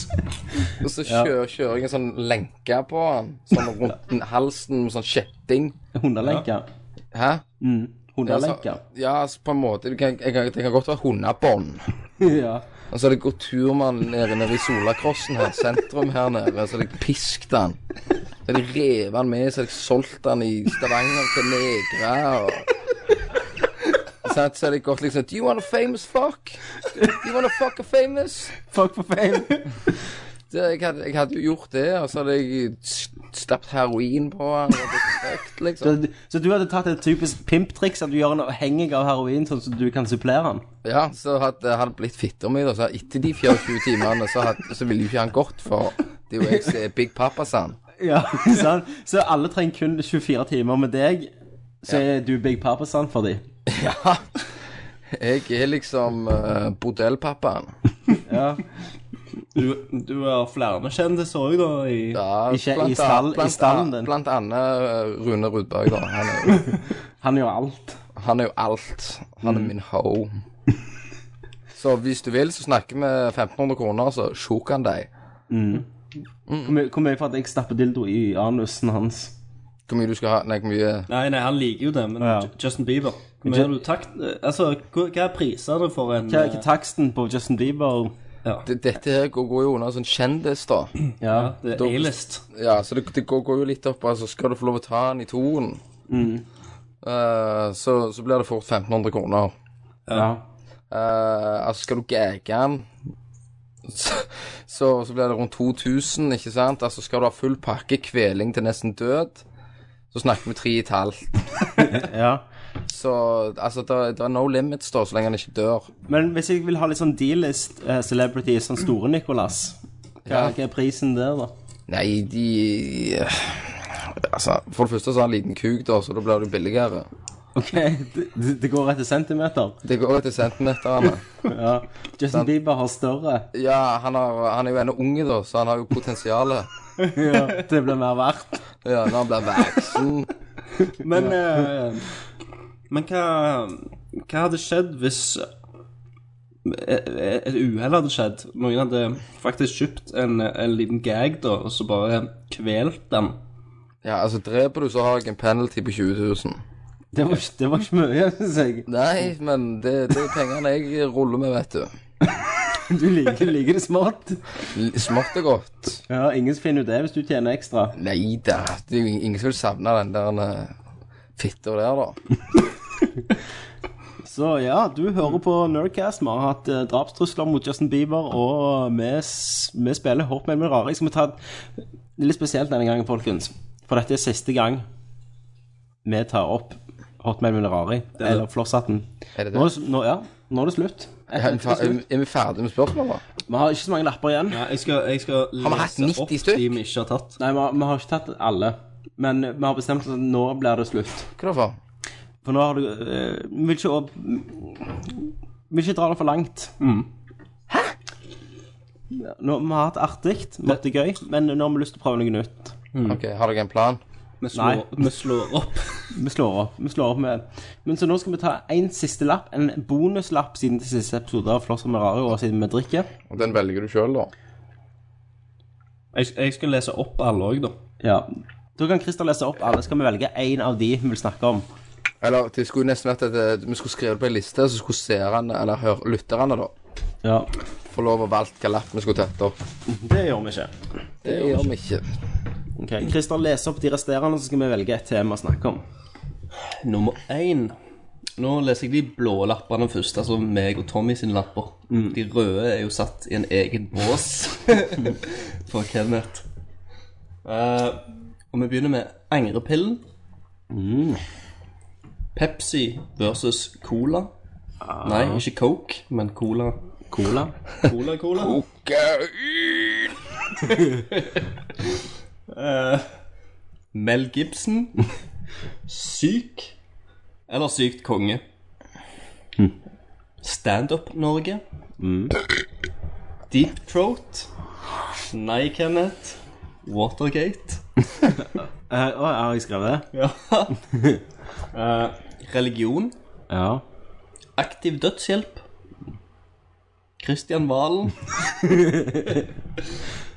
F: Og så kjører, kjører jeg en sånn lenke på han, sånn rundt den halsen, med sånn kjetting.
D: Hundelenke.
F: Hæ?
D: Hundelenke.
F: Altså, ja, altså, på en måte. Det kan, jeg, kan- det kan godt være hundebånd.
D: Ja.
F: Og så er det gått turmann nede, nede i Solakrossen her, sentrum her nede, så har de pisket han. Så har de revet han med, så har de solgt han i Stavanger til negre og Så så har de gått liksom Do you want a famous fuck? Do you want a fuck a famous?
D: Fuck for fame.
F: Det, jeg, hadde, jeg hadde jo gjort det, og så hadde jeg st- stappet heroin på han. og blitt fucked, liksom.
D: Så, så du hadde tatt et typisk pimptriks at du gjør en avhengig av heroin, sånn at du kan supplere han?
F: Ja, så hadde han blitt fitter med det. Så etter de 24 timene så, hadde, så ville jo ikke han gått, for det er jo jeg som er Big Papa sann.
D: Ja, sant? Sånn. Så alle trenger kun 24 timer med deg, så er du Big Papa-sand for dem.
F: Ja. Jeg er liksom uh, bordellpappaen.
E: Du, du har flere kjendiser òg, da. I,
F: Ja,
D: Ikke i
F: blant annet-
D: stall- i
F: blant
D: stallen
F: annet-
D: din.
F: Blant annet eh, Rune Rudberg, da. Han er, jo-
D: Han gjør alt.
F: han er jo alt. Han er
D: Mm.
F: min ho. Så hvis du vil, så snakker vi 1500 kroner, så sjoker han deg.
D: Hvor mye- Hvor mye for at jeg stapper dildo i anusen hans?
F: Hvor mye du skal ha Nei, hvor mye
E: Nei, nei, han liker jo det, men
D: Ja.
E: Ju- Justin Bieber Hvor mye har du takt Altså, hva hva er prisene for en eh,
D: Hva hva er taksten på Justin Bieber?
F: det, Dette her går, går jo under sånn kjendis, da.
E: Ja, det er A-list.
F: Ja, så det, det går, går jo litt opp. Altså, skal du få lov å ta den i toen, eh, så, så blir det fort 1500 kroner.
D: Ja.
F: Eh, altså, skal du gage den, så, så, så blir det rundt 2000, ikke sant? Altså, skal du ha full pakke, kveling til nesten død, så snakker vi tre i et halvt.
D: Ja.
F: Så altså, det er no limits, da, så lenge han ikke dør.
D: Men hvis jeg vil ha litt sånn dealist eh, celebrity, sånn store Nicolas, hva,
F: Ja.
D: hva er prisen der, da?
F: Nei, de Altså, for det første så har han liten kuk, da, så da blir det billigere.
D: OK, det, det- det går etter centimeter.
F: Det går jo til centimeterne.
D: Ja. Justin Bieber har større.
F: Ja, han, har, han er jo ennå unge, da, så han har jo potensialet.
D: Det blir mer verdt.
F: Ja, når han blir voksen.
E: Men, eh, men hva, hva hadde skjedd hvis et et uhell hadde skjedd? Noen hadde faktisk kjøpt en, en liten gag, da, og så bare kvelt den.
F: Ja, altså, dreper du, så har jeg en penalty på 20 000.
D: Det var, ikke- det var ikke mye, syns jeg.
F: Nei, men det, det er pengene jeg ruller med, vet du.
D: Du liker, liker det smart.
F: L- Smått og godt.
D: Ja, ingen som finner ut det hvis du tjener ekstra.
F: Nei da, det er jo ingen som vil savne den der eh, fitta der, da.
D: Så ja, du hører på Nerdcast. Vi har hatt eh, drapstrusler mot Justin Bieber, og vi, s- vi spiller Hotman med rare. Jeg skal vi ta et- det er litt spesielt denne gangen, folkens. For dette er siste gang vi tar opp Hotman med rare, eller Flosshatten.
F: Er det det?
D: Nå, er s- nå, ja, nå er det slutt.
F: Er vi fer- er vi ferdige med spørsmålet, da?
D: Vi har ikke så mange lapper igjen.
E: Ja, jeg skal, jeg skal
F: Har vi hatt
E: lese
F: 90
E: opp
F: stykk?
E: de vi ikke har tatt.
D: Nei, vi har, vi har ikke tatt alle. Men vi har bestemt oss at nå blir det slutt.
F: Hva da for?
D: For nå har du eh, Vi vil ikke opp Vi vil ikke dra det for langt. Hæ? Nå, vi har hatt artig, vi har hatt det gøy, men nå har vi lyst til å prøve noe nytt.
F: Ok, Har dere en plan?
E: Vi
D: Nei.
E: slår, vi slår opp.
D: Vi slår opp. vi slår opp med Men Så nå skal vi ta en siste lapp, en bonuslapp siden til siste episode av Floss og Merario, og siden vi drikker.
F: Og Den velger du sjøl, da.
E: Jeg, jeg skal lese opp alle òg, da.
D: Ja. Da kan Christer lese opp alle. Skal vi velge én av de vi vil snakke om?
F: Eller det skulle nesten vært at eh, vi skulle skrevet på ei liste, så skulle seerne, eller hør, lytterne, da,
D: Ja.
F: få lov å valgt hvilken lapp vi skulle tatt opp.
D: Det gjør vi ikke.
F: Det gjør vi ikke.
D: Ok, Christer leser opp de resterende, så skal vi velge et tema å snakke om.
E: Nummer én. Nå leser jeg de blå lappene først, altså meg og Tommy sine lapper. De røde er jo satt i en egen bås for Kenneth. Eh, og vi begynner med angrepillen. Mm. Pepsi versus Cola. Nei, ikke Coke, men Cola.
D: Cola.
E: Cola, Cola. Eh, Mel Gibson. Syk. Eller sykt konge. Standup Norge. Deep Throat. Nei, Kenneth. Watergate.
D: Eh, Å, har jeg skrevet det?
E: Ja. Eh, religion.
D: Ja.
E: Aktiv dødshjelp. Kristian Valen.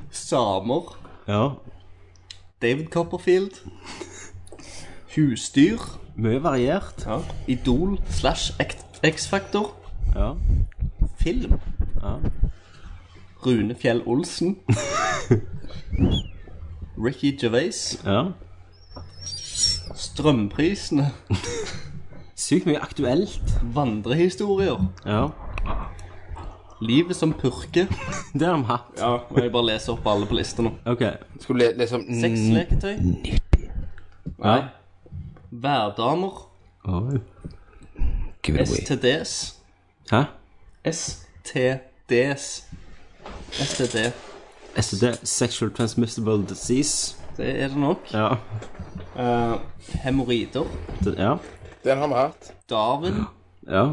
E: Samer.
D: Ja.
E: David Copperfield. Husdyr.
D: Mye variert.
E: Idol slash X- X-Factor.
D: Ja.
E: Film. Rune Fjell Olsen. Ricky Gervais.
D: ja.
E: Strømprisene.
D: Sykt mye aktuelt.
E: Vandrehistorier.
D: Ja.
E: Livet som purke.
D: Det har vi hatt.
E: Ja, må jeg bare lese opp alle på lista nå.
D: Ok.
F: Skulle le- liksom
E: Sexleketøy.
D: Ja.
E: Værdamer.
D: Oi.
E: STDs.
D: Hæ?
E: STDs. STD.
D: STD, Sexual Transmissible Disease.
E: Det er det nok.
D: Ja.
E: Uh, Hemoroider.
D: Det, ja.
F: Den har vi hatt.
E: Darwin.
D: Ja.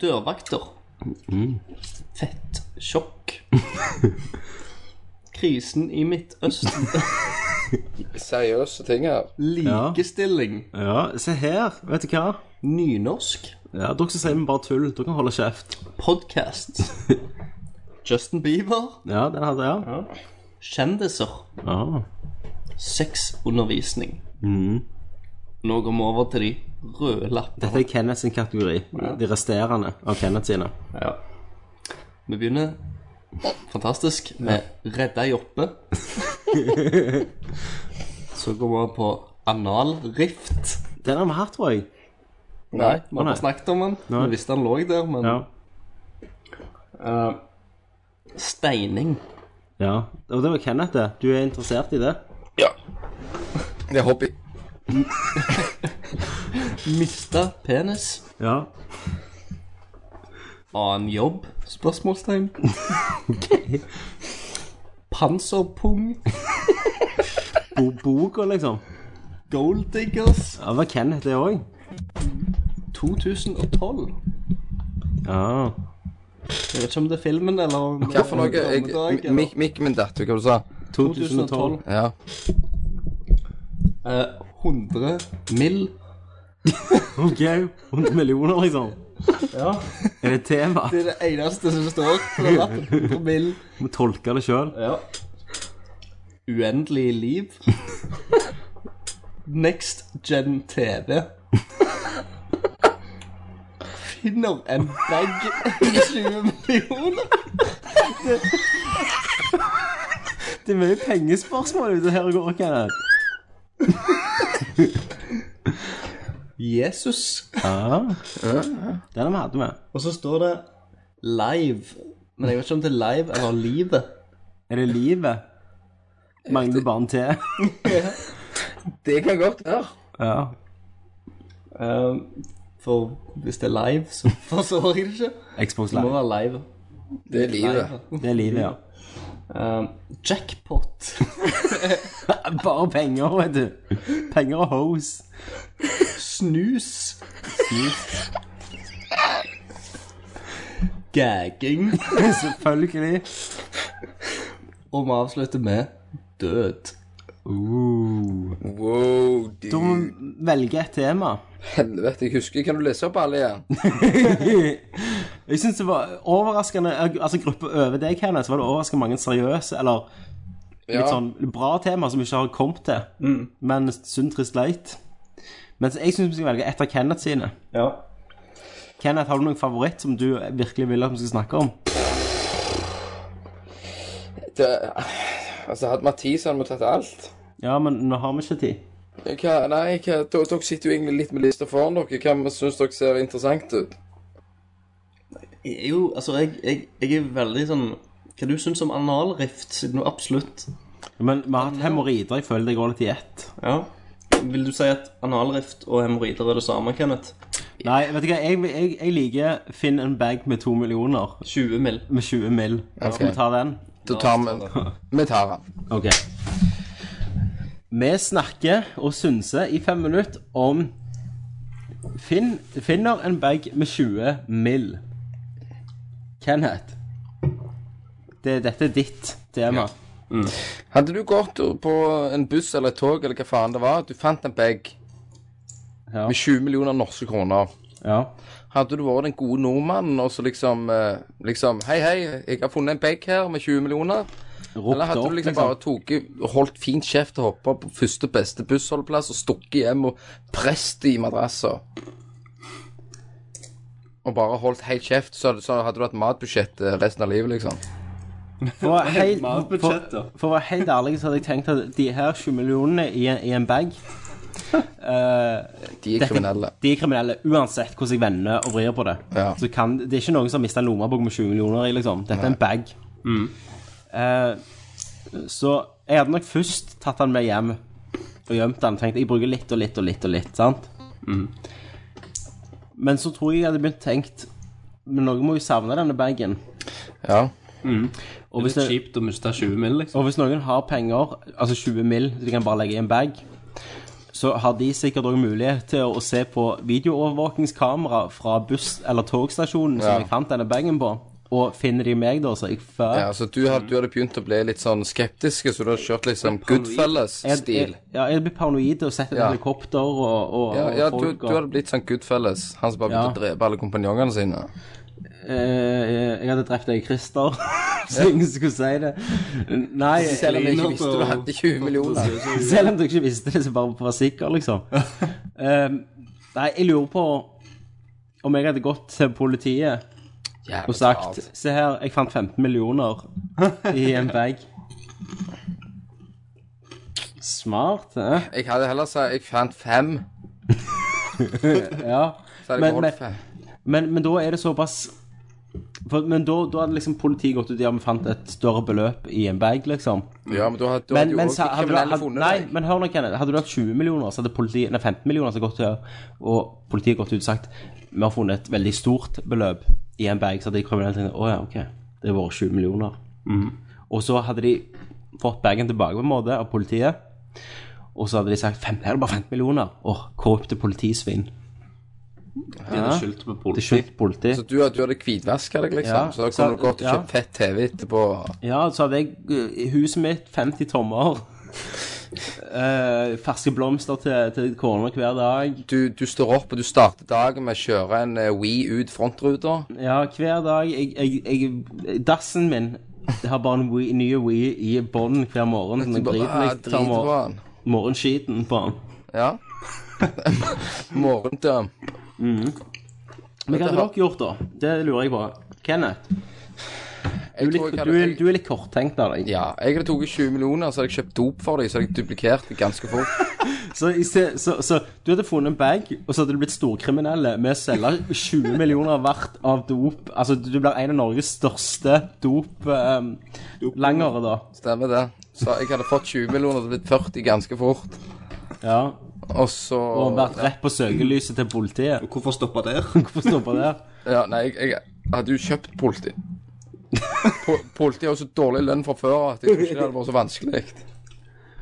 E: Dørvakter. Fett. Sjokk. Krisen i Midtøsten.
F: Seriøse ting her.
E: Likestilling.
D: ja. Se her. Vet du hva?
E: Nynorsk.
D: Ja, Dere som sier vi bare tull, dere kan holde kjeft.
E: Podkast. Justin Bieber.
D: Ja, den hadde jeg.
E: Kjendiser.
D: Ja.
E: Sexundervisning. Nå går vi over til de røde lappene.
D: Dette er Kenneth sin kategori. De resterende av Kenneth sine.
E: Ja. Vi begynner fantastisk med Redda Joppe. Så går vi over på Anal Rift.
D: Den har vi hatt, tror jeg.
E: Nei, vi
D: Å,
E: har
D: nei.
E: ikke snakket om den.
D: Nei.
E: Vi visste han lå der, men
D: Ja.
E: eh, Steining.
D: ja. Og det var Kenneth, det. Du er interessert i det?
F: Ja. Det er hobby.
E: Mista penis.
D: Ja.
E: Annen jobb? Spørsmålstegn. Panserpung.
D: Bo Boka, liksom.
E: Golddiggers.
D: Ja, det var Kenneth, det òg.
E: 2012.
D: Ja.
E: Jeg vet ikke om det er filmen eller om
F: Hva for noe?
E: om
F: Jeg,
E: dag, eller-
F: mik mikken min datt, hva du sa?
E: 2012.
F: Ja.
E: Eh, 100 mill.
D: OK. 100 millioner, liksom.
E: Ja.
D: Er det et tema?
E: Det er det eneste som står. for det har vært 100 mill.
D: Må tolke det sjøl.
E: Ja. Uendelig liv. Next Gen TV. Finner en bag i 20 millioner.
D: Det er mye pengespørsmål ute her og går, Kenneth.
E: Jesus.
D: Ja. Den har vi hatt med.
E: Og så står det live. Men jeg vet ikke om det er live eller livet.
D: Er det livet? Mangler bare en T.
F: Det kan godt være.
D: Ja.
E: Ehm, for hvis det er live, så forstår jeg det ikke.
D: Xbox
E: Det må
D: Live.
E: være live.
F: Det er livet.
E: live.
D: Det er livet, ja.
E: Ehm, jackpot.
D: Bare penger, vet du. Penger og hoes.
E: Snus. Gagging.
D: Selvfølgelig.
E: Og vi avslutter med død.
D: Uh.
F: Wow,
D: Da må
F: dude.
D: vi velge et tema.
F: Helvete, jeg husker. Kan du lese opp alle igjen?
D: Jeg syns det var overraskende Altså gruppa over deg, Kenneth, så var det overraskende mange seriøse eller litt sånn bra tema som vi ikke har kommet til. Men sunn, trist, leit. Mens jeg syns vi skal velge et av Kenneth sine.
E: Ja.
D: Kenneth, har du noen favoritt som du virkelig vil at vi skal snakke om?
F: Det, altså, hadde Mathis hadde vi tatt alt.
D: Ja, men nå har vi ikke tid.
F: Hva, nei, hva, dere- dere sitter jo egentlig litt med lista foran dere. Hva syns dere ser interessant ut?
E: Jo, altså, jeg, jeg, jeg er veldig sånn Hva du syns om analrift, siden du absolutt
D: Men vi har hatt hemoroider. Jeg føler det går litt i ett.
E: Ja. Vil du si at analrift og hemoroider er det samme, Kenneth?
D: Nei, vet du hva, jeg, jeg, jeg liker Finn en bag med to millioner.
E: 20 mill.
D: Med 20 mill. Skal vi ta den?
F: Da tar vi Vi tar den.
D: Ok. Vi snakker og synser i fem minutter om Finn, Finner en bag med 20 mill. Kenneth. Det, dette er ditt tema.
F: Hadde du gått på en buss eller et tog eller hva faen det var, du fant en bag
D: Ja.
F: med 20 millioner norske kroner.
D: Ja.
F: Hadde du vært den gode nordmannen og så liksom, eh, liksom Hei, hei, jeg har funnet en bag her med 20 millioner.
D: Ropt
F: Eller hadde
D: opp,
F: du liksom
D: liksom.
F: bare tatt holdt fint kjeft og hoppa på første beste bussholdeplass og stukket hjem og prest i madrassa? Og bare holdt helt kjeft, så hadde, så hadde du hatt matbudsjett eh, resten av livet, liksom.
D: For å være helt- for- for å være helt ærlig så hadde jeg tenkt at de her 20 millionene i, en- i en bag
F: De er kriminelle.
D: De er kriminelle uansett hvordan jeg vender og vrir på det.
F: Ja.
D: Så kan, det er ikke noen som har mista en lommebok med 20 millioner i, liksom. Dette er en bag. Eh, så jeg hadde nok først tatt den med hjem og gjemt den. Tenkte jeg bruker litt og litt og litt og litt, sant? Men så tror jeg jeg hadde begynt tenkt Men noen må jo savne denne bagen.
F: Ja.
D: Og hvis
G: Det er
D: det,
G: kjipt å miste 20 mill, liksom.
D: og hvis noen har penger, altså 20 mill, så de kan bare legge i en bag, så har de sikkert også mulighet til å se på videoovervåkingskamera fra buss- eller togstasjonen
F: Ja.
D: som jeg fant denne bagen på, og finner de meg da, så er jeg før.
F: ja så du hadde, du hadde begynt å bli litt sånn skeptisk, så du hadde kjørt litt sånn Goodfellas-stil.
D: Ja, jeg blir paranoid og setter et
F: Ja.
D: helikopter og, og,
F: Ja, ja
D: og
F: du,
D: folk
F: du hadde blitt sånn Goodfellas. Han som bare
D: Ja.
F: begynte å drepe alle kompanjongene sine.
D: og eh, Jeg hadde drept deg, Christer, så ingen skulle si det. Nei,
F: Selv om jeg ikke visste du hadde 20 millioner.
D: Selv om du ikke visste det, så bare for å være sikker, liksom. Ehm, nei, jeg lurer på om jeg hadde gått til politiet og sagt Se her, jeg fant 15 millioner i en bag. Smart, eh?
F: Jeg hadde heller sagt jeg fant fem.
D: Ja.
F: Så Så er det
D: Men-
F: golf
D: men-
F: her.
D: Men, men da er det såpass for, Men da, da hadde liksom politiet gått ut Ja, vi fant et større beløp i en bag, liksom.
F: Ja, men da hadde da
D: Men,
F: hadde jo
D: men,
F: også
D: sa- hadde, du,
F: kriminelle
D: hadde,
F: funnet
D: nei,
F: deg.
D: men hør nå, Kenneth. Hadde du hatt 20 millioner, så hadde politiet, nei, 15 millioner så gått til Og politiet gått ut og sagt Vi har funnet et veldig stort beløp i en bag, så hadde de kriminelle tenkt Å ja, ok, det er våre 20 millioner.
E: Mm.
D: Og så hadde de fått bagen tilbake på en måte av politiet. Og så hadde de sagt fem, Her er det bare 15 millioner. Åh, korrupte politisvin.
E: De hadde skyldt på
D: Det er
E: politi.
D: skyldt politi.
F: Så du, du hadde hvitvaska deg, liksom?
D: Ja,
F: så da
D: så-
F: kunne du gått og
D: ja.
F: kjøpt fett TV etterpå?
D: Ja, så hadde jeg eh, i huset mitt 50 tommer. eh, ferske blomster til, til kona hver dag.
F: Du, du står opp og du starter dagen med å kjøre en eh, Wii ut frontruta.
D: Ja, hver dag. Jeg, jeg, jeg, dassen min har bare en Wii, ny Wii i bånn hver morgen. Sånn
F: Du bare
D: jeg driter
F: ah,
D: meg
F: driter på
D: mor
F: han.
D: morgenskiten på den.
F: Ja. Morgendøm.
D: Men hva hadde dere gjort, da? Det lurer jeg på. Kenneth,
F: Jeg tror
D: du er litt,
F: jeg
D: du
F: hadde-
D: er, du er litt korttenkt av deg.
F: Ja, jeg hadde tatt 20 millioner, så hadde jeg kjøpt dop for dem, så hadde jeg duplikert det ganske fort.
D: Så, i sted- så, så du hadde funnet en bag, og så hadde du blitt storkriminelle med å selge 20 millioner hvert av dop. Altså, du blir en av Norges største dop-langere, da.
F: Stemmer det. Så jeg hadde fått 20 millioner, det hadde blitt 40 ganske fort.
D: Ja.
F: Og så
D: Og vært rett på søkelyset til politiet.
E: Hvorfor stoppe der?
D: Hvorfor stopper det?
F: Ja, nei, jeg, jeg hadde jo kjøpt politi. Po- Politi har jo så dårlig lønn fra før at jeg tror ikke det hadde vært så vanskelig.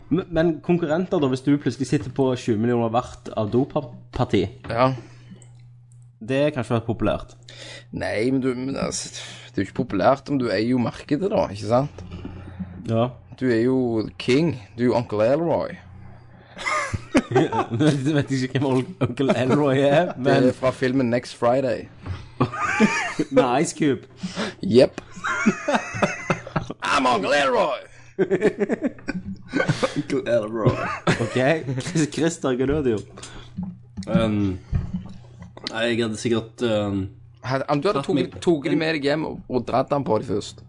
D: Men, men konkurrenter, da, hvis du plutselig sitter på 20 millioner hvert av dopparti,
F: Ja.
D: det er kanskje vært populært.
F: Nei, men du men, altså, Det er jo ikke populært om du eier jo markedet, da, ikke sant?
D: Ja.
F: Du er jo king. Du er jo onkel Elroy.
D: Du vet ikke hvem onkel Elroy er,
F: Det
D: men
F: er fra filmen Next Friday.
D: med Ice Cube.
F: Jepp. I'm onkel Elroy!
D: OK? Chris- Christer, hva du hadde gjort?
E: Um, nei, jeg hadde sikkert um,
F: Hadde, om du hadde tatt de med deg hjem og, og dratt den på dem først.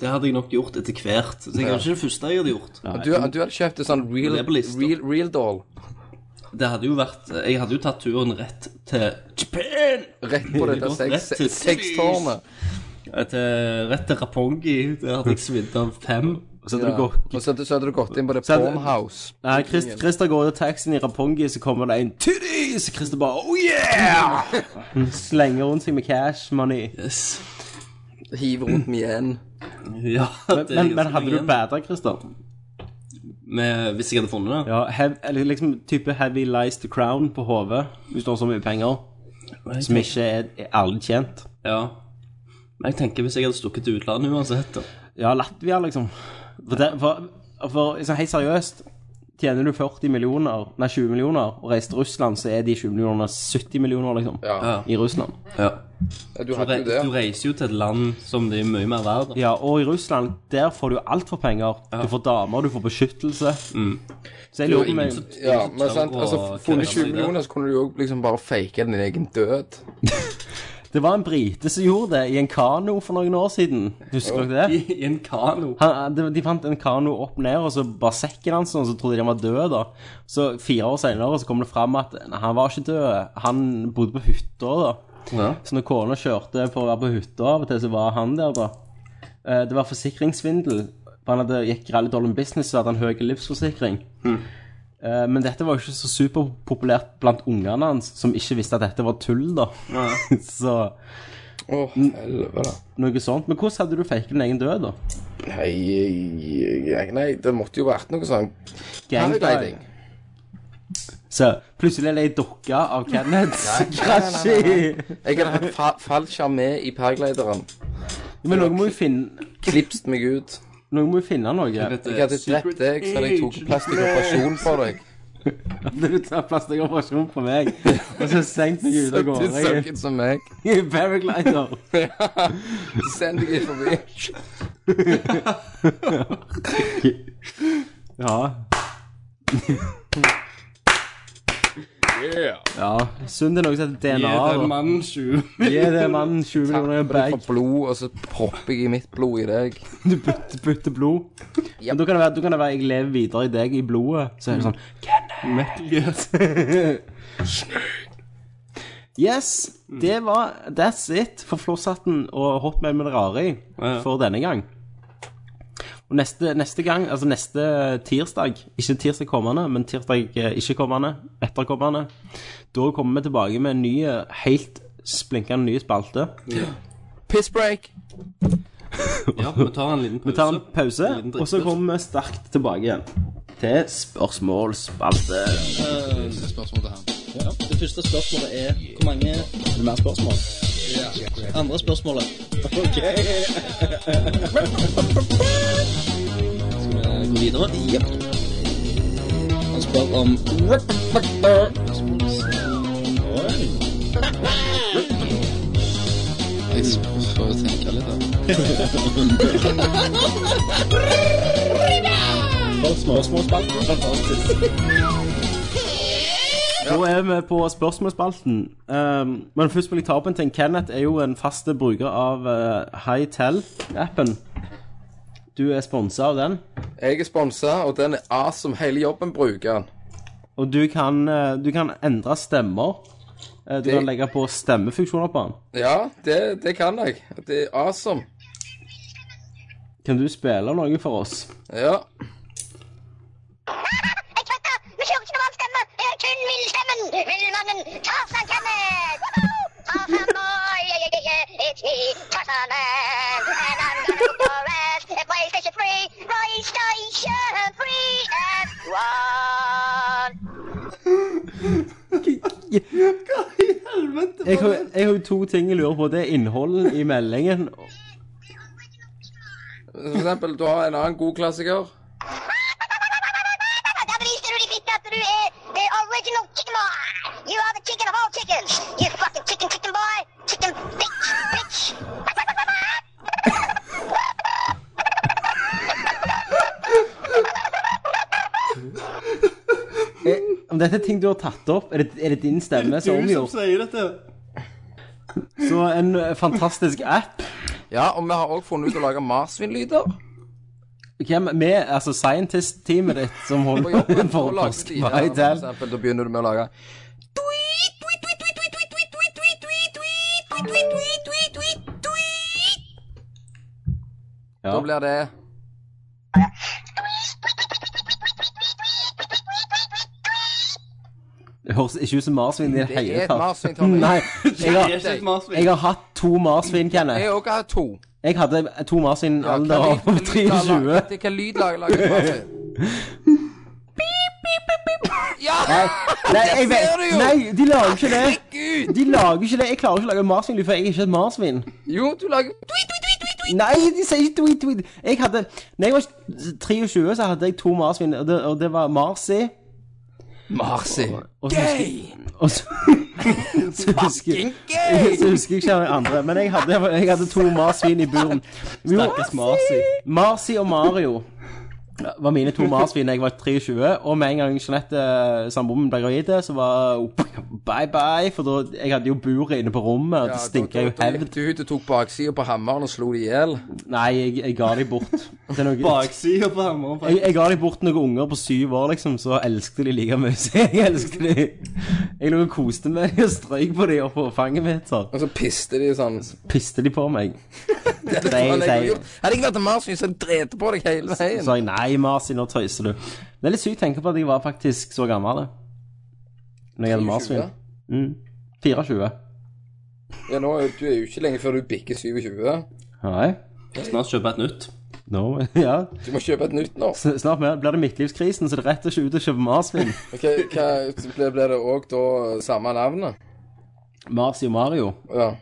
E: Det hadde jeg nok gjort etter hvert. Så det er kanskje det første jeg hadde gjort.
F: Om du, om du hadde kjøpt en sånn real,
E: Det er på lista.
F: real, real doll
E: Det hadde jo vært Jeg hadde jo tatt turen rett til Japan!
F: rett på dette
E: Rett
F: sex-
E: til-
F: sextårnet,
E: Eh, Til, rett til Rapongi. Der hadde jeg svidd av fem.
D: Og så hadde
F: ja.
D: du gått
F: og så hadde så hadde du gått inn på det
D: hadde-
F: Pornhouse.
D: Nei, Chris, Christer går ut av taxien i Rapongi, så kommer det en titties! Christer bare oh yeah! Slenger rundt seg med cash money.
E: Yes.
F: Hive rundt med igjen.
E: Ja,
D: Men, men, men hadde du
E: bad?
D: badra, Christer?
E: Hvis jeg hadde funnet det?
D: Ja, hev, eller liksom type heavy lies to crown på hodet, hvis du har så mye penger, som ikke er, er ærlig tjent.
E: Ja. Men jeg tenker hvis jeg hadde stukket til utlandet uansett, da.
D: Ja, Latvia, liksom. For, det, for, for liksom, helt seriøst, tjener du 40 millioner, nei 20 millioner, og reiser til Russland, så er de 20 millionene 70 millioner, liksom,
F: Ja.
D: i Russland.
E: Ja.
F: Ja, Du
E: Du,
F: hadde
E: re
F: jo det.
E: du reiser jo til et land som det er mye mer verdt.
D: Ja, og i Russland, der får du alt for penger. Du får damer, du får beskyttelse. Så jeg lurer på meg
F: Ja, men sant,
E: Tørre å
F: altså
E: kreve
F: Funnet
E: seg
F: 20
E: det.
F: millioner, så kunne du jo liksom bare fake din egen død.
D: Det var en brite som gjorde det i en kano for noen år siden. Husker dere det?
E: I, I en kano.
D: Han, de, de fant en kano opp ned, og så bare sekken hans, og så trodde de han var død. da. Så fire år senere så kom det fram at nei, han var ikke død, han bodde på hytta. da.
E: Ja.
D: Så når kona kjørte for å være på hytta av og til, så var han der, da. Eh, Det var forsikringssvindel. For han hadde gikk veldig dårlig med business, så hadde han høy livsforsikring. Eh, Men dette var jo ikke så superpopulært blant ungene hans, som ikke visste at dette var tull, da. så
F: Å, helvete.
D: noe sånt. Men hvordan hadde du faket din egen død, da?
F: Nei, jeg- jeg- nei, det måtte jo vært noe sånn paragliding.
D: Så plutselig er det ei dukke av Kenneth som krasjer i
F: Jeg hadde hatt fa fallskjerm med i paraglideren.
D: Men noen må jo finne
F: Klipst meg ut.
D: Noen må jo finne noe. Det
E: eh,
F: Jeg hadde drept deg, så hadde jeg tatt plastikkoperasjon for deg.
D: er en plastikkoperasjon på meg, og så senkt meg ut av
F: Du
D: gårde
F: så
D: i-
F: ut som meg.
D: i paraglider.
F: Send deg ikke forbi.
D: Ja. Ja. Synd det er noe som heter DNA. da.
E: mann 20.
D: Gi den mannen 20 millioner i en
F: Jeg
D: bag.
F: får blod, og så propper jeg i mitt blod i deg.
D: Du bytter, bytter blod. Men da kan, det være, da kan det være jeg lever videre i deg i blodet. Så er det sånn Yes, det var That's it for Flosshatten og Hotmail med det rare i
E: Ja, ja.
D: for denne gang. Og neste, neste gang, altså neste tirsdag, ikke tirsdag kommende, men tirsdag eh, ikke kommende, etterkommende, da kommer vi tilbake med en ny, eh, helt splinkende ny spalte.
F: Pissbreak!
E: Ja, vi tar en liten pause.
D: Vi tar en pause,
E: liten drikkpause.
D: og så kommer vi sterkt tilbake igjen til spørsmålsspalte. Eh,
E: Det første spørsmålet er hvor mange
D: Mer spørsmål?
E: andre spørsmålet. Ok. Skal vi gå videre? Jepp. Han spør om
D: Da er vi på spørsmålsspalten. Um, men først vil jeg ta opp en ting. Kenneth er jo en faste bruker av uh, Hightel-appen. Du er sponsa av den.
F: Jeg er sponsa, og den er awesome. Hele jobben bruker den.
D: Og du kan, uh, du kan endre stemmer. Uh, du
F: Det-
D: kan legge på stemmefunksjoner på den.
F: Ja, det, det kan jeg. Det er awesome.
D: Kan du spille noe for oss?
F: Ja.
K: Jeg kødder! Du kjører ikke normal stemme! Det er kun villstemmen! Villmannen Tarzan kommer! Woho! Tarzan boy! Yeah, yeah, yeah, yeah. It's me, Tarzan man! And I'm gonna go for it! PlayStation 3! PlayStation 3 and 1!
D: Jeg har, jeg har jo to ting jeg lurer på. Det er innholdet i meldingen.
F: For eksempel, du har en annen god klassiker.
K: Da belyste du de fint at du er the original chicken boy! You are the chicken of all chickens! You fucking chicken chicken boy! Chicken bitch! Bitch!
D: Om dette er ting du har tatt opp, er det, er det din stemme som er omgjort?
E: sier dette.
D: Så en uh, fantastisk app.
F: Ja, og vi har også funnet ut å lage marsvinlyder.
D: Hvem med, altså scientist-teamet ditt som
F: På
D: holder
F: jobben.
D: for
F: og
D: å
F: lage Altså,
D: forske
F: de
D: på
F: her, for
D: Hightel?
F: eksempel, Da begynner du med å lage
D: Ja.
F: Da blir det
D: Det høres ikke ut som marsvin i det
F: Det er
D: hele
F: et
D: tatt.
F: marsvin, Tommy.
D: Nei, jeg har,
F: ikke et
D: jeg har hatt to marsvin,
F: Jeg
D: Kenneth.
F: har også hatt to.
D: Jeg hadde to marsvin i en alder av 23.
F: Hva lyd lager lager marsvin? Ja!
D: Nei, jeg
F: Det ser
D: vet,
F: du jo!
D: nei, de lager ikke det.
F: Gud!
D: De lager ikke det. Jeg klarer ikke å lage marsvinlyd, for jeg er ikke et marsvin.
F: Jo, du lager
D: Nei, de sier ikke tweet, tweet. Jeg hadde, når jeg var 23, så hadde jeg to marsvin, og det, og det var Marsi.
F: Marsi.
D: Og så husker, og så, så husker, så husker jeg ikke den andre, men jeg hadde, jeg hadde to marsvin i buren. Jo,
E: Marsi.
D: Marsi og Mario var mine to marsvin da jeg var 23. Og med en gang Jeanette eh, samboeren min ble gravid, så var bye bye. For da jeg hadde jo buret inne på rommet, og det stinker jo hevd.
F: Du ut og tok baksida på hammeren og slo det i hjel.
D: Nei, jeg, jeg ga de bort. til noe-
E: Baksida på hammeren.
D: jeg, jeg ga de bort noen unger på syv år, liksom, så elsket de like mye som jeg elsket de. Jeg lå og koste meg og strøyk på de og på fanget mitt, så
F: Og så piste de sånn.
D: piste de på meg.
F: Hadde
D: Nei, nei.
F: jeg ikke vært en marsvin, så hadde jeg drept på deg hele
D: Så
F: veien.
D: sa jeg nei, Marsi, nå tøyser du. Det er litt sykt å tenke på at jeg var faktisk så gammel. da. Når jeg hadde Mm. marsvin. 24.
F: 20. Ja, nå, er- du er jo ikke lenge før du bikker 27.
D: Nei.
E: Snart kjøper jeg et nytt.
D: No, ja.
F: Du må kjøpe et nytt nå.
D: S- Snart mer- blir det midtlivskrisen, så det retter ikke ut å kjøpe marsvin.
F: Ok, hva, ble, ble det òg da samme navnet?
D: Marsi og Mario.
F: Ja.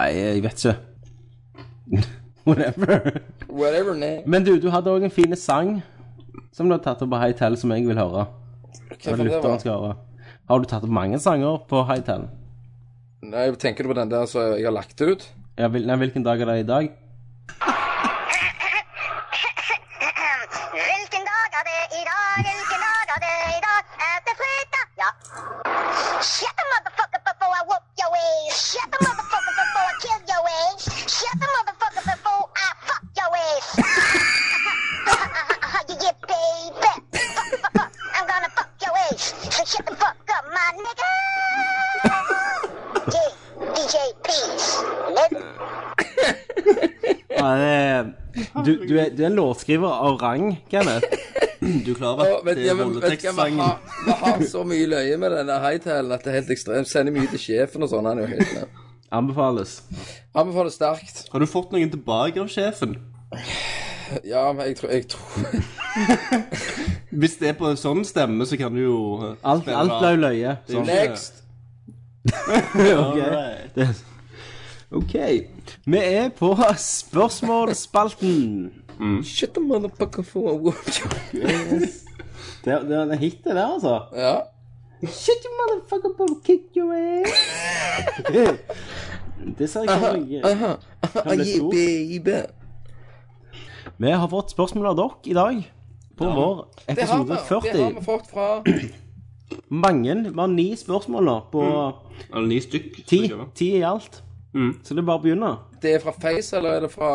D: Nei, jeg vet ikke. Whatever.
F: Whatever name.
D: Men du, du hadde òg en fin sang som du har tatt opp på Hightel, som jeg vil høre.
F: Hva
D: Hva
F: for det
D: lytteren
F: var?
D: skal høre. Har du tatt opp mange sanger på Hightel?
F: Nei, tenker du på den der som jeg har lagt ut?
D: Ja, hvil, nei, hvilken dag er det i dag?
K: Hvilken dag er det i dag? Hvilken dag er det i dag? Er det fredag? Ja. Shut the motherfucker before I whoop your ass. Shut the motherfucker before I kill your ass. Shut the motherfucker before I fuck your ass. yeah, baby. Fuck, fuck, fuck. I'm gonna fuck your ass. So shut the fuck up, my nigga.
D: Du, du, er, du er en låtskriver av rang, Kenneth.
E: Du er klar
F: Å,
E: over
F: men,
E: at det
F: ja,
E: er
F: men, vet du hva, vi,
E: rulletekstsangen.
F: har, vi har så mye løye med den der hightailen at det er helt ekstremt. Sender mye til sjefen og sånn. Han er jo helt ned.
D: Anbefales.
F: Anbefaler sterkt.
E: Har du fått noen tilbake av sjefen?
F: Ja, men jeg tror, jeg tror
E: Hvis det er på en sånn stemme, så kan du jo eh,
D: Alt,
E: spille
D: alt
E: av.
D: ble jo løye.
E: Sånn.
F: Next!
D: Ok. Det- OK. Vi er på spørsmålsspalten.
F: Shut the motherfucker for a whoop.
D: Det, det var en hit, det der, altså.
F: Ja.
D: Shit, you motherfucker, bro, kick your ass. det ser jeg for meg.
F: Ah, yeah,
D: stor.
F: baby.
D: Vi har fått spørsmål av dere i dag. På vår
F: Det har
D: episode
F: vi, det har
D: 40.
F: vi fått fra
D: Mange. Vi har ni spørsmål nå. På
E: Eller ni stykk.
D: ti.
E: skal vi gjøre.
D: Ti i alt.
E: Mm.
D: Så det er bare å begynne.
F: Det er fra Face, eller er det fra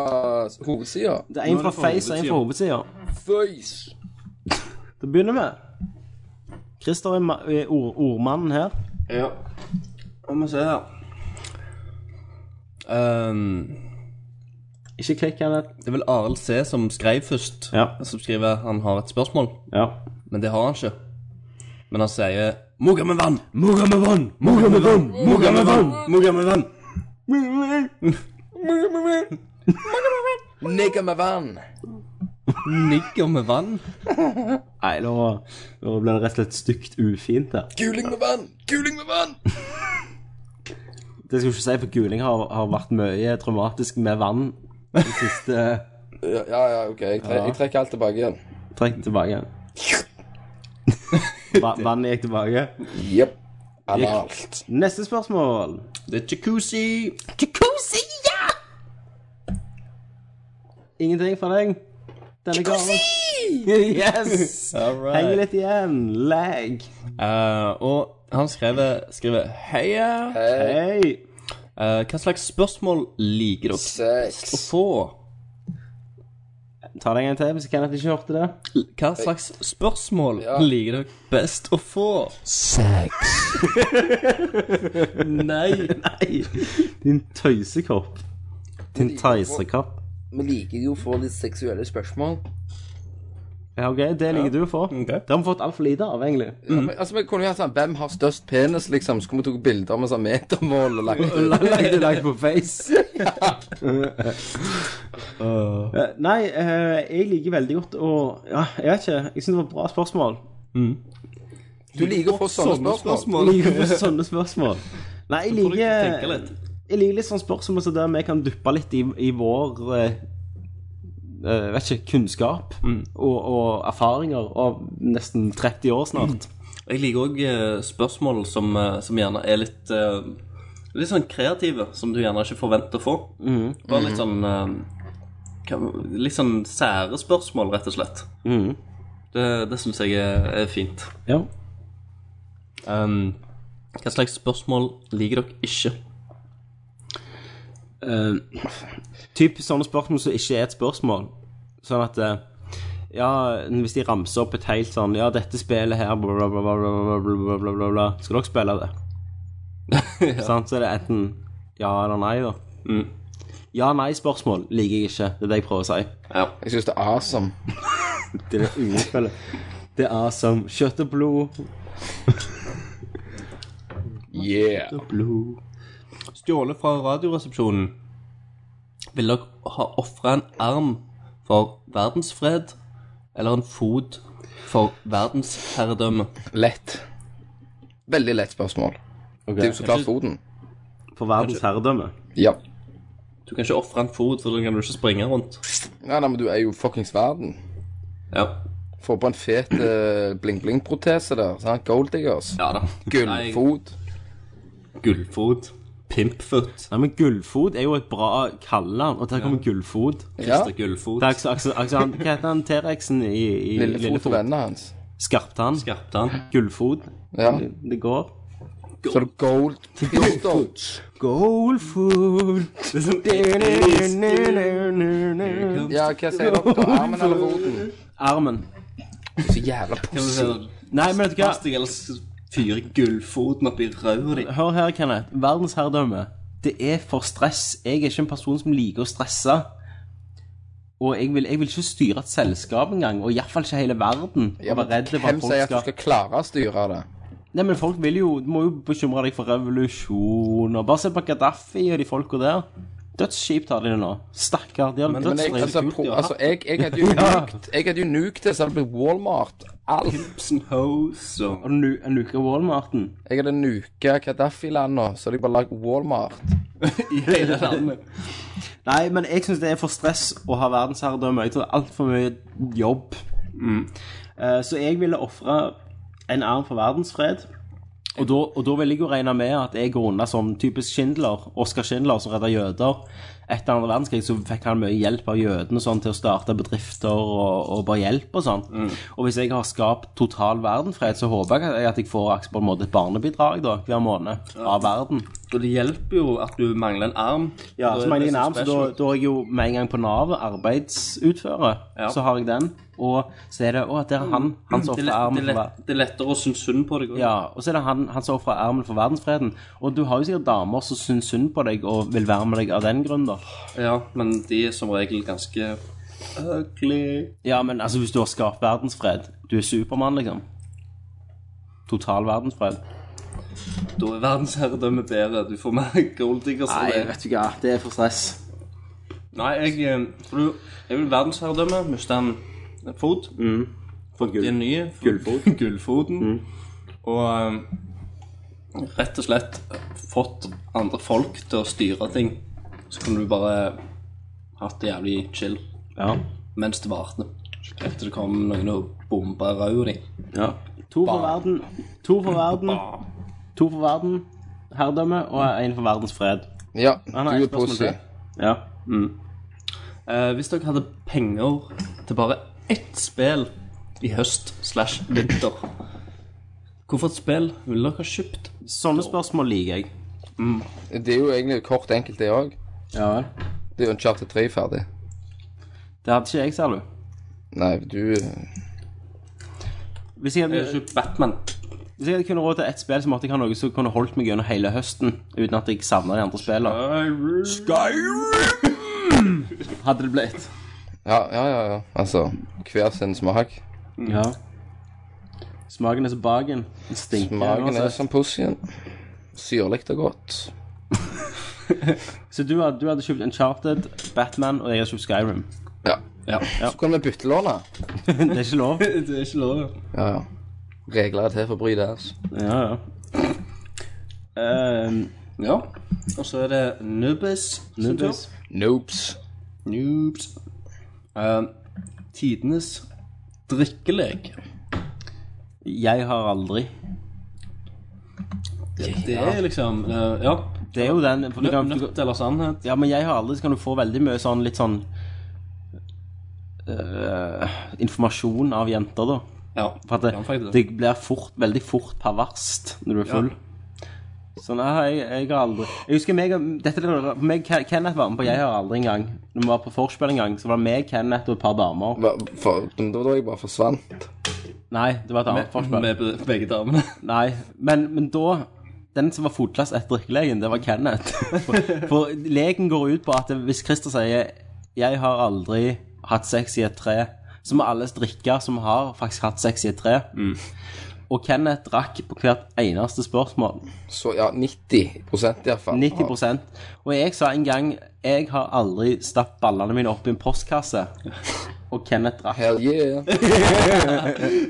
F: hovedsida?
D: Det er en
E: Nå er
D: fra
E: det fra
D: Face og en fra hovedsida.
F: Face.
D: Da begynner vi. Christer er ma- er ord ordmannen her.
E: Ja. La meg se her. Ehm,
D: Ikke klikk han et.
E: det er vel Arild C. som skrev først.
D: Ja.
E: Som skriver han har et spørsmål.
D: Ja.
E: Men det har han ikke. Men han sier Moga med vann! Moga med vann! Moga med vann! Moga med vann! Moga med vann!
F: Nigga med vann.
E: Nigger med vann?
D: Nei, nå, nå ble det rett og slett stygt ufint her.
F: Guling med vann. Guling med vann.
D: Det skal jeg ikke si, for guling har, har vært mye traumatisk med vann de siste
F: Ja, ja, ja, OK. Jeg, tre jeg trekker alt tilbake igjen.
D: Trekk tilbake. Va vannet gikk tilbake.
F: Jepp. Analt.
D: Neste spørsmål.
E: Det er jacuzzi.
D: Ingenting fra deg denne gangen. Yes!
E: All right.
D: Henger litt igjen. Lag.
E: Eh, og han skriver, skriver Heia!
F: Hey,
D: Hei.
E: Eh, hva slags spørsmål liker dere å
F: sex.
E: få?
D: Ta det en gang til hvis Kenneth ikke hørte det.
E: Hva slags spørsmål
F: Ja.
E: liker dere best å få? Sex. Nei.
D: Nei. Din tøysekopp. Din teisekopp.
F: Vi liker jo å få litt seksuelle spørsmål.
D: Mm. Ja, ok, det liker du å få.
E: Mm.
D: Det har vi fått altfor lite av, egentlig.
F: Ja, men, altså, vi kunne jo hatt sånn Hvem har størst penis, liksom? Så kunne vi tatt bilder med sånn metermål og lagt ut.
D: Lagd i dag på Face. Eh, Nei, eh, jeg liker veldig godt å Ja, jeg vet ikke. Jeg syns det var et bra spørsmål.
F: Du liker å få sånne spørsmål.
D: Jeg liker å få sånne spørsmål. Nei, jeg
E: Får dere
D: liker
E: tenke litt.
D: Jeg liker litt sånn spørsmål så der vi kan duppe litt i, i vår eh, eh, vet ikke, kunnskap
E: Mm.
D: og, og erfaringer av nesten 30 år snart.
E: Jeg liker òg spørsmål som, eh, som gjerne er litt eh, Litt sånn kreative, som du gjerne ikke forventer å få. Bare litt sånn eh, hva- Litt sånn sære spørsmål, rett og slett. Det, det syns jeg er, er fint.
D: Ja.
E: Um, hva slags spørsmål liker dere ikke?
D: Eh, typ sånne spørsmål som ikke er et spørsmål. Sånn at eh, Ja, hvis de ramser opp et helt sånn Ja, dette spillet her bla, bla, bla, bla, bla, bla, bla, bla, bla, bla. Skal dere spille det? Sant? Så er det enten ja eller nei, da. Mm. Ja-nei-spørsmål liker jeg ikke. Det er det jeg prøver å si.
F: Jeg syns det er awesome.
D: Det er unnspillet. Det er som kjøtt og blod.
F: Yeah.
E: Stjålet fra Radioresepsjonen. Vil dere ha ofra en arm for verdensfred eller en fot for verdensherredømme?
F: Lett. Veldig lett spørsmål. Det er jo så klart foten.
D: For verdens herredømme.
F: Ja.
E: Du kan ikke ofre en fot, for da kan du ikke springe rundt.
F: Nei, nei, men du er jo fuckings verden.
E: Ja,
F: Få på en fet eh, bling-bling-protese der. sant? Gold diggers.
E: ja da.
F: Gullfot.
E: Nei, Gullfot. Pimpfoot.
D: Nei, men gullfot er jo et bra kallenavn, og der kommer gullfot.
F: Ja.
E: Christer Gullfot.
D: Det er akkurat- akkurat- akkurat han- Hva heter han T-rexen i, i
F: Lillefot og vennene hans.
D: Skarptann.
E: Skarptan.
D: Gullfot.
F: Ja.
D: Det går.
F: Så er det gold pistols.
D: Goldfoot. Det er sånn
F: Ja, hva sier dere da? Armen eller foten?
D: Armen.
F: Så jævla pussig.
D: Nei, men vet du hva?
E: Plastikk eller fyre gullfoten oppi røret ditt.
D: Hør her, Kenneth. Verdensherredømme. Det er for stress. Jeg er ikke en person som liker å stresse. Og jeg vil, jeg vil ikke styre et selskap engang, og iallfall ikke hele verden. og
F: Ja, men
D: være redd for
F: hvem
D: at folk
F: sier at du skal
D: skal-
F: klare å styre det?
D: Nei, men folk vil jo, du må jo bekymre deg for revolusjon og Bare se på Gaddafi og de folka der. Dødskjipt har de det nå. Stakkar. De har
E: Men- men
F: Men jeg,
D: dødsdritt.
F: altså,
E: kult
F: pro,
E: de har
F: altså jeg, jeg hadde jo nukt Jeg hadde jo nukt det, så hadde det blitt Walmart. Alt.
E: Ibsen Hose og
D: Og nu- en uke Walmarten.
F: Jeg hadde nuka Kadafi-land nå, så hadde jeg bare lagd Walmart.
E: i hele landet.
D: Nei, men jeg syns det er for stress å ha verdensherredømme. Jeg tror det er altfor mye jobb.
E: Mm.
D: Eh, Så jeg ville ofre en arm for verdensfred. Og da, og da vil jeg jo regne med at jeg går unna som typisk Schindler, Oskar Schindler, som redda jøder. Etter andre verdenskrig så fikk han mye hjelp av jødene og sånn, til å starte bedrifter og, og bare hjelp og sånn.
E: Mm.
D: Og hvis jeg har skapt total verdenfred, så håper jeg at jeg får akkurat på en måte et barnebidrag da, hver måned av verden.
E: Og det hjelper jo at du mangler en arm.
D: Ja,
E: Da
D: så
E: er
D: mener
E: det
D: jeg nærmest, så da,
E: special.
D: da er jeg jo med en gang på Nav, arbeidsutfører,
E: Ja.
D: så har jeg den. Og så er det å, der er han, han som ofrer
E: Det er, lett, det,
D: armen
E: er
D: for
E: lett,
D: verden.
E: det er lettere å synes synd på deg. også.
D: Ja, og så er det han, han som ofrer armen for verdensfreden. Og du har jo sikkert damer som syns synd på deg og vil være med deg av den grunn, da.
E: ja, men de er som regel ganske ugly.
D: Ja, men altså, hvis du har skapt verdensfred, du er Supermann, liksom. Total verdensfred.
E: Da er verdensherredømme bedre. Du får mer golddiggers av det.
D: du hva, det er for stress.
E: Nei, jeg, eh, for du, jeg vil verdensherredømme. Miste en en fot.
D: Mm. For
E: Det er
D: gull.
E: ny.
D: Gullfot. Mm.
E: Gullfoten. Og eh, rett og slett fått andre folk til å styre ting. Så kunne du bare hatt det jævlig chill
D: Ja.
E: mens det varte. Helt til det kom noen og bomba rauet ditt.
D: ja. To for verden. To for verden. To for verden. Herredømme og én for verdens fred.
F: Ja,
D: Han
F: du
D: har et
F: er
D: Ah, spørsmål
F: pussy.
D: til. Ja.
E: Eh, hvis dere hadde penger til bare ett spill i høst slash vinter, hvorfor et spill ville dere kjøpt?
D: Sånne spørsmål liker jeg.
F: Det er jo egentlig kort enkelt, det òg.
D: Ja vel.
F: Det er jo Uncharted 3 ferdig.
D: Det hadde ikke jeg, ser du.
F: Nei, du
D: Hvis jeg,
E: Jeg
D: hadde,
E: hadde kjøpt Batman.
D: hvis jeg hadde kunne råd til ett spill, så måtte jeg ha noe som kunne holdt meg gjennom hele høsten. Uten at jeg savna de andre spillene. Hadde det blitt.
F: Ja, ja, ja. ja. Altså, hver sin smak.
D: Ja. Smaken er som baken. Den Stinker.
F: Magen er
D: uansett.
F: som pussyen. Syrlig og godt.
D: Så du hadde, du hadde kjøpt Uncharted, Batman, og jeg hadde kjøpt Skyrim.
F: Ja.
E: Ja.
F: Så kan vi byttelåne.
D: det er ikke lov.
E: Det er ikke lov.
F: Ja, ja. Regler er til for å bry deg. altså.
D: Ja, ja. Ehm,
E: Ja. Og så er det Nubbes. sin tur.
D: Nubbes.
F: Noobs.
E: Noobs. Eh, tidenes drikkelek.
D: jeg har aldri.
E: Det er liksom eh, Ja.
D: Det er jo den for du kan,
E: Nø-
D: du,
E: Nødt eller sannhet.
D: Ja, men jeg har aldri, så kan du få veldig mye sånn litt sånn øh, Informasjon av jenter, da.
E: Ja.
D: For
E: Ja,
D: at det,
E: faktisk.
D: det blir fort, veldig fort perverst når du er full. Så nei, jeg, jeg har aldri Jeg husker meg, og- dette, er det- meg Ken- Kenneth var med på Jeg har aldri engang. Når vi var på forspill en gang, så var det meg, Kenneth og et par damer.
F: Hva- for- Det var da jeg bare forsvant.
D: Nei, det var et annet forspill.
E: Med be- begge damene.
D: Nei, men, men da Den som var fotlast etter drikkelegen, det var Kenneth. For, for leken går ut på at hvis Christer sier 'Jeg har aldri hatt sex i et tre', så må alle drikke som har faktisk hatt sex i et tre. Og Kenneth drakk på hvert eneste spørsmål.
F: Så ja, 90 iallfall.
D: 90 Og jeg sa en gang 'Jeg har aldri stappet ballene mine opp i en postkasse'. Og Kenneth drakk.
F: Hell yeah.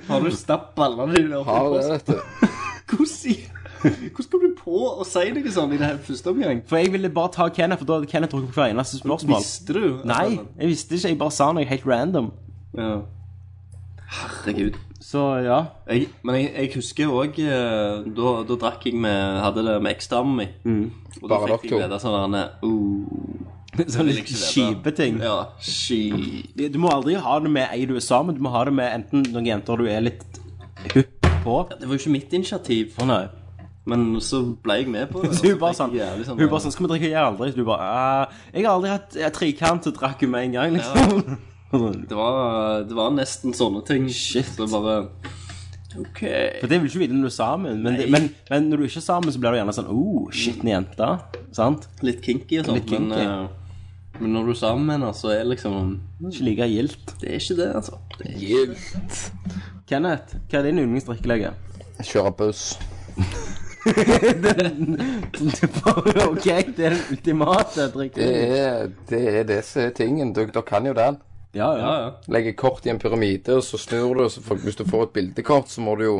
E: Har du stappet ballene dine opp i
F: Har det,
E: posten?
F: vet du.
E: Hvordan sier- hvordan kom du på å si noe sånn i det her første omgang?
D: For jeg ville bare ta Kenneth, for da hadde Kenneth drukket på hvert eneste spørsmål.
E: Visste du? at
D: Nei,
E: han-
D: jeg visste ikke. Jeg bare sa noe helt random.
E: Ja. Herregud.
D: Så ja.
E: Jeg, men jeg, jeg husker òg da, da drakk jeg med Hadde det med eksdamen min.
D: Mm.
E: Og da
F: Bare
E: fikk
F: dere to.
E: jeg vite sånn derne uh,
D: Sånne kjipe ting.
E: Ja. Ski...
D: Du må aldri ha det med ei du er sammen, du må ha det med enten noen jenter du er litt hypp på.
E: Det var jo ikke mitt initiativ,
D: Å nei.
E: men så ble jeg med på det.
D: Så hun
E: og
D: bare
E: fikk
D: sånn,
E: jeg jævlig
D: hun bare sånn 'Skal vi drikke jeg aldri?' Så du bare «Eh, 'Jeg har aldri hatt eh, trekant', så drakk hun med en gang, liksom.
E: det, var, det var nesten sånne ting. Shit. Så bare OK.
D: For det vil du ikke vite når du er sammen, men, det,
E: Nei.
D: men, men når du ikke er sammen, så blir du gjerne sånn 'Oh, skitne jente'. Sant?
E: Litt kinky og sånn,
D: Litt kinky.
E: men eh, Men når du er sammen med henne, så er det liksom
D: Ikke like gildt.
E: Det er ikke det, altså. Det er
D: Kenneth, hva er din yndlingsdrikkelege?
F: Kjøre buss.
D: OK, det er den ultimate
F: Det
D: drikkelegen.
F: er det, er det som er tingen. Dere, dere kan jo den.
D: Ja, ja.
F: Legger kort i en pyramide, og så snur du, og så får, hvis du får et bildekort, så må du jo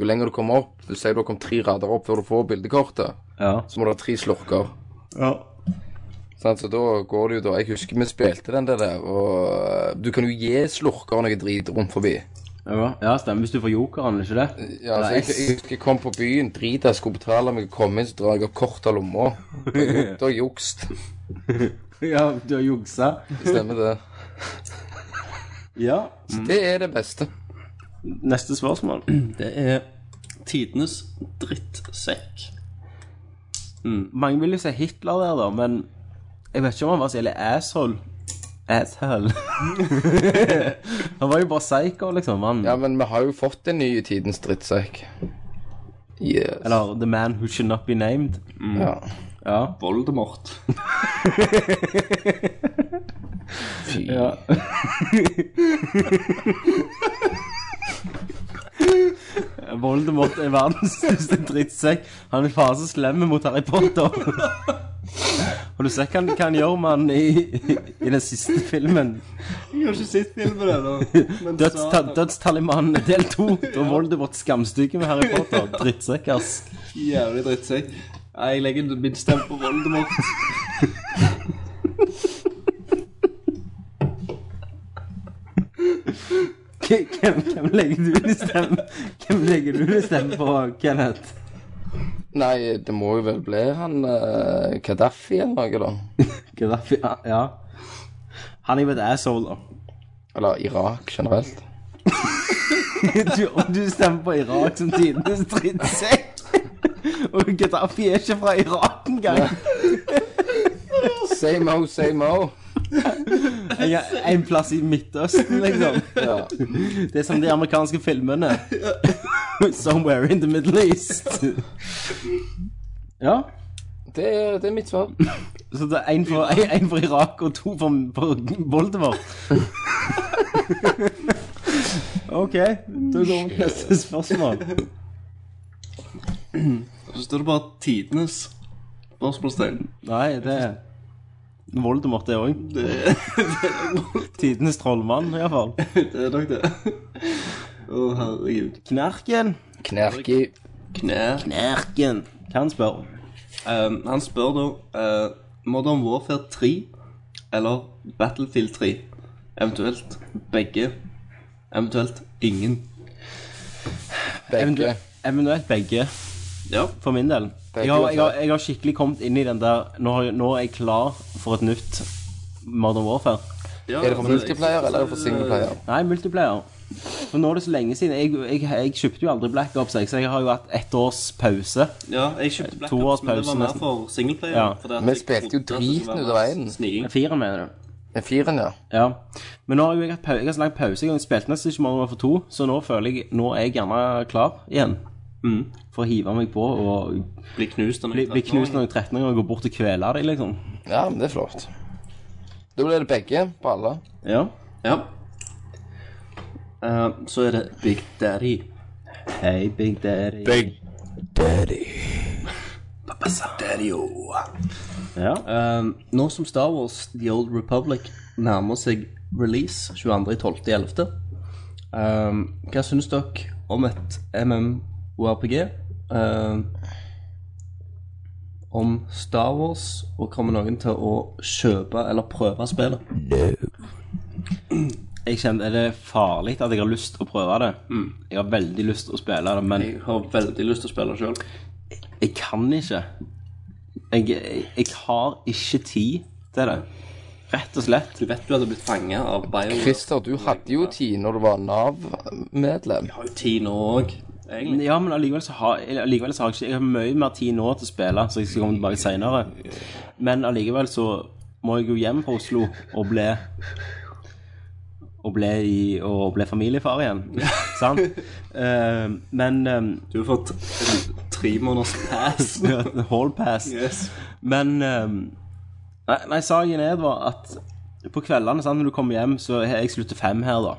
F: Jo lenger du kommer opp Du sier du har kommet tre rader opp før du får bildekortet,
D: ja.
F: så må du ha tre slurker. Sant, så da går det jo da Jeg husker vi spilte den der, og eh, du kan jo gi slurker noe drit rundt forbi.
D: ja. ja stemmer. Hvis du får jokeren, er det ikke det?
F: Ja, altså, jeg, jeg husker jeg kom på byen, drita, skulle betale meg å komme inn, så drar jeg opp kort av lomma. Da har jeg- da har jeg jukst.
D: Ja, du har juksa.
F: Stemmer det.
D: Ja.
F: Så det er det beste.
D: Neste spørsmål.
E: Det er tidenes drittsekk.
D: Mm. Mange vil jo si Hitler der, da, men jeg vet ikke om han var så jævlig asshole. Asshole. han var jo bare psycho, liksom. Han,
F: Ja, men vi har jo fått en ny i tidens drittsekk. Yes.
D: Eller The Man Who Should Not Be Named.
F: ja.
D: Ja.
E: Voldemort.
F: Fy.
D: Voldemort er verdens største drittsekk. Han er faen så slem mot Harry Potter. Og du ser hva han, hva han gjør med han i, i den siste filmen.
E: Jeg har ikke sett filmen ennå. men
D: Dødsta-
E: satan,
D: Dødstalimannen del to. Da Voldemort skamstygge med Harry Potter. Drittsekkers.
E: Jævlig drittsekk. Nei, Jeg legger min stemme på Voldemort.
D: Hvem, hvem legger du din stemme Hvem legger du din stemme på, Kenneth?
F: Nei, det må jo vel bli han eh, Gaddafi eller noe, da.
D: Gaddafi? ja, Ja. Han er jo et asshole, da.
F: Eller Irak generelt.
D: Du, og du stemmer på Irak som tidenes drittsekk. Og Gaddafi er ikke fra Irak engang.
F: Same o, same o.
D: En, en plass i Midtøsten, liksom.
F: Ja.
D: Det er som de amerikanske filmene. Somewhere in the Middle East. Ja.
F: Det, er- det er mitt svar.
D: Så det er én for, en, en for Irak og to for, for Voldemort. OK, da går vi til neste spørsmål.
E: Så står det bare 'tidenes spørsmålstegn'.
D: Nei, det er Voldemort, det òg. Tidenes trollmann, iallfall.
E: Det er nok det. Å, herregud.
D: Knerken.
F: Knerki.
E: Knær.
D: Knerken. Kan spørre.
E: Um, han spør da eh, Modern Warfare 3 eller Battlefield 3. Eventuelt begge. Eventuelt ingen.
F: Begge.
D: Eventuelt begge,
E: Ja.
D: for min del. Jeg har, jeg, har, jeg har skikkelig kommet inn i den der Nå, har jeg- nå er jeg klar for et nytt Modern Warfare.
E: ja
F: Er det for multiplayer eller er det for singleplayer?
D: Nei, multiplayer. For nå er det så lenge siden. Jeg, jeg, jeg kjøpte jo aldri Black Ops, jeg, så jeg har jo hatt ett års pause.
E: Ja, jeg kjøpte Black
D: Eh, To års
E: Ops, men det
D: pause
E: var mer
D: nesten.
E: for singleplayer.
D: Ja.
E: fordi at
F: Vi
E: jeg
F: spilte jo
E: trodde at det skulle
F: driten
E: være
F: ut av veien.
E: Sniking.
D: Fire, mener du?
F: Den firen, ja.
D: Ja. Men nå har jo jeg hatt pause. Jeg har så lang pause. Jeg har spilt nesten ikke Modern Warfare 2, så nå føler jeg nå er jeg gjerne klar igjen. For å hive meg på og
E: Bli knust av
D: bli, bli knust når jeg er 13 år og gå bort og kvele dem, liksom.
F: Ja, men det er flott. Da blir det begge på alle.
D: Ja.
E: Ja. Eh, så er det Big Daddy.
D: Hei, Big Daddy.
F: Big.
E: Daddy-o.
D: Ja.
E: Um, nå som Star Wars The Old Republic nærmer seg release 22.12.11, um, hva syns dere om et MMORPG? Um, om Star Wars, og kommer noen til å kjøpe eller prøve spillet?
D: Jeg kjenner det er farlig at jeg har lyst til å prøve det. Jeg har veldig lyst til å spille det, men
E: Jeg har veldig lyst til å spille sjøl.
D: jeg kan ikke. Jeg, jeg, jeg har ikke tid til det. Rett og slett.
E: Du vet du hadde blitt fanga av Bioware.
F: Christer, du hadde jo tid når du var Nav-medlem.
E: Jeg har jo tid nå òg, egentlig.
D: Ja, men allikevel så har, allikevel så har jeg ikke Jeg har mye mer tid nå til å spille, så jeg skal komme tilbake senere. Men allikevel så må jeg jo hjem fra Oslo og bli Og bli, i, og bli familiefar igjen. Sant? Eh, men eh,
E: Du har fått en tre måneders pass.
D: hall pass.
E: Yes.
D: Men eh, Nei, nei, saken er da at på kveldene sant, når du kommer hjem, så er jeg slutter fem her, da.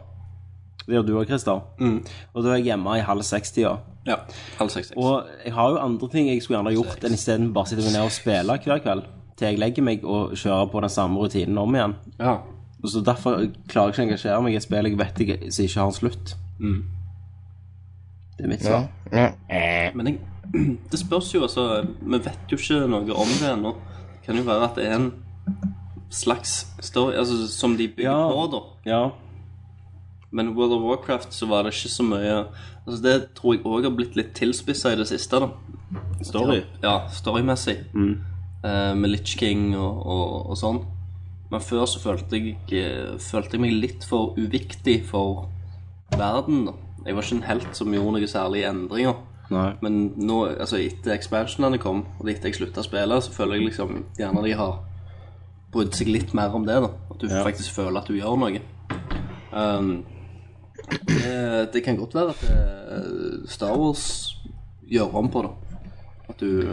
D: Det gjør du òg, Christer. Og da er jeg hjemme i halv seks-tida.
E: Ja, halv seks. seks.
D: Og jeg har jo andre ting jeg skulle gjerne gjort enn isteden bare sitte meg ned og spille hver kveld. Til jeg legger meg og kjører på den samme rutinen om igjen.
E: ja.
D: Og Så Derfor klarer jeg ikke å engasjere meg i et spill jeg vet jeg som ikke har en slutt. Det er mitt svar.
E: Men jeg, det spørs jo, altså Vi vet jo ikke noe om det ennå. Det kan jo være at det er en slags story altså, som de bygger
D: Ja.
E: på, da.
D: Ja.
E: Men i World of Warcraft så var det ikke så mye altså Det tror jeg òg har blitt litt tilspissa i det siste. da
D: Story.
E: Ja, storymessig. Eh, med Litch King og, og, og sånn. Men før så følte jeg, eh, følte jeg meg litt for uviktig for verden. da Jeg var ikke en helt som gjorde noe særlig endringer.
D: Nei.
E: Men nå, altså etter expansionene kom, og etter jeg slutta å spille, så føler jeg liksom gjerne de har brydd seg litt mer om det. da At du faktisk føler at du gjør noe. Um, det, det kan godt være at eh, Star Wars gjør om på det. At du,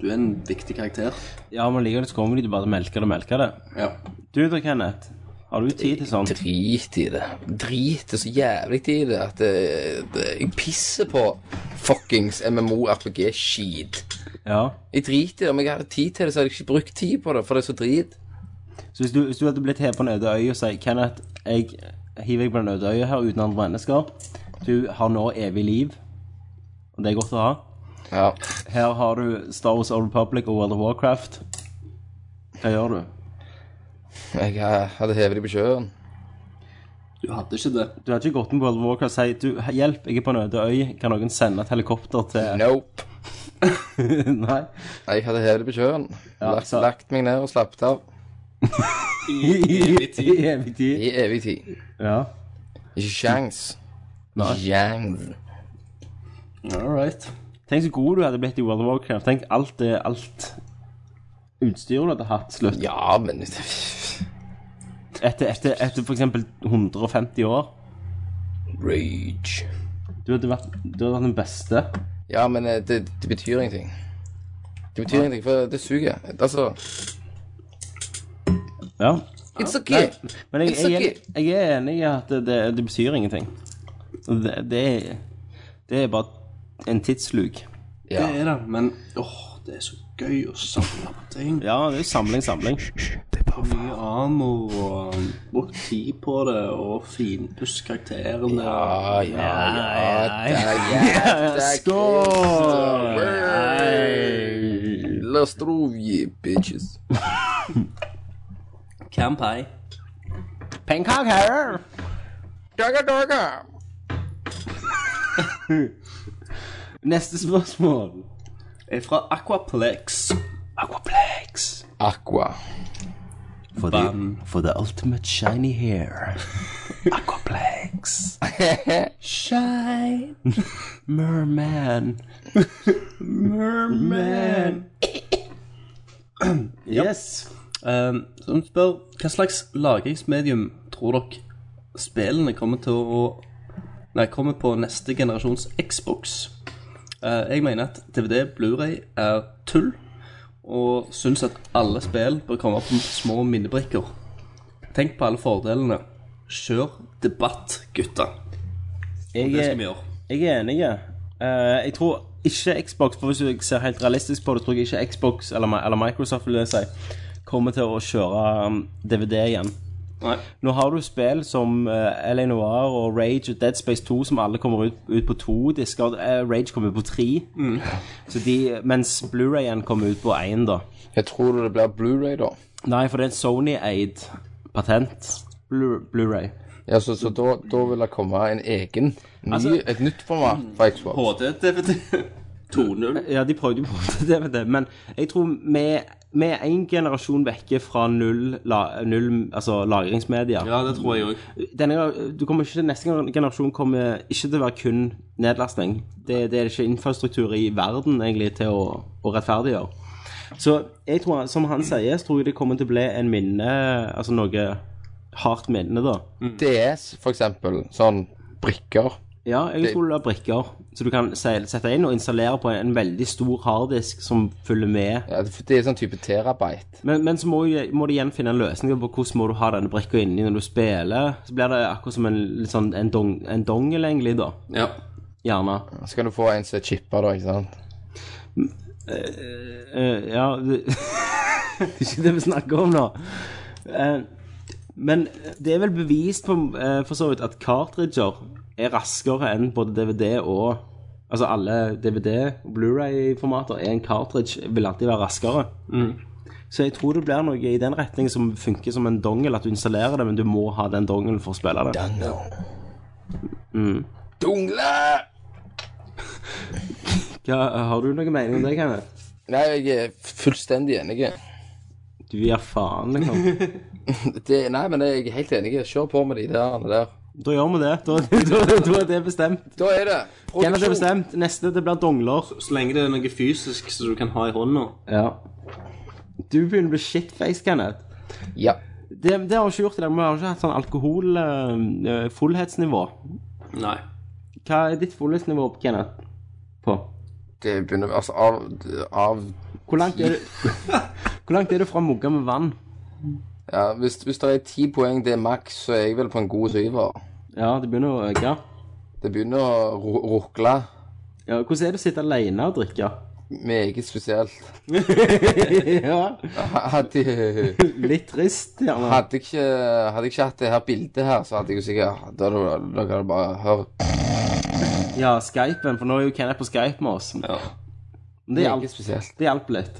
E: du er en viktig karakter.
D: Ja, men likevel så kommer de til bare å melke det og melke det.
E: Ja.
D: Du da, Kenneth. Har du tid til sånt?
F: Drit i det. Drit det så jævlig i det at det, det, jeg pisser på fuckings MMO-RPG-skit.
D: Ja.
F: Jeg driter i det. Om jeg hadde tid til det, så hadde jeg ikke brukt tid på det, for det er så drit.
D: Så hvis du, hvis du hadde blitt hevet på en øde øy og sier Kenneth, jeg hiver deg på den øde øya her uten andre mennesker. Du har nå evig liv. Og det er godt å ha.
F: Ja.
D: Her har du Star Wars Old Republic og World of Warcraft. Hva gjør du?
F: Jeg eh, hadde hevet dem på sjøen.
E: Du hadde ikke det.
D: Du hadde ikke gått med på World of Warcraft og sagt du, 'Hjelp, jeg er på en øde øy. Kan noen sende et helikopter til
F: Nope.
D: Nei.
F: Jeg hadde hevet dem på sjøen.
D: Ja,
F: Lagt,
D: så-
F: lagt meg ned og slappet av
D: I evig tid.
F: i evig tid.
D: Ja.
F: Ikke sjans. Sjans.
E: All right.
D: Tenk så god du hadde blitt i World of Warcraft. Tenk alt det alt utstyret du hadde hatt, slutt.
F: Ja, men
D: Etter, etter, etter f.eks. 150 år.
F: Rage.
D: Du hadde vært, du hadde vært den beste.
F: Ja, men eh, det, det betyr ingenting. Det betyr ingenting, for det suger. Altså
D: Ja.
F: It's okay.
D: Men jeg,
F: It's
D: jeg,
F: okay.
D: jeg, er enig i at det, det, det betyr ingenting. Det, det, er- det er bare en tidsluk.
F: Ja.
E: Det er det, men åh, det er så gøy å samle på ting.
D: Ja, det er jo samling, samling.
E: Mye amo og um, brukt tid på det og finpuss karakterene.
F: Ja, ja, ja, ja,
D: ja,
F: ja
D: skål!
F: Skål! La strovje, bitches.
E: Campai.
D: Pengkaker!
F: Daga, daga!
D: Neste spørsmål.
E: er fra Aquaplex.
D: Aquaplex.
F: Aqua.
D: For the, for the ultimate shiny hair. Aquaplex. Shine. Merman. Merman. yes.
E: Um, som spør hva slags lagringsmedium tror dere spillene kommer til å Nei, kommer på neste generasjons Xbox? Eh, jeg mener at DVD Blu-ray er tull, og syns at alle spill bør komme på små minnebrikker. Tenk på alle fordelene. Kjør debatt, gutter.
D: Jeg,
E: Det
D: er-
E: skal vi gjøre.
D: jeg er enig. Eh, jeg tror ikke Xbox, for hvis jeg ser helt realistisk på det, tror jeg ikke Xbox eller, Mi- eller Microsoft vil jeg si, kommer til å kjøre um, DVD igjen.
E: Nei.
D: Nå har du spill som uh, LA Noir og Rage og Dead Space 2 som alle kommer ut, ut på to disker. Eh, Rage kommer ut på tre. Så de, mens Blu-rayen kommer ut på én, da.
F: Jeg tror det blir Blu-ray, da.
D: Nei, for det er en Sony-eid patent. Blu- Blu-ray.
F: Ja, så, så da, da vil det komme en egen, ny,
D: Altså-
F: et nytt format for Xbox.
E: HD-DVD 2.0.
D: ja, de prøvde jo på det med det, men jeg tror vi vi er én generasjon vekke fra null, la, null altså lagringsmedier.
E: Ja, det tror jeg òg.
D: Denne, gang- du kommer ikke til, neste gen- generasjon kommer ikke til å være kun nedlastning. Det, det er ikke infrastruktur i verden egentlig til å, å rettferdiggjøre. Så jeg tror, som han sier, så tror jeg det kommer til å bli en minne Altså noe hardt minne, da.
F: DS, for eksempel. Sånn brikker.
D: Ja, jeg skulle ha brikker som du kan se- sette inn og installere på en, en veldig stor harddisk som følger med.
F: Ja, det det er sånn type terabyte.
D: Men, men så må, jo- må de igjen finne en løsning på hvordan må du ha denne brikka inni når du spiller. Så blir det akkurat som en, litt sånn, en, dong, en dongel, egentlig, da.
G: Ja.
D: Gjerne.
F: Så kan du få en som er chippa, da, ikke sant?
D: Eh, ja det, det er ikke det vi snakker om nå. Eh, men det er vel bevist på, eh, for så vidt at cartridger er raskere enn både DVD og Altså alle DVD- og Blu-ray-formater er en cartridge, vil alltid være raskere. Så jeg tror det blir noe i den retning som funker som en dongel, at du installerer det, men du må ha den dongelen for å spille det.
F: Dungle!
D: Hva, har du noen mening om det, Kenneth?
F: Nei, jeg er fullstendig enig.
D: Du gir faen, liksom.
F: Det, nei, men jeg er helt enig. Kjør på med de der. de der.
D: Da gjør vi det. Da, da, da, da er det bestemt.
F: Da er det
D: Kenneth er
F: produksjon.
D: bestemt. Neste, det blir dongler.
E: Så lenge det er noe fysisk som du kan ha i hånda.
D: Ja. Du begynner å bli shitface, Kenneth.
F: Ja.
D: Det, det har vi ikke gjort i dag. Vi har ikke hatt sånn alkoholfullhetsnivå.
E: Nei.
D: Hva er ditt fullhetsnivå, Kenneth? På?
F: Det begynner Altså, av, av
D: Hvor langt er du, Hvor langt er du fra mugga med vann?
F: ja, hvis, hvis det er ti poeng det er maks, så er jeg vel på en god syver.
D: Ja, det begynner å øke.
F: Det begynner å ru- rukle.
D: Ja, hvordan er det å sitte alene og drikke?
F: Meget spesielt.
D: ja.
F: Hadde,
D: Litt trist, gjerne.
F: hadde, jeg ikke, hadde jeg ikke hatt det her bildet her, så hadde jeg jo sikkert Da, da, da kan du bare høre.
D: Ja, Skypen, for nå er jo Kenneth på Skype med oss.
E: Ja.
D: Men Det
F: Meget
D: hjalp-
F: spesielt.
D: det hjalp litt.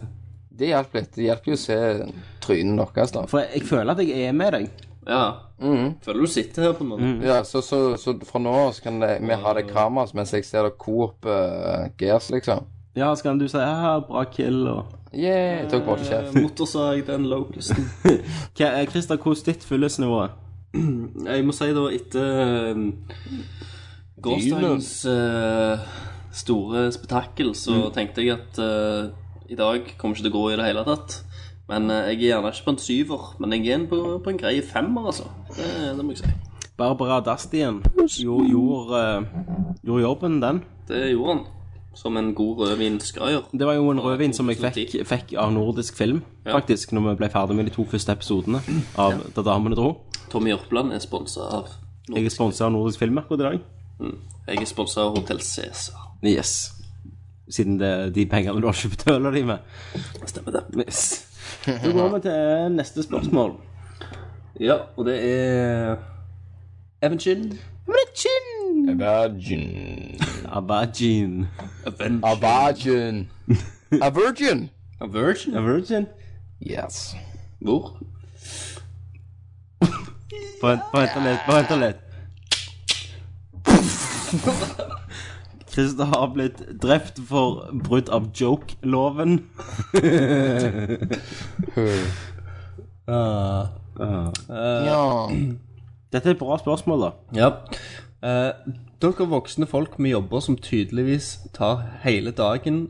F: Det hjelper litt. Det hjelper jo å se trynene deres, da.
D: For jeg, jeg føler at jeg er med deg.
E: ja. Føler du sitter her på en måte.
F: Ja, så, så, så fra nå av så kan det, vi ha det kramas mens jeg ser det Coop uh, Gears, liksom.
D: Ja, så kan du si ja, 'bra kill' og
F: Yeah, tok bare til
E: Eh,
F: kjeft.
E: Motorsag, den locusten.
D: Hva er Christer, hvordan er ditt fullhetsnivå? er?
E: Jeg må si da, etter eh, gårsdagens eh, store spetakkel, så tenkte jeg at eh, i dag kommer ikke til å gå i det hele tatt. Men eh, jeg er gjerne ikke på en syver, men jeg er en på, på en grei femmer, altså. Det, det må jeg si.
D: Barbara Dastien gjorde, gjorde, eh, gjorde jobben, den.
E: Det gjorde han. Som en god rødvin skal gjøre.
D: Det var jo en rødvin som jeg fikk, fikk av nordisk film, faktisk, når vi ble ferdig med de to første episodene av Da damene dro.
E: Tommy Jørpeland er sponsa av
D: Jeg er sponsa av Nordisk Film akkurat i dag.
E: Jeg er sponsa av Hotell Cæsar.
D: Yes. Siden det er de pengene du har ikke betøla de med.
E: Stemmer det.
D: Yes. Så går vi til eh, neste spørsmål.
E: Ja, og det er Evenkin.
F: Virgin.
D: Abajin.
F: A virgin. A virgin.
E: A virgin?
D: A virgin?
F: Yes.
E: Hvor?
D: Bare bare vent litt. Bare vent litt. Christer har blitt drept for brudd av joke-loven.
F: Ja.
D: Dette er et bra spørsmål, da.
E: Ja. Eh, dere voksne folk med jobber som tydeligvis tar hele dagen,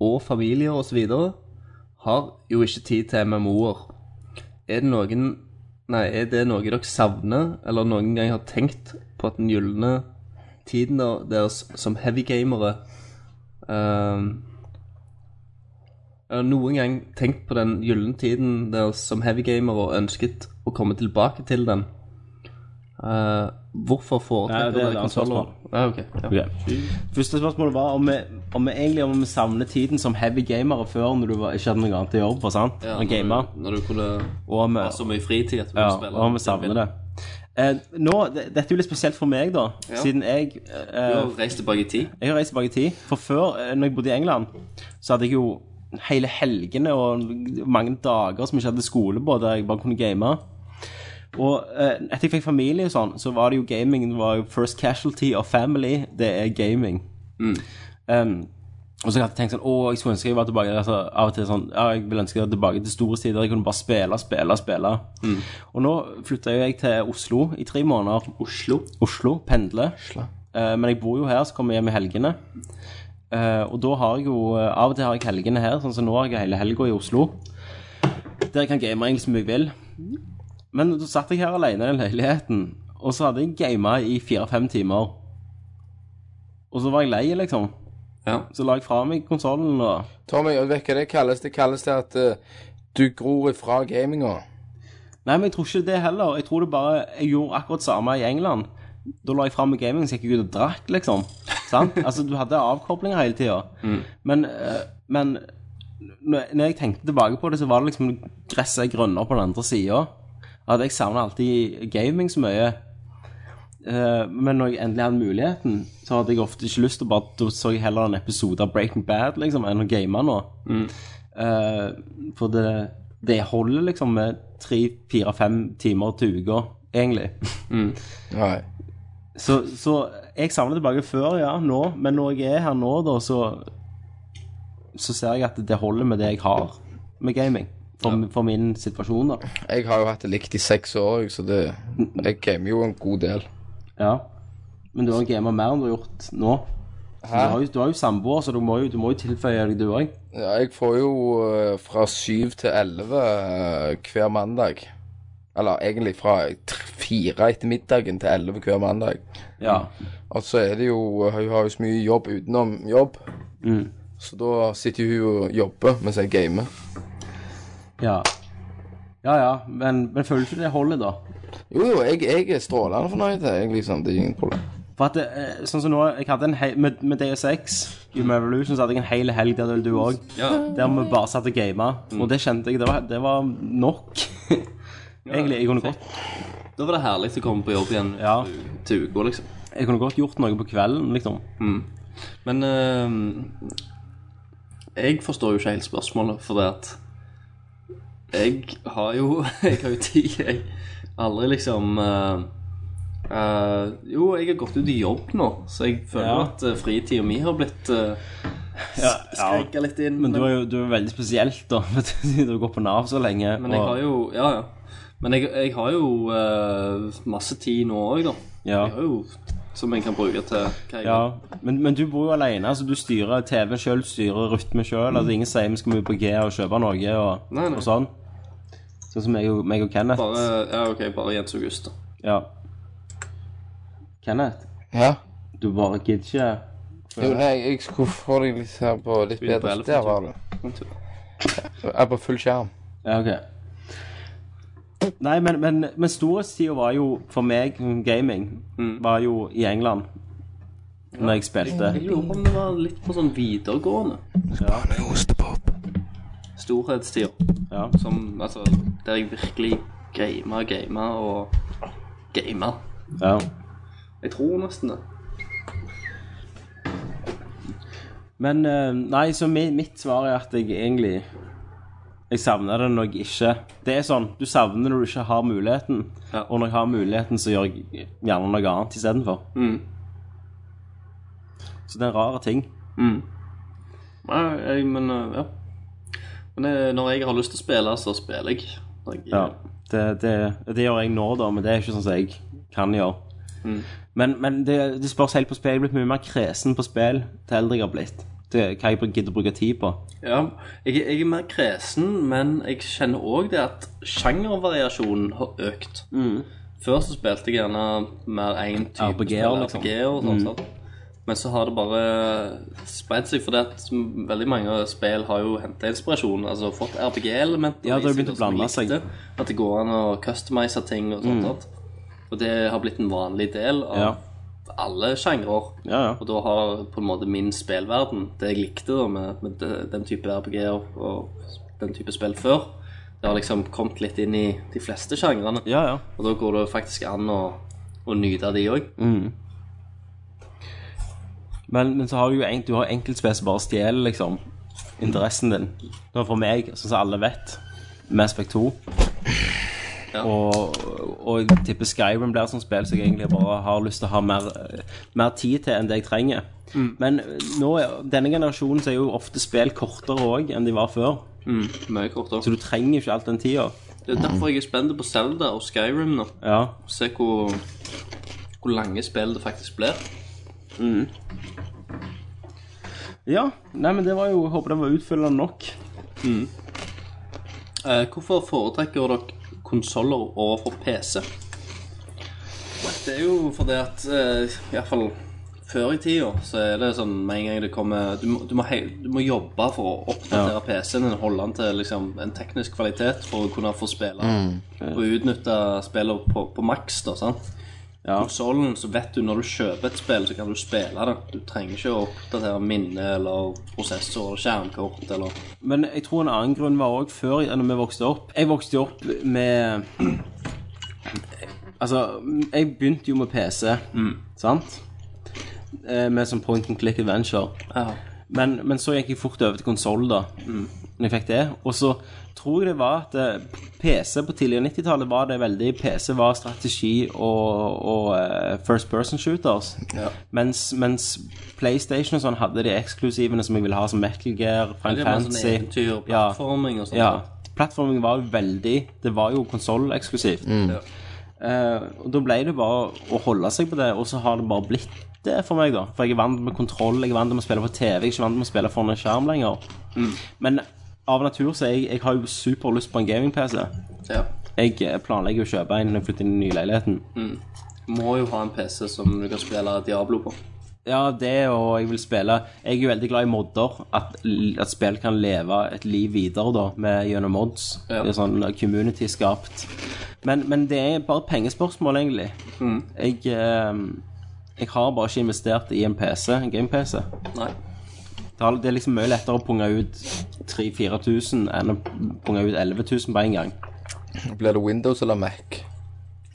E: og familier osv., har jo ikke tid til MMO-er. Er det noen Nei, er det noe dere savner, eller noen gang har tenkt på at den gylne tiden der- deres som heavygamere ehm, Jeg har noen gang tenkt på den gylne tiden deres som heavygamere og ønsket å komme tilbake til den. Eh, hvorfor
D: Nei,
E: foretrekker
D: det er et
E: dere
D: annet
E: konsoller? Ja, ok. Ja.
D: Første spørsmålet var om vi, om vi egentlig om vi savner tiden som heavy gamere før, når du var, ikke hadde noe annet å gjøre på, sant?
E: Ja,
D: Å game.
E: når, du, når du kunne
D: Og om
E: ha så
D: vi,
E: mye Altså, fritid at du
D: ja,
E: kunne spille.
D: og om vi savner det. Eh, nå, det, Dette er jo litt spesielt for meg, da. Siden jeg
E: Du
D: eh,
E: har reist tilbake i tid.
D: Jeg har reist tilbake i tid. For før, eh, når jeg bodde i England, så hadde jeg jo hele helgene og mange dager som jeg ikke hadde skole på, der jeg bare kunne game. Og eh, etter jeg fikk familie og sånn, så var det jo gaming. Det var jo first casualty of family, det er gaming. Um, og så hadde jeg tenkt sånn Å, jeg skulle ønske jeg var tilbake altså, Av og til sånn Ja, jeg vil ønske jeg var tilbake til store tider. Jeg kunne bare spille, spille, spille. Og nå flytta jo jeg til Oslo i tre måneder. Oslo? Oslo, Pendle. Eh, men jeg bor jo her, så kommer jeg hjem i helgene. Eh, og da har jeg jo eh, Av og til har jeg helgene her, sånn som nå har jeg hele helga i Oslo. Der jeg kan game egentlig som jeg vil. Men da satt jeg her alene i den leiligheten, Og så hadde jeg gama i fire-fem timer. Og så var jeg lei, liksom.
E: Ja.
D: Så la jeg fra meg konsollen og
F: Tommy, vet du hva det kalles? Det kalles det at eh, du gror ifra gaminga.
D: Nei, men jeg tror ikke det heller. Jeg tror det bare Jeg gjorde akkurat samme i England. Da la jeg fram gaming, så gikk jeg ut og drakk, liksom. Sant? Altså, du hadde avkoblinger hele tida. Men, eh, men når når jeg tenkte tilbake på det, så var det liksom gresset er grønnere på den andre sida. At jeg savner alltid gaming så mye. Eh, Men når jeg endelig hadde muligheten, så hadde jeg ofte ikke lyst til å bare Da så jeg heller en episode av Breaking Bad liksom, enn å game nå. Eh, for det, det holder liksom med tre, fire, fem timer til uka, egentlig.
F: Nei.
D: Så, så jeg savner tilbake før, ja, nå. Men når jeg er her nå, da, så, så ser jeg at det holder med det jeg har med gaming. For, for min situasjon, da.
F: Jeg har jo hatt det likt i seks år, jeg, så det, jeg gamer jo en god del.
D: Ja. Men du har gama mer enn du har gjort nå. Så Du har jo, du har jo samboer, så du må jo, du må jo tilføye deg, du òg.
F: Ja, jeg får jo eh, fra syv til elleve eh, hver mandag. Eller egentlig fra tr- fire etter middagen til elleve hver mandag.
D: Ja.
F: Og så er det jo Hun har jo så mye jobb utenom jobb. Mm. Så da sitter jo hun og jobber mens jeg gamer.
D: Ja ja, ja. Men, men føler du ikke det holder, da?
F: Jo, jo, jeg, jeg er strålende fornøyd. Jeg, liksom, det er ingen problem.
D: For at, eh, sånn som nå, jeg hadde en hei, med, med DSX, Human Revolution, så hadde jeg en hel helg der du òg. Der vi bare satt og gama.
E: Mm.
D: Og det kjente jeg, det var, det var nok. Egentlig, jeg kunne, godt,
E: Da var det herlig å komme på jobb igjen
D: Ja.
E: til uka, liksom.
D: jeg kunne godt gjort noe på kvelden, liksom.
E: Men eh, jeg forstår jo ikke helt spørsmålet, for det at jeg har jo Jeg har jo tid, jeg. Aldri liksom eh, eh, Jo, jeg har gått ut i jobb nå, så jeg føler
D: Ja.
E: at uh, fritida mi har blitt uh, skrenka litt inn.
D: Men du er jo du er veldig spesielt, da. vet du, siden Du har gått på Nav så lenge.
E: men jeg har jo Ja, ja. Men jeg, jeg har jo eh, masse tid nå òg, da.
D: Ja.
E: Jeg har jo, som jeg kan bruke til hva jeg
D: ja.
E: vil.
D: Men, men du bor jo alene, så du styrer TV sjøl, styrer rytme sjøl. Altså, ingen sier vi skal ut på G og kjøpe noe og,
E: Mm. Nei, nei.
D: og sånn. Sånn som meg og, meg og Kenneth.
E: Bare, ja, ok, bare Jens August, da.
D: Ja. Kenneth?
F: Ja.
D: Du bare gidder ikke
F: Jo, nei, jeg skulle få deg litt her på litt
E: Begynner på
F: bedre.
E: 11,
F: Der var du. Jeg er på full skjerm.
D: Ja, ok. Nei, men, men, men storhetstida var jo for meg gaming var jo i England. Når jeg spilte.
E: Jeg lurer på om det var litt på sånn videregående. Storhetstida.
D: Ja.
E: Som, altså, der jeg virkelig gama, gama og gama.
D: ja.
E: Jeg tror nesten det.
D: Men eh, nei, så mi, mitt svar er at jeg egentlig Jeg savner det når jeg ikke Det er sånn, du savner når du ikke har muligheten.
E: Ja.
D: Og når jeg har muligheten, så gjør jeg gjerne noe annet istedenfor.
E: Mm.
D: Så det er en rar ting.
E: Mm. Nei, jeg, men eh, ja. Men eh, når jeg har lyst til å spille, så spiller jeg. Når jeg
D: Ja, det, det, det gjør jeg nå, da, men det er ikke sånn som jeg kan gjøre. Mm. Men, men det, det spørs helt på spill. Jeg er blitt mye mer kresen på spill til eldre jeg har blitt. Det, er hva jeg gidder å bruke tid på.
E: Ja, jeg, jeg er mer kresen, men jeg kjenner òg det at sjangervariasjonen har økt.
D: Mm.
E: Før så spilte jeg gjerne mer én type
D: RPG-er,
E: spill,
D: liksom.
E: RPG-er og sånt, sant? Men så har det bare spredt seg, fordi at veldig mange spill har jo henta inspirasjon. Altså fått RPG-elementer
D: Ja, det har begynt å
E: og som jeg
D: blande seg. Mm.
E: likte. At det går an å customize ting og sånt. sant? Og det har blitt en vanlig del av
D: Ja.
E: alle sjangrer.
D: Ja, ja.
E: Og da har på en måte min spillverden, det jeg likte da med, med de- den type RPG og, og den type spill før, det har liksom kommet litt inn i de fleste sjangrene.
D: Ja, ja.
E: Og da går det faktisk an å, å nyte de òg.
D: Mm. Men, men så har du jo en, du har enkeltspill som bare stjeler liksom, interessen din. Nå for meg, sånn som alle vet, Mass Effect 2.
E: Ja.
D: Og, og jeg tipper Skyrim blir et sånt spill som jeg egentlig bare har lyst til å ha mer, mer tid til enn det jeg trenger. Men nå, er- denne generasjonen så er jo ofte spill kortere òg enn de var før.
E: Mm, Mye kortere.
D: Så du trenger ikke alt den tida.
E: Det er derfor jeg er spent på Zelda og Skyrim nå.
D: Ja.
E: Se hvor, hvor lange spill det faktisk blir.
D: ja. Nei, men det var jo jeg Håper det var utfyllende nok.
E: Eh, hvorfor foretrekker dere konsoller overfor PC? Det er jo fordi at eh, i hvert fall før i tida så er det sånn med en gang det kommer Du må, du må, hei- du må jobbe for å oppdatere PC-en din, holde den til liksom, en teknisk kvalitet for å kunne få spille og utnytte spillet på, på maks. da, sant?
D: Ja.
E: Konsollen, så vet du når du kjøper et spill, så kan du spille det. Du trenger ikke å oppdatere minne eller prosessor eller skjermkort eller
D: Men jeg tror en annen grunn var òg før, når vi vokste opp Jeg vokste jo opp med Altså, jeg begynte jo med PC,
E: Mm.
D: sant? Eh, Med sånn point and click adventure. Men, men så gikk jeg fort over til konsoll, da.
E: Mm.
D: Når jeg fikk det. Og så tror jeg det var at eh, PC på tidligere 90-tallet var det veldig PC var strategi og, og eh, first person shooters. Mens, mens PlayStation og sånn hadde de eksklusivene som jeg ville ha, som Metal Gear, Final
E: Det var sånn
D: Fantasy
E: eventyr,
D: Ja.
E: plattforming og sånn.
D: Ja. Plattforming var jo veldig Det var jo konsolleksklusivt.
E: Mm. Ja.
D: Eh, og da ble det bare å holde seg på det, og så har det bare blitt det for meg, da. For jeg er vant med kontroll, jeg er vant med å spille på TV, jeg er ikke vant med å spille foran en skjerm lenger. Men av natur så er jeg, jeg har jo superlyst på en gaming-PC.
E: Ja.
D: Jeg eh, planlegger jo å kjøpe en når jeg flytter inn i den nye leiligheten.
E: Må jo ha en PC som du kan spille Diablo på.
D: Ja, det og jeg vil spille Jeg er jo veldig glad i modder. At, at spill kan leve et liv videre da med gjennom mods.
E: Ja.
D: Det er sånn community-skapt. Men, men det er bare et pengespørsmål, egentlig. Jeg, eh, jeg har bare ikke investert i en PC, en game-PC.
E: Nei.
D: Det har- det er liksom mye lettere å punge ut 3000-4000 enn å punge ut 11000 på en gang.
F: Blir det Windows eller Mac?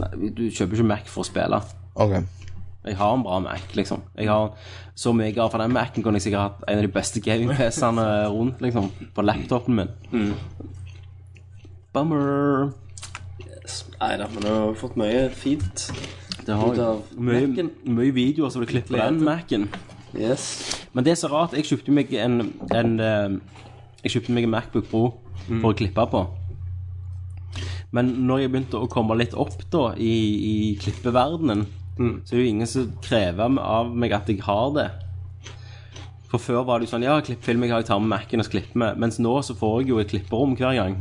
D: Nei, Du kjøper ikke Mac for å spille.
F: Ok.
D: Jeg har en bra Mac, liksom. Jeg har så mye jeg har fra den Mac-en, kunne jeg sikkert hatt en av de beste gaming-PC-ene rundt, liksom, på laptopen min. Bummer.
E: Nei da, men du har fått mye fint.
D: Det har
E: Ut av
D: jeg. Mye,
E: Mac-en.
D: mye videoer som blir klippet på den Mac-en.
E: Yes.
D: Men det er så rart. Jeg kjøpte meg en, en eh, Jeg kjøpte meg en Macbook Pro for å klippe på. Men når jeg begynte å komme litt opp da i, i klippeverdenen, så er det jo ingen som krever av meg at jeg har det. For før var det jo sånn Ja, klipp film jeg har, jeg tar med Mac-en og så klipper vi. Mens nå så får jeg jo et klipperom hver gang.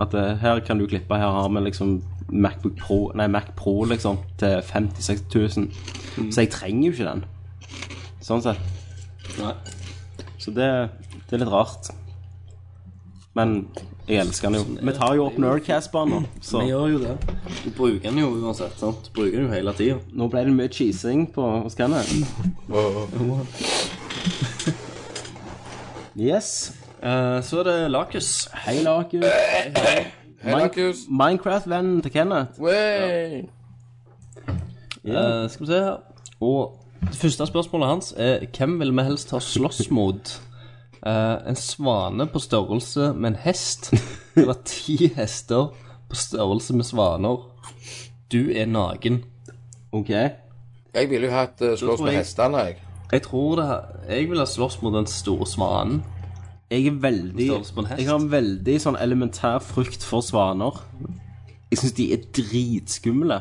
D: At eh, her kan du klippe, her har vi liksom Macbook Pro Nei, Mac Pro, liksom, til 50 000-60 000. Så jeg trenger jo ikke den, sånn sett.
E: Nei.
D: Så det, det er litt rart. Men jeg elsker den jo. Vi tar jo opp Nerdcast-banen, så
E: Vi gjør jo det. Du bruker den jo uansett. sant? Du bruker den jo hele tida.
D: nå ble det mye cheesing på hos Kenneth. Yes.
E: Eh, så er det Lakus.
D: Hei, Laku.
F: Hei, Markus.
D: Minecraft-vennen til Kenneth.
F: Wey!
E: Eh, skal vi se her. Og det første spørsmålet hans er hvem vil vi helst ha slåss mot? Eh, en svane på størrelse med en hest eller ti hester på størrelse med svaner? Du er naken.
D: OK.
F: Jeg ville jo hatt eh, slåss
E: tror
F: med
E: jeg-
F: hestene, jeg.
E: Jeg tror det Jeg ville slåss mot den store svanen.
D: Jeg er veldig
E: Størrelse på en hest.
D: Jeg har en veldig sånn elementær frykt for svaner. Jeg syns de er dritskumle.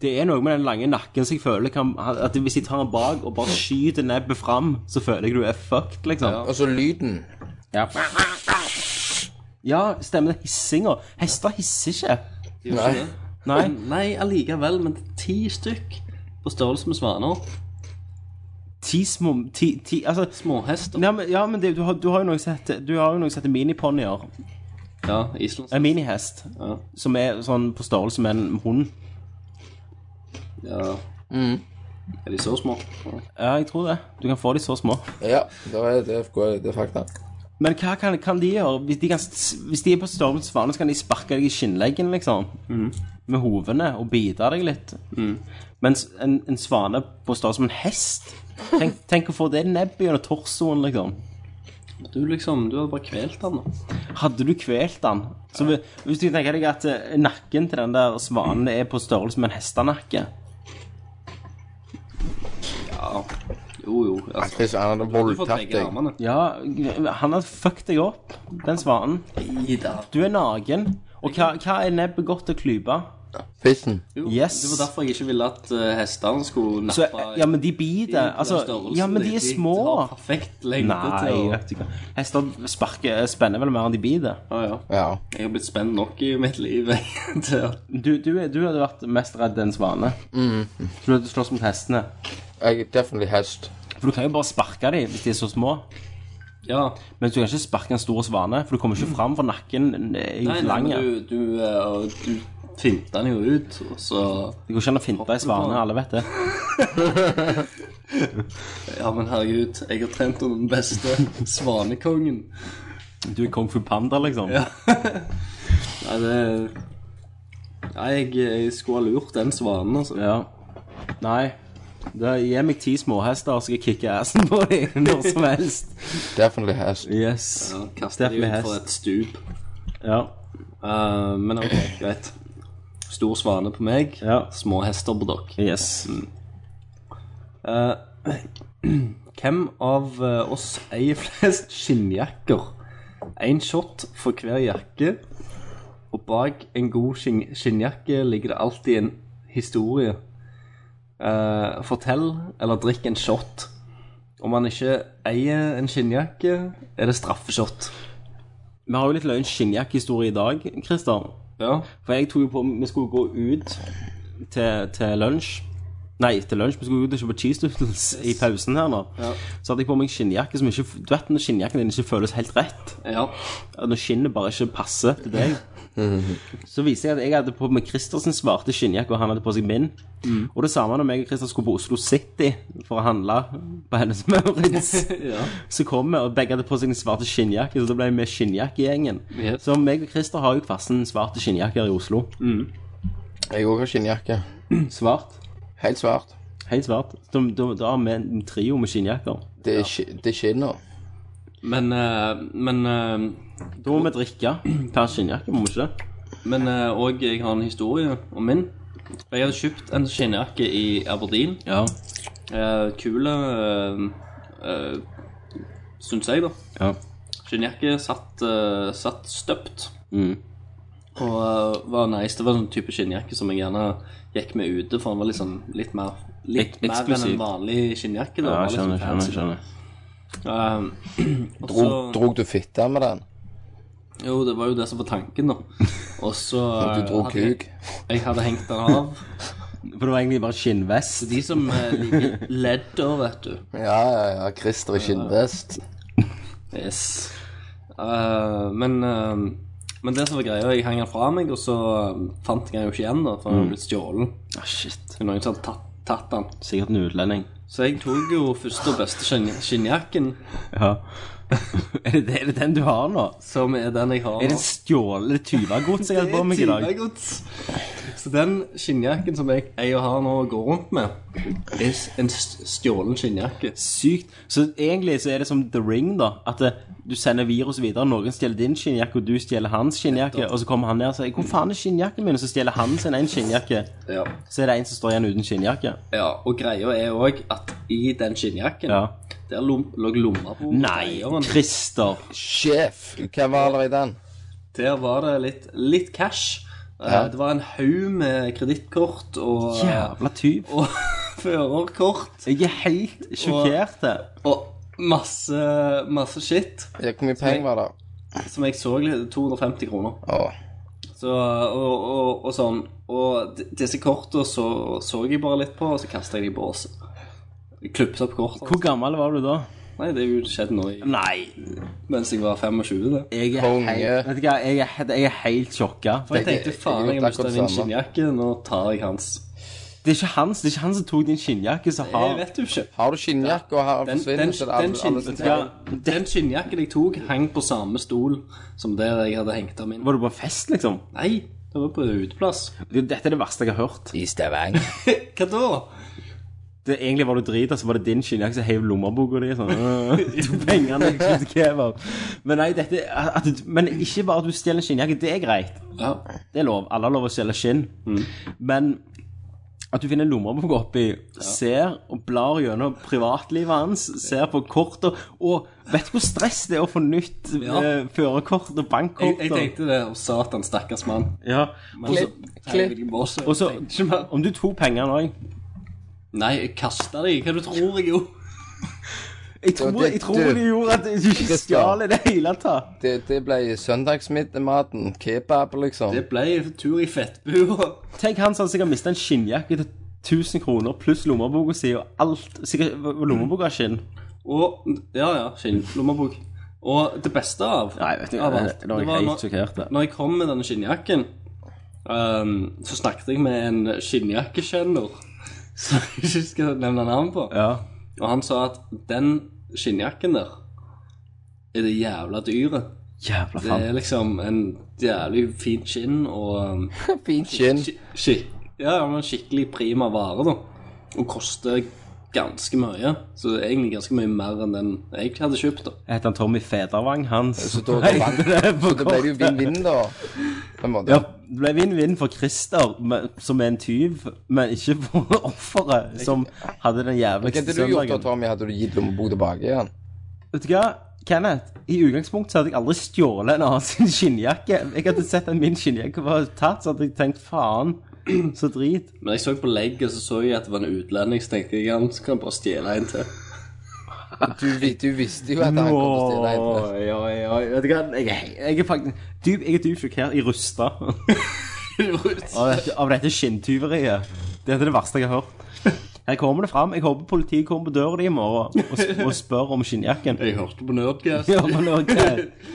D: Det er noe med den lange nakken som jeg føler kan At Hvis jeg tar den bak og bare skyter nebbet fram, så føler jeg du er fucked, liksom.
F: Og så lyden.
D: Ja, stemmer det. Hissinga. Hester hisser ikke.
F: Nei.
D: Nei.
E: Nei, allikevel, men ti stykk på størrelse med svaner.
D: Ti små ti, ti, Altså
E: Småhester.
D: Nei, men, ja, men det, du, har, du har jo noe som heter Du har jo noe som heter miniponnier.
E: Ja, Island.
D: En minihest.
E: Ja.
D: Som er sånn på størrelse med en hund.
E: Ja. Er de så små? Ja.
D: Ja, jeg tror det. Du kan få de så små.
F: Ja, da er det, det er fakta.
D: Men hva kan, kan de gjøre? Hvis de, kan, s- hvis de er på størrelse med svanen, så kan de sparke deg i skinnleggen, liksom. Med hovene, og bite deg litt. Mens en, en svane på størrelse med en hest Tenk, tenk å få det nebbet gjennom torsoen, liksom.
E: Du liksom, du har bare kvelt han da.
D: Hadde du kvelt den så vi- Hvis du tenker deg at eh, nakken til den der svanen er på størrelse med en hestenakke
E: Jo, jo. Altså,
F: Hvis han hadde
E: du får
F: voldtatt
E: begge
F: deg
E: armene.
D: Ja, han har fucket deg opp, den svanen.
E: Ida.
D: Du er naken. Og hva, hva er nebbet godt å klype?
F: Fissen.
D: Yes.
E: Det var derfor jeg ikke ville at eh, hestene skulle
D: Så,
E: nappe
D: ja, men de biter. Altså, ja, men de er små.
E: perfekt lengde
D: Nei,
E: til å
D: vet du hva. Hester sparker, spenner vel mer enn de biter.
E: Ja, ja.
F: Ja.
E: Jeg har blitt spent nok i mitt liv jeg, til at
D: Du, du, du hadde vært mest redd en svane. Så du hadde slåss mot hestene.
F: Jeg er definitivt hest.
D: For du kan jo bare sparke dem hvis de er så små.
E: Ja.
D: Men du kan ikke sparke en stor svane, for du kommer ikke fram, for nakken eh, er jo
E: Nei,
D: for
E: nei,
D: lang.
E: men
D: Det
E: du, du, eh, du finta den jo ut, og så
D: går ikke an å finte ei svane, alle vet det.
E: Ja, men herregud, jeg har trent under den beste svanekongen.
D: Du er kung fu panda, liksom.
E: Nei, det Nei, jeg, jeg skulle ha lurt den svanen, altså.
D: Ja. Nei. Da Gi meg ti småhester, så skal jeg kicke assen på dem når som helst.
F: Definitivt hest.
D: Yes.
E: Ja, Kaste
D: Steff
E: dem
D: med
E: ut for
D: hest.
E: et stup.
D: Ja.
E: Eh, men ok, greit. Stor svane på meg,
D: Ja.
E: små hester på dere.
D: Yes.
E: Hvem av eh, oss eier flest skinnjakker? Én shot for hver jakke, og bak en god skinn- skinnjakke ligger det alltid en historie. Eh, fortell eller drikk en shot. Om man ikke eier en skinnjakke, er det straffeshot.
D: Vi har jo litt løgn skinnjakkehistorie i dag, Christer.
E: Ja.
D: For jeg tok jo på Vi skulle gå ut til, til lunsj. Nei, til lunsj. Vi skulle ut og kjøpe cheese doodles i pausen her nå. Så hadde jeg på meg skinnjakke som ikke Du vet når skinnjakken din ikke føles helt rett?
E: ja.
D: Når skinnet bare ikke passer til deg? Så viser jeg at jeg hadde på meg Christers svarte skinnjakke, og han hadde på seg min. Og det samme når jeg og Christer skulle på Oslo City for å handle på Hennes Maurits. Så kom vi, og begge hadde på seg den svarte skinnjakke, så da ble vi skinnjakkegjengen.
E: Yes.
D: Så meg og Christer har jo hver sin svarte skinnjakke her i Oslo.
F: Jeg òg har skinnjakke.
D: Svart.
F: Helt svart.
D: Helt svart. Da, da, da har vi en trio med skinnjakker.
F: Det er, ja. er skinna.
E: Men, eh, men eh,
D: Da må vi drikke per skinnjakke, må vi ikke det?
E: Men eh, og jeg har en historie om min. Jeg hadde kjøpt en skinnjakke i Aberdeen.
D: Ja.
E: Eh, kule eh, eh, syns jeg, da.
D: Ja.
E: Skinnjakke satt, eh, satt støpt.
D: Mm.
E: Og eh, var nice. Det var en type skinnjakke som jeg gjerne gikk med ute, for den var liksom litt mer Litt
D: Ek-
E: mer enn
D: eksklusiv.
E: en vanlig skinnjakke.
D: Ja,
E: da. Den var
D: jeg skjønner,
E: liksom
D: skjønner,
E: fancy.
D: skjønner.
E: Eh, og
F: Drog,
E: så-
F: drog du fitta med den?
E: Jo, det var jo det som var tanken, da. Og så
F: Du
E: eh,
F: dro
E: hadde jeg,
F: kuk?
E: jeg hadde hengt den av.
D: For det var egentlig bare skinnvest.
E: De som eh, liker ledder, vet du.
F: Ja, ja, ja. Christer i skinnvest.
E: Yes. Eh, men, eh, men det som var greia, jeg hang den fra meg, og så eh, fant jeg den jo ikke igjen, da, for den hadde blitt stjålet.
D: Ah, shit.
E: Det er Noen som hadde tatt, tatt den.
D: Sikkert en utlending.
E: Så jeg tok jo første og beste skinn- skinnjakken,
D: Ja. er, det, er det den du har nå?
E: som er den jeg har
D: Er det stjålet tyvegods jeg hadde på meg i dag?
E: Tidliggods. Så den skinnjakken som jeg, jeg har nå og går rundt med, er s- en s- stjålen skinnjakke.
D: Sykt. Så egentlig så er det som The Ring, da. At eh, du sender virus videre. Noen stjeler din skinnjakke, og du stjeler hans skinnjakke. Og så kommer han ned og sier 'Hvor faen er skinnjakken min?' Og så stjeler han sin en skinnjakke.
E: Ja.
D: Så er det en som står igjen uten skinnjakke.
E: ja. Og greia er òg at i den skinnjakken,
D: Ja.
E: der lom, lå lomma på
D: Nei, Christer.
F: Sjef! Hvem var allerede i den?
E: Der var det litt, litt cash. Eh,
F: Ja.
E: Det var en haug med kredittkort og,
D: Jævla tyv.
E: og førerkort
D: Jeg er helt sjokkert. her.
E: og masse, masse shit
F: Ja, Hvor mye penger var det?
E: som jeg så litt 250 kroner.
F: Å,
E: Så, og, og, og sånn. Og d- disse kortene så, så jeg bare litt på, og så kasta jeg dem i båset. Klipsa opp kortene.
D: Hvor gammel var du da?
E: Nei, det er jo skjedd nå i,
D: Nei,
E: mens jeg var 25. det.
D: jeg er
F: Konge.
D: helt, vet du hva, jeg er, jeg er helt sjokka.
E: For jeg
F: Det- det-
E: tenkte faen,
F: det-
E: jeg
F: det er
E: mista
F: akkurat
E: min
F: samme.
E: skinnjakke, nå tar jeg hans.
D: Det er ikke hans, det er ikke han som tok din skinnjakke, som
E: Jeg
D: har
E: vet jo ikke.
F: Har du skinnjakke og har
E: Den,
F: forsvinner
E: den,
F: så er det
E: den,
F: alle- alle
E: skinn-
F: som
E: den, den skinnjakken jeg tok, hang på samme stol som der jeg hadde hengt den min.
D: Var du på fest, liksom?
E: Nei, det var på uteplass.
D: Det- Dette er det verste jeg har hørt.
F: I Stavanger.
E: Hva da?
D: det, egentlig var du drita, så var det din skinnjakke som heiv lommeboka di. Sånn. øh, to pengene jeg kjøpte kebab. Men nei, dette at, du- Men ikke bare at du stjeler en skinnjakke, det er greit.
E: Ja, Mm.
D: Det er lov. Alle har lov å stjele skinn. Men At du finner en lomme å gå opp i, ser og blar gjennom privatlivet hans, ser på kortet og Vet du hvor stress det er å få nytt
E: Ja.
D: eh, førerkort og
E: Jeg,
D: bankkort?
E: jeg
D: og-
E: tenkte det, og satan, stakkars mann.
D: Ja.
E: Men så-
F: klipp.
E: Helvete, boss, jeg
D: Og så,
E: tenkte ikke mer.
D: om du tok pengene òg
E: Nei, jeg kasta dem. Hva du tror jeg gjorde?
D: Jeg tror,
F: det-
D: jeg tror de gjorde at du ikke
F: Christian.
D: stjal i det hele tatt.
F: Det, det ble søndagsmiddagmaten. Kebab, liksom.
E: Det ble tur i fettbua.
D: Tenk han som sikkert mista en skinnjakke til 1000 kroner pluss lommeboka si og alt. Sikkert var lommeboka skinn.
E: Og Ja, ja, skinn. Lommebok. Og det beste av
D: Nei, vet du,
E: av
D: det-
E: alt,
D: det var
E: når-
D: helt sjokkert, det.
E: Når jeg kom med denne skinnjakken, ehm, så snakket jeg med en skinnjakkekjenner som jeg ikke skal nevne navn på.
D: Ja.
E: Og han sa at den skinnjakken der er det jævla dyret.
D: Jævla
E: Det er
D: faen.
E: liksom en jævlig fin skinn og ehm,
F: Fint skinn.
E: Skik- skik- Ja, ja, men skikkelig prima vare, da. Og koster ganske mye. Så det er egentlig ganske mye mer enn den jeg hadde kjøpt, da.
D: Heter han Tommy Federvang, hans?
F: Så da, da vant Så da ble det jo vinn-vinn, da. På en måte.
D: Ja, det ble vinn-vinn for Christer, men- som er en tyv, men ikke for offeret, som hadde den
F: Hva
D: jævligste
F: hadde du gjort da,
D: søndagen.
F: Tommy? Hadde du gitt lommebok tilbake igjen?
D: Vet du hva, Kenneth? I utgangspunktet så hadde jeg aldri stjålet en annen sin skinnjakke. Jeg hadde sett at min skinnjakke var tatt, så hadde jeg tenkt faen, så drit.
E: Men jeg så på legget, så så jeg at det var en utlending, så tenkte jeg han kan jeg bare stjele en til.
F: Du, vi- du visste jo at han kom til å stille deg.
D: Oi, oi, oi. Vet du hva? Jeg, er- jeg er faktisk dyp, Jeg er dypt sjokkert i rusta av, dette- av dette skinntyveriet. Det er det verste jeg har hørt. Her kommer det fram. Jeg håper politiet kommer på døra di i morgen og, s- og spør om skinnjakken.
E: Jeg hørte på Nerdcast.
D: Ja, men ok.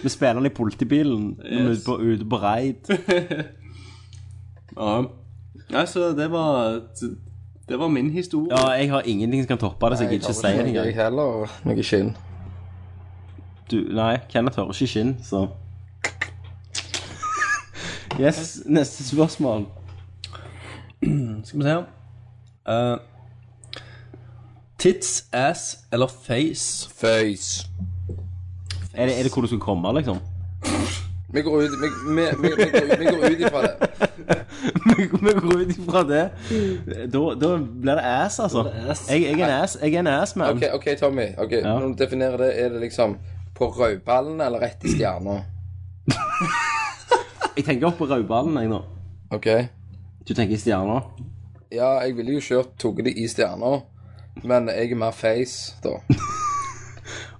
D: Vi spiller den i politibilen når vi er
E: Yes.
D: ute på, ute på raid.
E: Ja. Nei, så det var Det var min historie.
D: Ja, jeg har ingenting som kan toppe det, så jeg gidder ikke si det
F: Jeg
D: engang.
F: heller noe skinn.
D: Du- Nei, Kenneth hører ikke skinn, så Yes, neste spørsmål.
E: Skal vi se her. Eh, tits, ass eller face?
F: Føys.
D: Er det, er det hvor du skulle komme, liksom?
F: Vi går ut, vi, vi, vi, vi, går, vi går ut ifra det.
D: vi går ut ifra det. Da, da blir det ass, altså. Jeg, jeg er en ass, jeg er en ass man.
F: OK, ok, Tommy. ok, Når du definerer det, er det liksom på rødballen eller rett i stjerna?
D: Jeg tenker opp på rødballen, jeg nå.
F: OK?
D: Du tenker i stjerna.
F: Ja, jeg ville jo kjørt tatt det i stjerna, men jeg er mer face, da.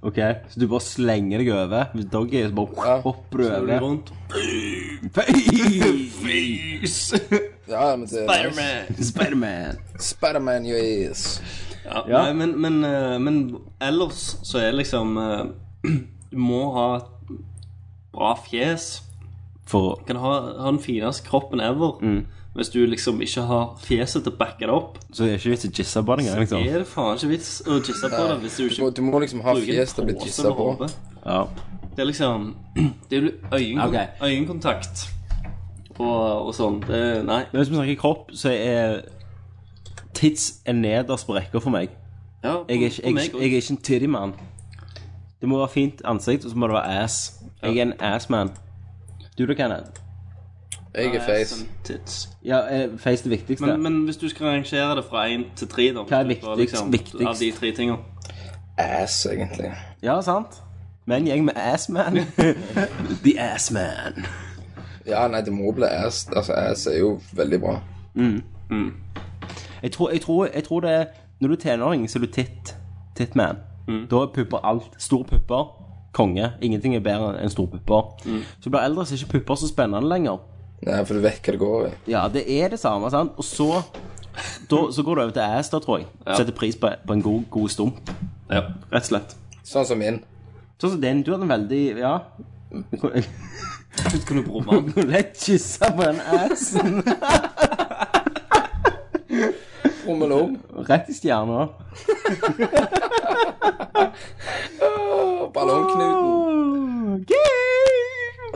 D: Ok, Så du bare slenger deg over? Hvis Doggy så bare
F: Ja.
D: hopper du
E: Gjør det
D: over?
E: vondt?
D: Fy!
F: Ja, men det er nice.
D: Spiderman.
F: Spiderman your ass.
E: Ja,
D: Ja.
E: Nei, men, men, eh, men ellers så er liksom eh, Du må ha et bra fjes.
D: For
E: Du kan ha, ha den fineste kroppen ever. Hvis du liksom ikke har fjeset til å backe det opp,
D: så er det ikke vits i å jizze på det engang,
E: så
D: liksom.
E: er det faen ikke vits å jizze på det hvis du
F: Du må,
E: ikke
F: du må liksom ha
E: bruker
F: fjes til å
E: en
F: bli
E: pose
F: tissa
E: over
F: på.
E: hodet.
D: Ja.
E: Det er liksom Det er jo øyenkon-
D: Ok.
E: øyekontakt og, og sånn. Det, nei.
D: Men hvis vi snakker kropp, så er tits er nederst på rekka for meg.
E: Ja,
D: Jeg er ikke,
E: for
D: jeg,
E: meg
D: jeg er ikke en tittyman. Det må være fint ansikt, og så må det være ass. Jeg er en assman. Du da, Kenneth?
F: Jeg er face.
E: også. sånn Tits.
D: Ja, eh, face det viktigste.
E: Men, men hvis du skal rangere det fra én til tre, da
D: Hva er
E: hvis du skal,
D: viktigst- viktigst?
E: Av de tre tingene.
F: Ass, egentlig.
D: Ja, sant? Men jeg med assman. The assman.
F: Ja, nei, det må bli ass. Altså, ass er jo veldig bra.
D: Jeg tror, jeg, tror, jeg tror det er Når du er tenåring, så er du tit. Titman.
E: Mm.
D: Da er pupper alt. Store pupper. Konge. Ingenting er bedre enn store pupper.
E: Mm.
D: Så du blir eldre, så er ikke pupper så spennende lenger.
F: Nei, for du vet hva det går i.
D: Ja, det er det samme, sant? Og så da, Så går det over til ass, da, tror jeg. Setter pris på, på en god, god stump.
E: Ja.
D: Rett og slett.
F: Sånn som min.
D: Sånn som den. Du hadde en veldig Ja. Jeg
E: Kunne bruke vann.
D: kunne lett kysse på den assen.
F: Rommel om.
D: Rett i stjerna.
F: og Ballongknuten.
D: Gøy!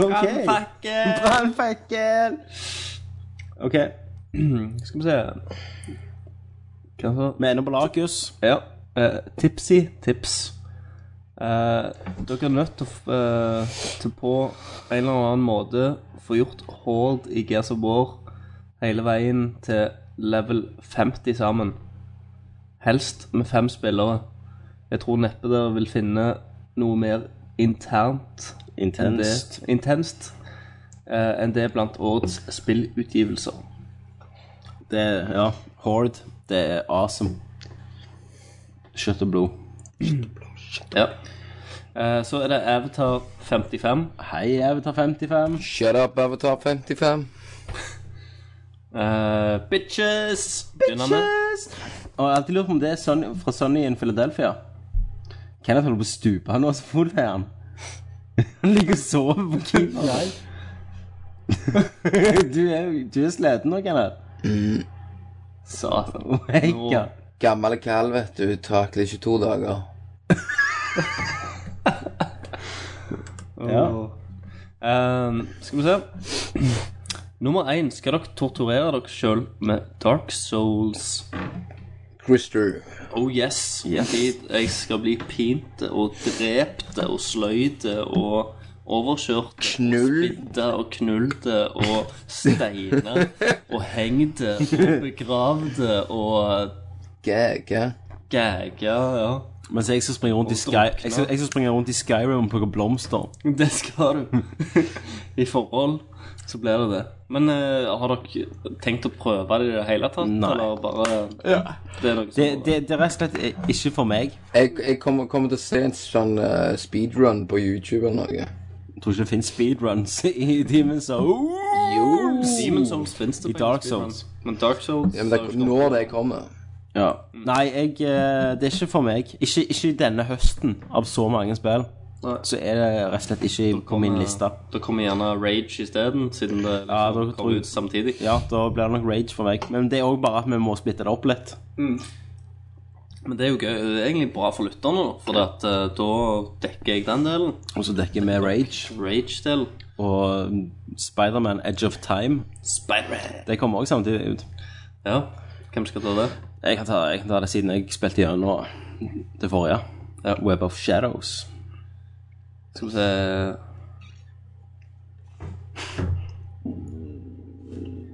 D: Ok. Brannfakkel! Ok.
E: Skal vi se Hva så?
D: Vi er inne på Lakus.
E: Ja. eh, tipsy tips. Eh, dere er nødt til å f- eh, til på en eller annen måte få gjort Hord i Gears of War hele veien til level 50 sammen. Helst med fem spillere. Jeg tror neppe dere vil finne noe mer internt enn det,
C: Intenst.
E: intenst eh, enn det blant årets spillutgivelser.
C: Det er, ja, Horde, det er awesome. Kjøtt og blod.
E: Ja. Eh, så er det Avatar 55.
D: Hei, Avatar 55.
F: Shut up, Avatar 55.
E: Eh, bitches! Begynner med.
D: Og jeg har alltid lurt på om det er Sonny, fra Sonny in Philadelphia. Kenneth holder på å stupe han nå, så full er han. Han ligger og sover på kino. Du er, du er sliten nå, Kenneth. Satan. Omega.
F: Gammel kalv, vet du. Takler ikke to dager.
D: Ja.
E: Ehm, skal vi se. Nummer én. Skal dere torturere dere sjøl med Dark Souls?
F: Christer.
E: Oh yes. indeed. Jeg skal bli pint og drept og sløyd og overkjørt.
F: Knull.
E: Spidda og knullt og steina og hengt og begravd og
F: Gæge.
E: gæga, ja.
D: Mens jeg skal springe rundt i, Sky,
E: drukne.
D: jeg skal, jeg skal springe rundt i Skyrim og plukke blomster.
E: Det skal du. I forhold så blir det det. Men eh, har dere tenkt å prøve det i det hele tatt?
D: Nei.
E: Eller bare Det er noe som
D: Det, det, det er rett og slett eh, ikke for meg.
F: Jeg, jeg kommer, kommer til å se en sånn eh, speedrun på YouTube eller noe.
D: Jeg tror ikke det finnes speedruns i Demon's Souls.
E: Demon Souls finnes det
D: I
E: på
D: Dark
E: Xbox, men-
D: Souls.
E: Men Dark Souls
F: Ja, men det,
E: har jo ikke-
F: når det kommer.
D: Ja.
E: Mm.
D: Nei, jeg, eh, det er ikke for meg. Ikke, ikke denne høsten av så mange spill.
E: Nei.
D: Så er det rett og slett ikke på min liste.
E: Da kommer gjerne Rage isteden, siden det liksom
D: Ja, da tror
E: kommer
D: jeg-
E: ut samtidig.
D: Ja, da blir det nok rage for meg. Men det er òg bare at vi må splitte det opp litt.
E: Men det er jo gøy, det er egentlig bra for lytterne, da, for at, eh, da dekker jeg den delen.
D: Og så dekker vi rage.
E: Rage-delen.
D: Og mm, Spiderman Edge of Time.
E: Spider-Man.
D: Det kommer òg samtidig ut.
E: Ja, hvem skal ta det?
D: Jeg kan, ta, jeg kan ta det siden jeg spilte gjennom det forrige. Ja, Web of Shadows.
E: Skal vi se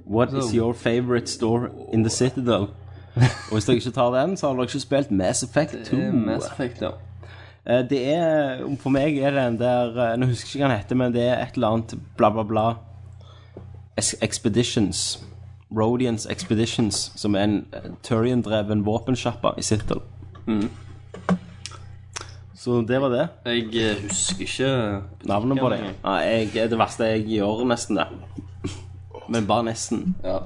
D: What is your favorite store in the citadel? Og hvis dere ikke tar den, så har dere ikke spilt Mass Effect 2.
E: Det er Mass Effect, ja.
D: Eh, Det er, For meg er det en der eh, Nå husker jeg ikke hva den heter, men det er et eller annet bla, bla, bla. Es- Expeditions. Rodians Expeditions, som er en eh, Turian-dreven våpensjappa i Sittel. Mm. Så det var det.
E: Jeg eh, husker ikke
D: Navnet på det. Ja, jeg, det er det verste jeg gjør, nesten det. Men bare nesten.
E: Ja.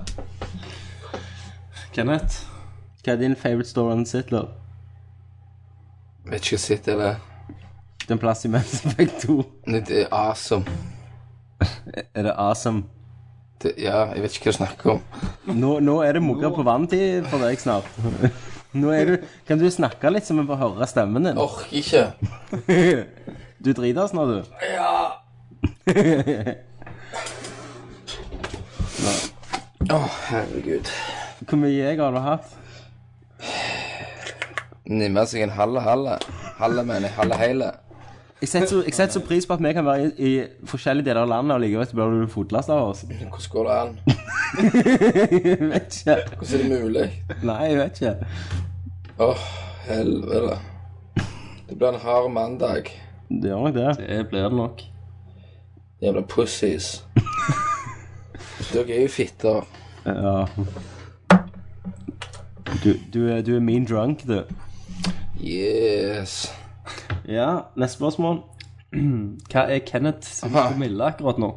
E: Kenneth?
D: Hva er din favorite store in Sitler?
F: Vet ikke hva sitt er det.
D: Den plass i Mass Effect 2.
F: Men Det er awesome.
D: Er det awesome?
F: Det, ja, jeg vet ikke hva du snakker om.
D: Nå, nå er det mugger på vanntid for deg snart. Nå er du, kan du snakke litt så vi får høre stemmen din?
F: Orker ikke.
D: Du driter oss nå, du.
F: Å, herregud.
D: Hvor mye jeg har du hatt?
F: Nimmer seg en halve halve. Halve, mener jeg. Halve hele.
D: Jeg setter, så, jeg setter så pris på at vi kan være i, i forskjellige deler av landet, og likevel så blir du fotlast av oss.
F: Hvordan går det an?
D: Jeg vet ikke.
F: Hvordan er det mulig?
D: Nei, jeg vet ikke.
F: Åh, helvete. Det blir en hard mandag.
D: Du gjør nok det.
E: Det blir det nok.
F: Jævla pussies. Dere er jo fitter.
D: Ja. Du, du, er- du er mean drunk, du.
F: Yes.
D: Ja, neste spørsmål.
E: Hva er Kenneths promille akkurat nå?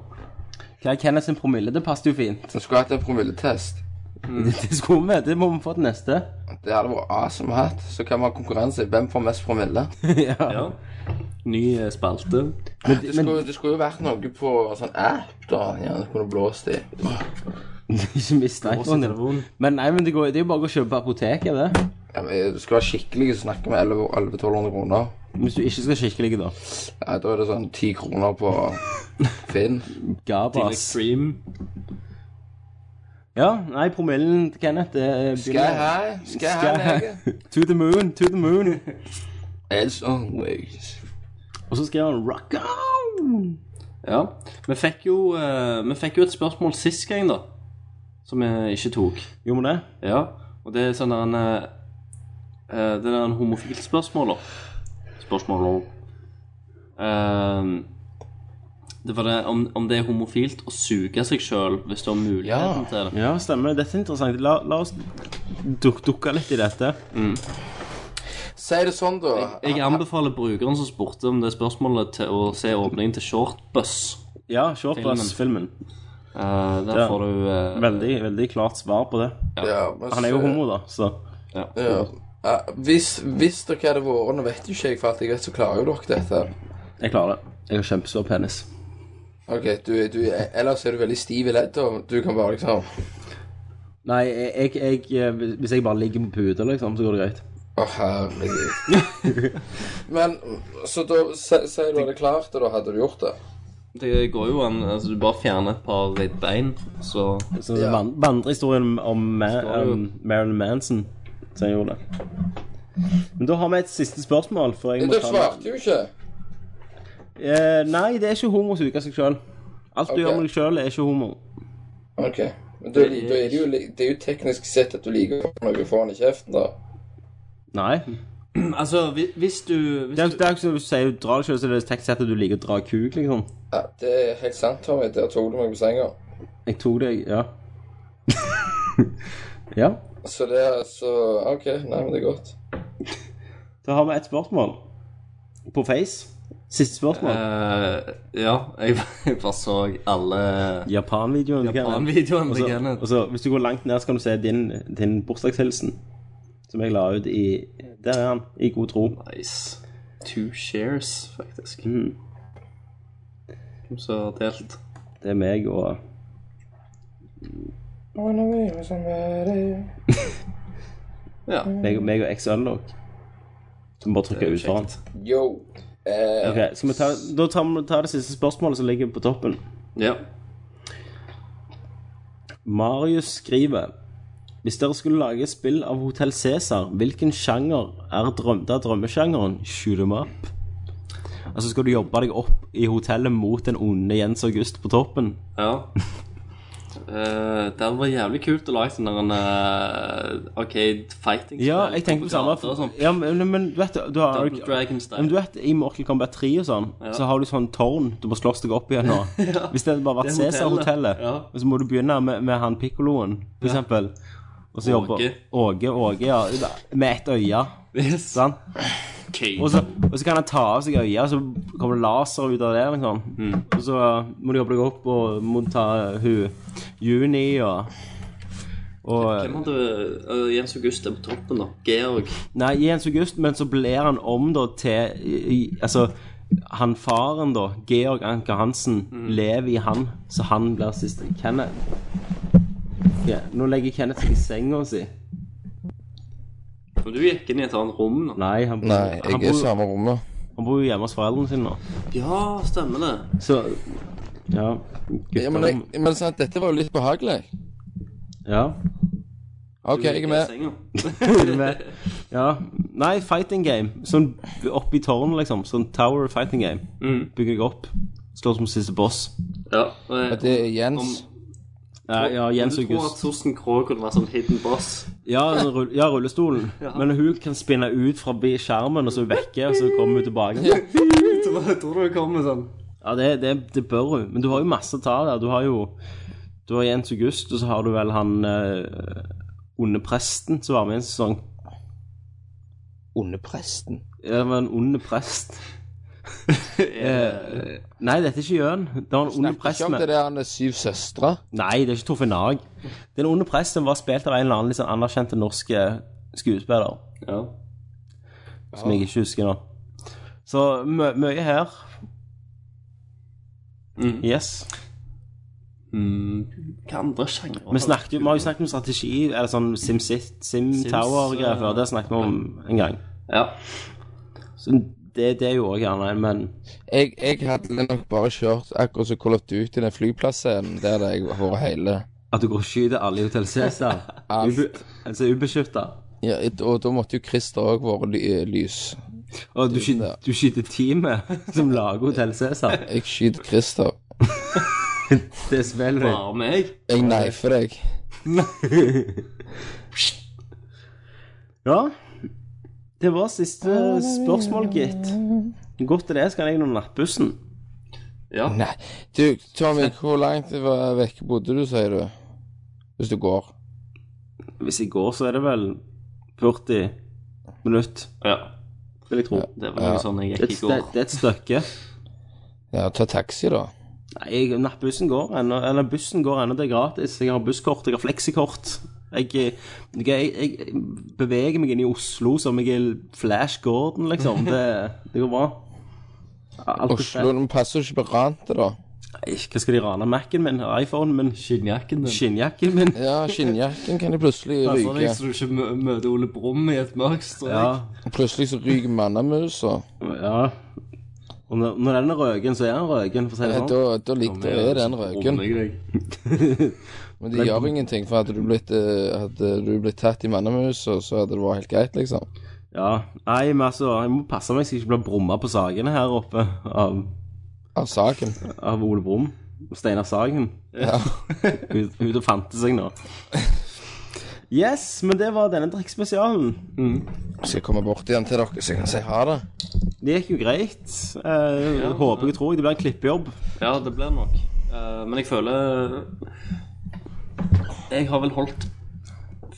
D: Hva er Kenneth sin promille? Det passer jo fint.
F: Vi skulle hatt en promilletest. Mm.
D: Det skulle vi. Det må vi få til neste.
F: Det hadde vært awesome å ha hatt. Så kan vi ha konkurranse i hvem får mest promille.
D: Ja.
E: Ja. Ny eh, spalte.
F: Det skulle, det skulle jo vært noe på sånn app, da. Ja, det kunne blåst i.
D: Ikke mist iPhone. Men nei, men det, går, det er jo bare å gå og kjøpe på apoteket, det.
F: Ja, men Du skal være skikkelig og snakke med 1100-1200 kroner.
D: Hvis du ikke skal skikkelig, da.
F: Ja, da er det sånn 10 kroner på Finn.
D: Gabas.
E: Extreme.
D: Ja, nei, promillen til Kenneth det eh, er
F: Sky high, sky high, nigga.
D: To the moon, to the moon.
F: As always.
D: Og så skriver han rock on.
E: Ja. Vi fikk jo, eh, vi fikk jo et spørsmål sist gang, da. som vi ikke tok.
D: Gjorde vi det?
E: Ja, og det er sånn der en eh, eh, Det er en homofilt spørsmål, da. Spørsmål om eh, Det var det om, om det er homofilt å suge seg sjøl hvis du har muligheten til det.
D: Ja, stemmer. Dette er interessant. La, la oss duk, dukke litt i dette.
F: Si det sånn, da.
E: Jeg anbefaler brukeren som spurte om det spørsmålet, til å se åpningen til Shortbus.
D: Ja, Shortbus-filmen.
E: Eh, der
D: Ja.
E: får du eh,
D: Veldig, veldig klart svar på det.
F: Ja, men
D: Han er jo
F: så-
D: homo, da, så
F: Ja. Ja, hvis, hvis dere hadde vært Nå vet jo ikke jeg, for alt jeg vet, så klarer jo dere dette.
D: jeg klarer det. Jeg har kjempestor penis.
F: Ok, du, du, Ellers er du veldig stiv i leddet, og du kan bare liksom
D: Nei, jeg, jeg, jeg, hvis jeg bare ligger på puta, liksom, så går det greit.
F: Å, herregud. Men så da si- Si du hadde klart det, da hadde du gjort det.
E: Det går jo an altså, Du bare fjerner et par bein, så
D: Så det van- vandrer historien om, om, Ma-
E: Står jo-
D: om Marilyn Manson, som gjorde det. Men da har vi et siste spørsmål. For jeg
F: Men
D: må
F: du
D: ta
F: svarte jo ikke.
D: Eh, nei, det er ikke homo å suge seg sjøl. Alt du
F: Ok.
D: gjør med deg sjøl, er ikke homo.
F: Ok. Men da, da er det, jo, li- det er jo teknisk sett at du liker å få noe foran i kjeften, da.
D: Nei.
E: Altså, hvis, hvis du hvis
D: Det er, det er ikke sånn at hvis du sier du drar deg sjøl, så er det tekst at du liker å dra kuk, liksom.
F: Ja, det er helt sant, Tommy. Der tok du meg på senga.
D: Jeg tok deg Ja. ja.
F: Så det er så OK. Nei, men det er godt.
D: Da har vi et spørsmål på Face. Siste spørsmål.
E: Eh, ja, jeg, jeg bare så alle
D: Japan-videoen.
E: Japan-videoene
D: Og
E: til
D: så-
E: Kenneth.
D: Og så, hvis du går langt ned, så kan du se din, din bursdagshilsen. Som jeg la ut i Der er han. I god tro.
E: Nice. Two shares, faktisk.
D: Mm.
E: Så delt.
D: Det er meg og
E: Ja.
F: Mm.
D: meg, meg og XL-log. Som bare trykker ut foran.
F: Yo. Eh,
D: Ok, skal vi ta, da tar vi tar det siste spørsmålet som ligger på toppen.
E: ja.
D: Marius skriver Hvis dere skulle lage spill av Hotel Cæsar, hvilken sjanger er drøm, det er drømmesjangeren? Shoot 'em up. Altså skal du jobbe deg opp i hotellet mot den onde Jens August på toppen?
E: ja. Eh, det hadde vært jævlig kult å lage sånn der en eh, arcade fighting
D: Ja, jeg tenker på samme.
E: gater og sånn.
D: Ja, men, men du vet du har,
E: Double Dragon Style.
D: men du vet, I Mortal Kombat 3 og sånn, så har du sånn tårn du må slåss deg opp igjen nå. Hvis det hadde bare vært
E: Det er hotellet.
D: Cæsar-hotellet,
E: Ja.
D: og så må du begynne med, med han pikkoloen, for eksempel. Og så jobber
E: Åge.
D: Åge, Åge, ja. Med ett øye.
E: Yes.
D: Sant?
E: Okay.
D: Og så, og så kan han ta av seg øya, og så kommer det laser ut av det. liksom
E: Mm.
D: Og så må du jobbe deg opp og må ta eh, hun Juni og, og
E: Hvem hadde eh, Jens August er på toppen, da? Georg.
D: Nei, Jens August, men så blir han om da til i, i- Altså, han faren, da, Georg Anker Hansen,
E: Mm.
D: lever i han, så han blir sist. Kenneth Ja, Nå legger Kenneth seg i senga si.
E: Men du gikk inn i et annet rom nå.
D: Nei, han bor,
F: Nei, jeg
D: han
F: er i
D: bor,
F: samme rommet.
D: han bor jo hjemme hos foreldrene sine nå.
E: Ja, stemmer det.
D: Så Ja.
F: Ja, men,
D: Gutterom.
F: jeg, men sant, dette var jo litt behagelig.
D: Ja.
F: OK, jeg er med.
D: med Ja, nei, fighting game Sånn oppe i tårnet liksom Sånn tower fighting game
E: Mm.
D: Bygger jeg opp Slår som siste boss
E: Ja, og
F: Det er Jens.
D: Ja, ja Jens
E: Du tror at
D: August
E: Torsten Krogh kunne være sånn hidden boss?
D: ja, sånn rull- ja, rullestolen Men hun kan spinne ut fra bi- skjermen Og så vekke Og så kommer hun tilbake Ja,
E: Jeg tror du kommer sånn.
D: det, det, det bør hun Men du har jo masse å ta der Du har jo Du har Jens August Og så har du vel han eh, Onde presten Som var med i en sesong
F: Onde presten.
D: Ja, det var en onde prest Eh, Nei, dette er ikke Jørn Det var en onde
F: Snakker
D: prest
F: ikke om
D: med-
F: det der han er syv søstre.
D: Nei, det er ikke Torfinn Nag. Den onde presten var spilt av en eller annen litt sånn anerkjente norske skuespiller,
E: Ja.
D: som jeg ikke husker nå. Så mø mye her.
E: Mm.
D: Yes.
E: Hva andre sjangre?
D: Vi, snakket, jo- vi har jo snakket om strategi, eller sånn SimSit, SimTower-greier før. Det snakket vi om en gang.
E: Ja.
D: Så det, det er jo òg gjerne en, men
F: Jeg, jeg hadde nok bare kjørt akkurat som Call of Duty, den flyplassen der det jeg har vært hele.
D: At du går og skyter alle i Hotell Cæsar
F: Alt.
D: Ube- Altså ubeskytta.
F: Ja, et- og da måtte jo Christer òg vært ly eh, lys.
D: Og du skyter, du skyter teamet som lager Hotell Cæsar.
F: Jeg skyter Christer.
D: Det er spillet ditt.
E: Bare meg?
F: Jeg neifer deg.
D: Ja. Det var siste spørsmål, gitt. Godt det er, skal jeg nå nattbussen.
F: Nei. Du, Tommy, hvor langt var- vekk bodde du, sier du? Hvis du går.
D: Hvis jeg går, så er det vel 40 minutt,
E: Ja.
D: vil jeg tro.
E: Det var noe sånn jeg
D: Det er
E: gikk
D: et,
E: i
D: det,
E: går.
D: det er et stykke.
F: Ja, ta taxi, da.
D: Nei, jeg- nattbussen går ennå. Eller bussen går ennå, det er gratis. Jeg har busskort, jeg har fleksikort. Jeg, eh, jeg, jeg, jeg beveger meg inn i Oslo som jeg er Flash Gordon, liksom. Det, det går bra. Alt er
F: Oslo,
D: fett.
F: de passer jo ikke på rantet, da.
D: Nei, Hva skal de rane? Mac-en min? iPhonen min?
G: Skinnjakken din.
D: Skinnjakken min?
F: Ja, skinnjakken kan de plutselig
G: Passer deg
F: ryke.
G: så du Altså, ikke mø- møter Ole Brumm i et mørkt strøk.
D: Ja.
F: Plutselig så ryker mannamusa.
D: ja. Og når, når den er røken, så er den røken, for å si det
F: Ja,
D: sånn.
F: da, da likte jeg den røken. Men det gjør ingenting, for hadde du blitt, eh, hadde du blitt tatt i mannemusa, så hadde det vært helt greit, liksom.
D: Ja. Nei, men altså, jeg må passe meg så jeg ikke blir brumma på sakene her oppe av,
F: Av saken.
D: av Ole Brumm og Steinar Sagen.
F: Ja.
D: Ut, ut og fante seg nå. Yes, men det var denne drikkspesialen.
F: Skal jeg komme bort igjen til dere, så jeg kan si ha det?
D: Det gikk jo greit. Eh, håper jeg tror jeg det blir en klippejobb.
E: Ja, det blir nok. Eh, men jeg føler Jeg har vel holdt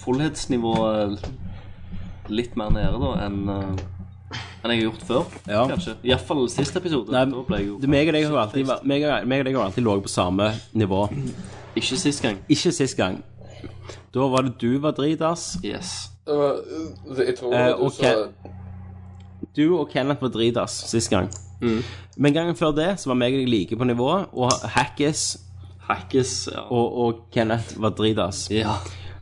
E: fullhetsnivået litt mer nede da enn eh, enn jeg har gjort før,
D: Ja.
E: kanskje. Iallfall sist episode.
D: Nei,
E: da ble jeg jo
D: det, meg og deg har alltid, vært- meg og, meg og deg har alltid ligget på samme nivå.
E: Ikke sist gang.
D: Ikke sist gang. Da var det du var dritass.
E: Yes.
F: Jeg tror
D: Eh, du ok. sa- Du og Kenneth var dritass sist gang. Men gangen før det så var meg og deg like på nivået, og Hackis
E: Hackes. Ja.
D: og, og Kenneth var dritass.
E: ja.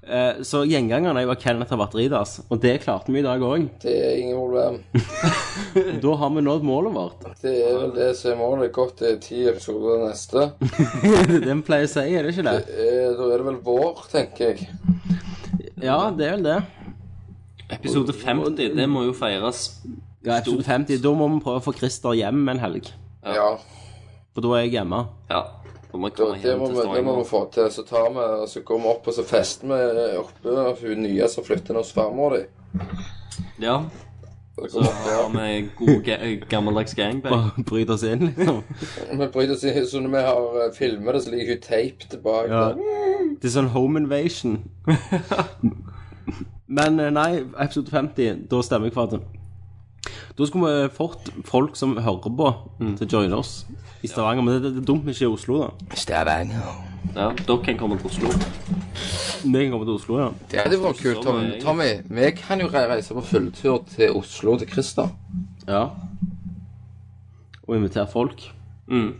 D: Eh, så gjengangeren er jo at Kenneth har vært dritass, og det klarte vi i dag òg.
F: Det er ingen problem.
D: Da har vi nådd målet vårt.
F: Det er vel det som er målet. Godt det er ti episoder neste.
D: Det er det vi pleier å si, er det ikke det?
F: Eh, Da er det vel vår, tenker jeg.
D: Ja, det er vel det.
E: Episode 50, det må jo feires.
D: Ja, episode 50. Da må vi prøve å få Christer hjem en helg.
F: Ja.
D: For da er jeg hjemme.
E: Ja. Da må jeg
F: Da,
E: komme
F: det,
E: hjem
F: må
E: til
F: vi, det må vi
E: Stavanger.
F: få til. Så tar vi, og så går vi opp, og så fester vi oppe for hun nye som flytter inn hos farmor di.
E: Ja.
F: Så
E: Så
F: kommer vi
E: har
F: opp
E: vi god ga eh, gammeldags gangbang.
D: Bare bryte oss inn, liksom.
F: der. Vi bryter oss i så når vi har eh, filmet det, så ligger hun teip tilbake.
D: Ja.
F: der.
D: Det er sånn home invasion. Men eh, nei, episode 50, da stemmer jeg for at Da skulle vi eh, fått folk som hører på, til å joine oss i Stavanger. Men det, det er dumt vi ikke er i Oslo, da.
E: Ja, dere kan komme til Oslo.
D: Vi kan komme til Oslo, ja.
F: Det hadde vært kult. Tom,
E: Sommer, egentlig.
F: Tommy, vi kan jo re- reise på fulltur til Oslo til Christer.
D: ja. Og invitere folk.
E: Mm.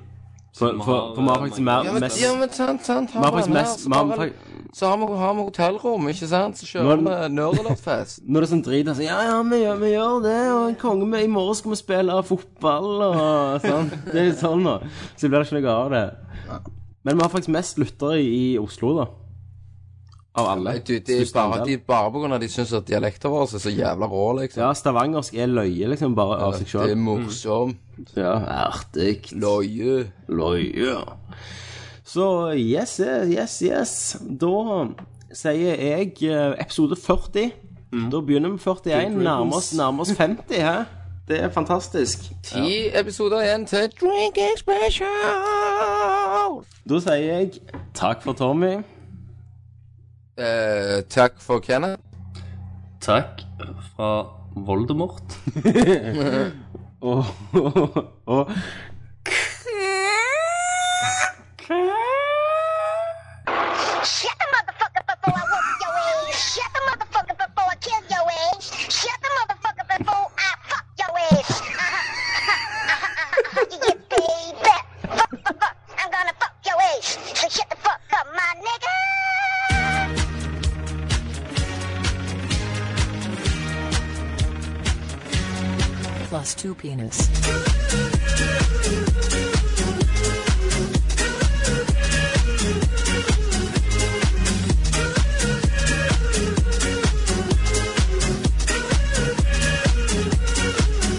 D: For, for, for vi har faktisk mer
F: Ja, men,
D: mest
F: ja, men sant, sant.
D: Vi
F: Har
D: har
F: vi
D: faktisk
F: den her,
D: mest
F: så,
D: vi har
F: tar vi,
D: fak-
F: så har vi, har vi hotellrom, ikke sant? Så
D: Nå er
F: kjører vi
D: den-
F: Nørrelottfest.
D: Når det er sånn drit altså, Ja, ja, vi gjør, vi gjør det, og en konge med, i morgen skal vi spille fotball og sånn. Det er litt sånn, da. Så blir det ikke noe av det. Men vi har faktisk mest lyttere i Oslo, da. Av alle.
F: Nei, du, det er
D: Største
F: bare,
D: andel.
F: de, bare på grunn av at de syns at dialekten vår er så jævla rå, liksom.
D: Ja, stavangersk er løye, liksom, bare av seg
F: Det er
D: sjøl.
F: morsom.
D: Ja, artig.
F: Løye.
D: Løye. Så yes, yes, yes. Da sier jeg eh, episode 40. Da begynner vi med 41. Nærmer oss, nærmer oss 50, hæ? Det er fantastisk.
F: Ti episoder igjen til Drinking Special.
D: Da sier jeg takk for Tommy.
F: Eh, takk for Kenneth.
E: Takk fra Voldemort.
D: Og, og, og
K: Shut the motherfucker before I whoop your ass. Shut the motherfucker before I kill your ass. Shut the motherfucker before I fuck your ass. Uh-huh, uh-huh, uh-huh, uh-huh, yeah, baby. Fuck, fuck, fuck. I'm gonna fuck your ass. So shut the fuck up, my nigga.
J: Plus two penis.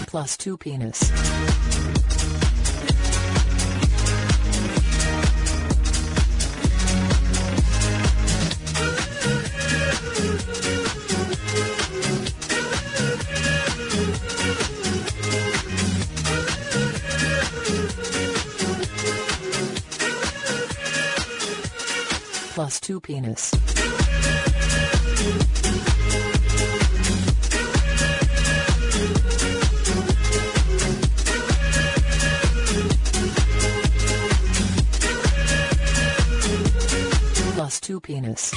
J: Plus two penis.
K: plus two penis. Plus two penis.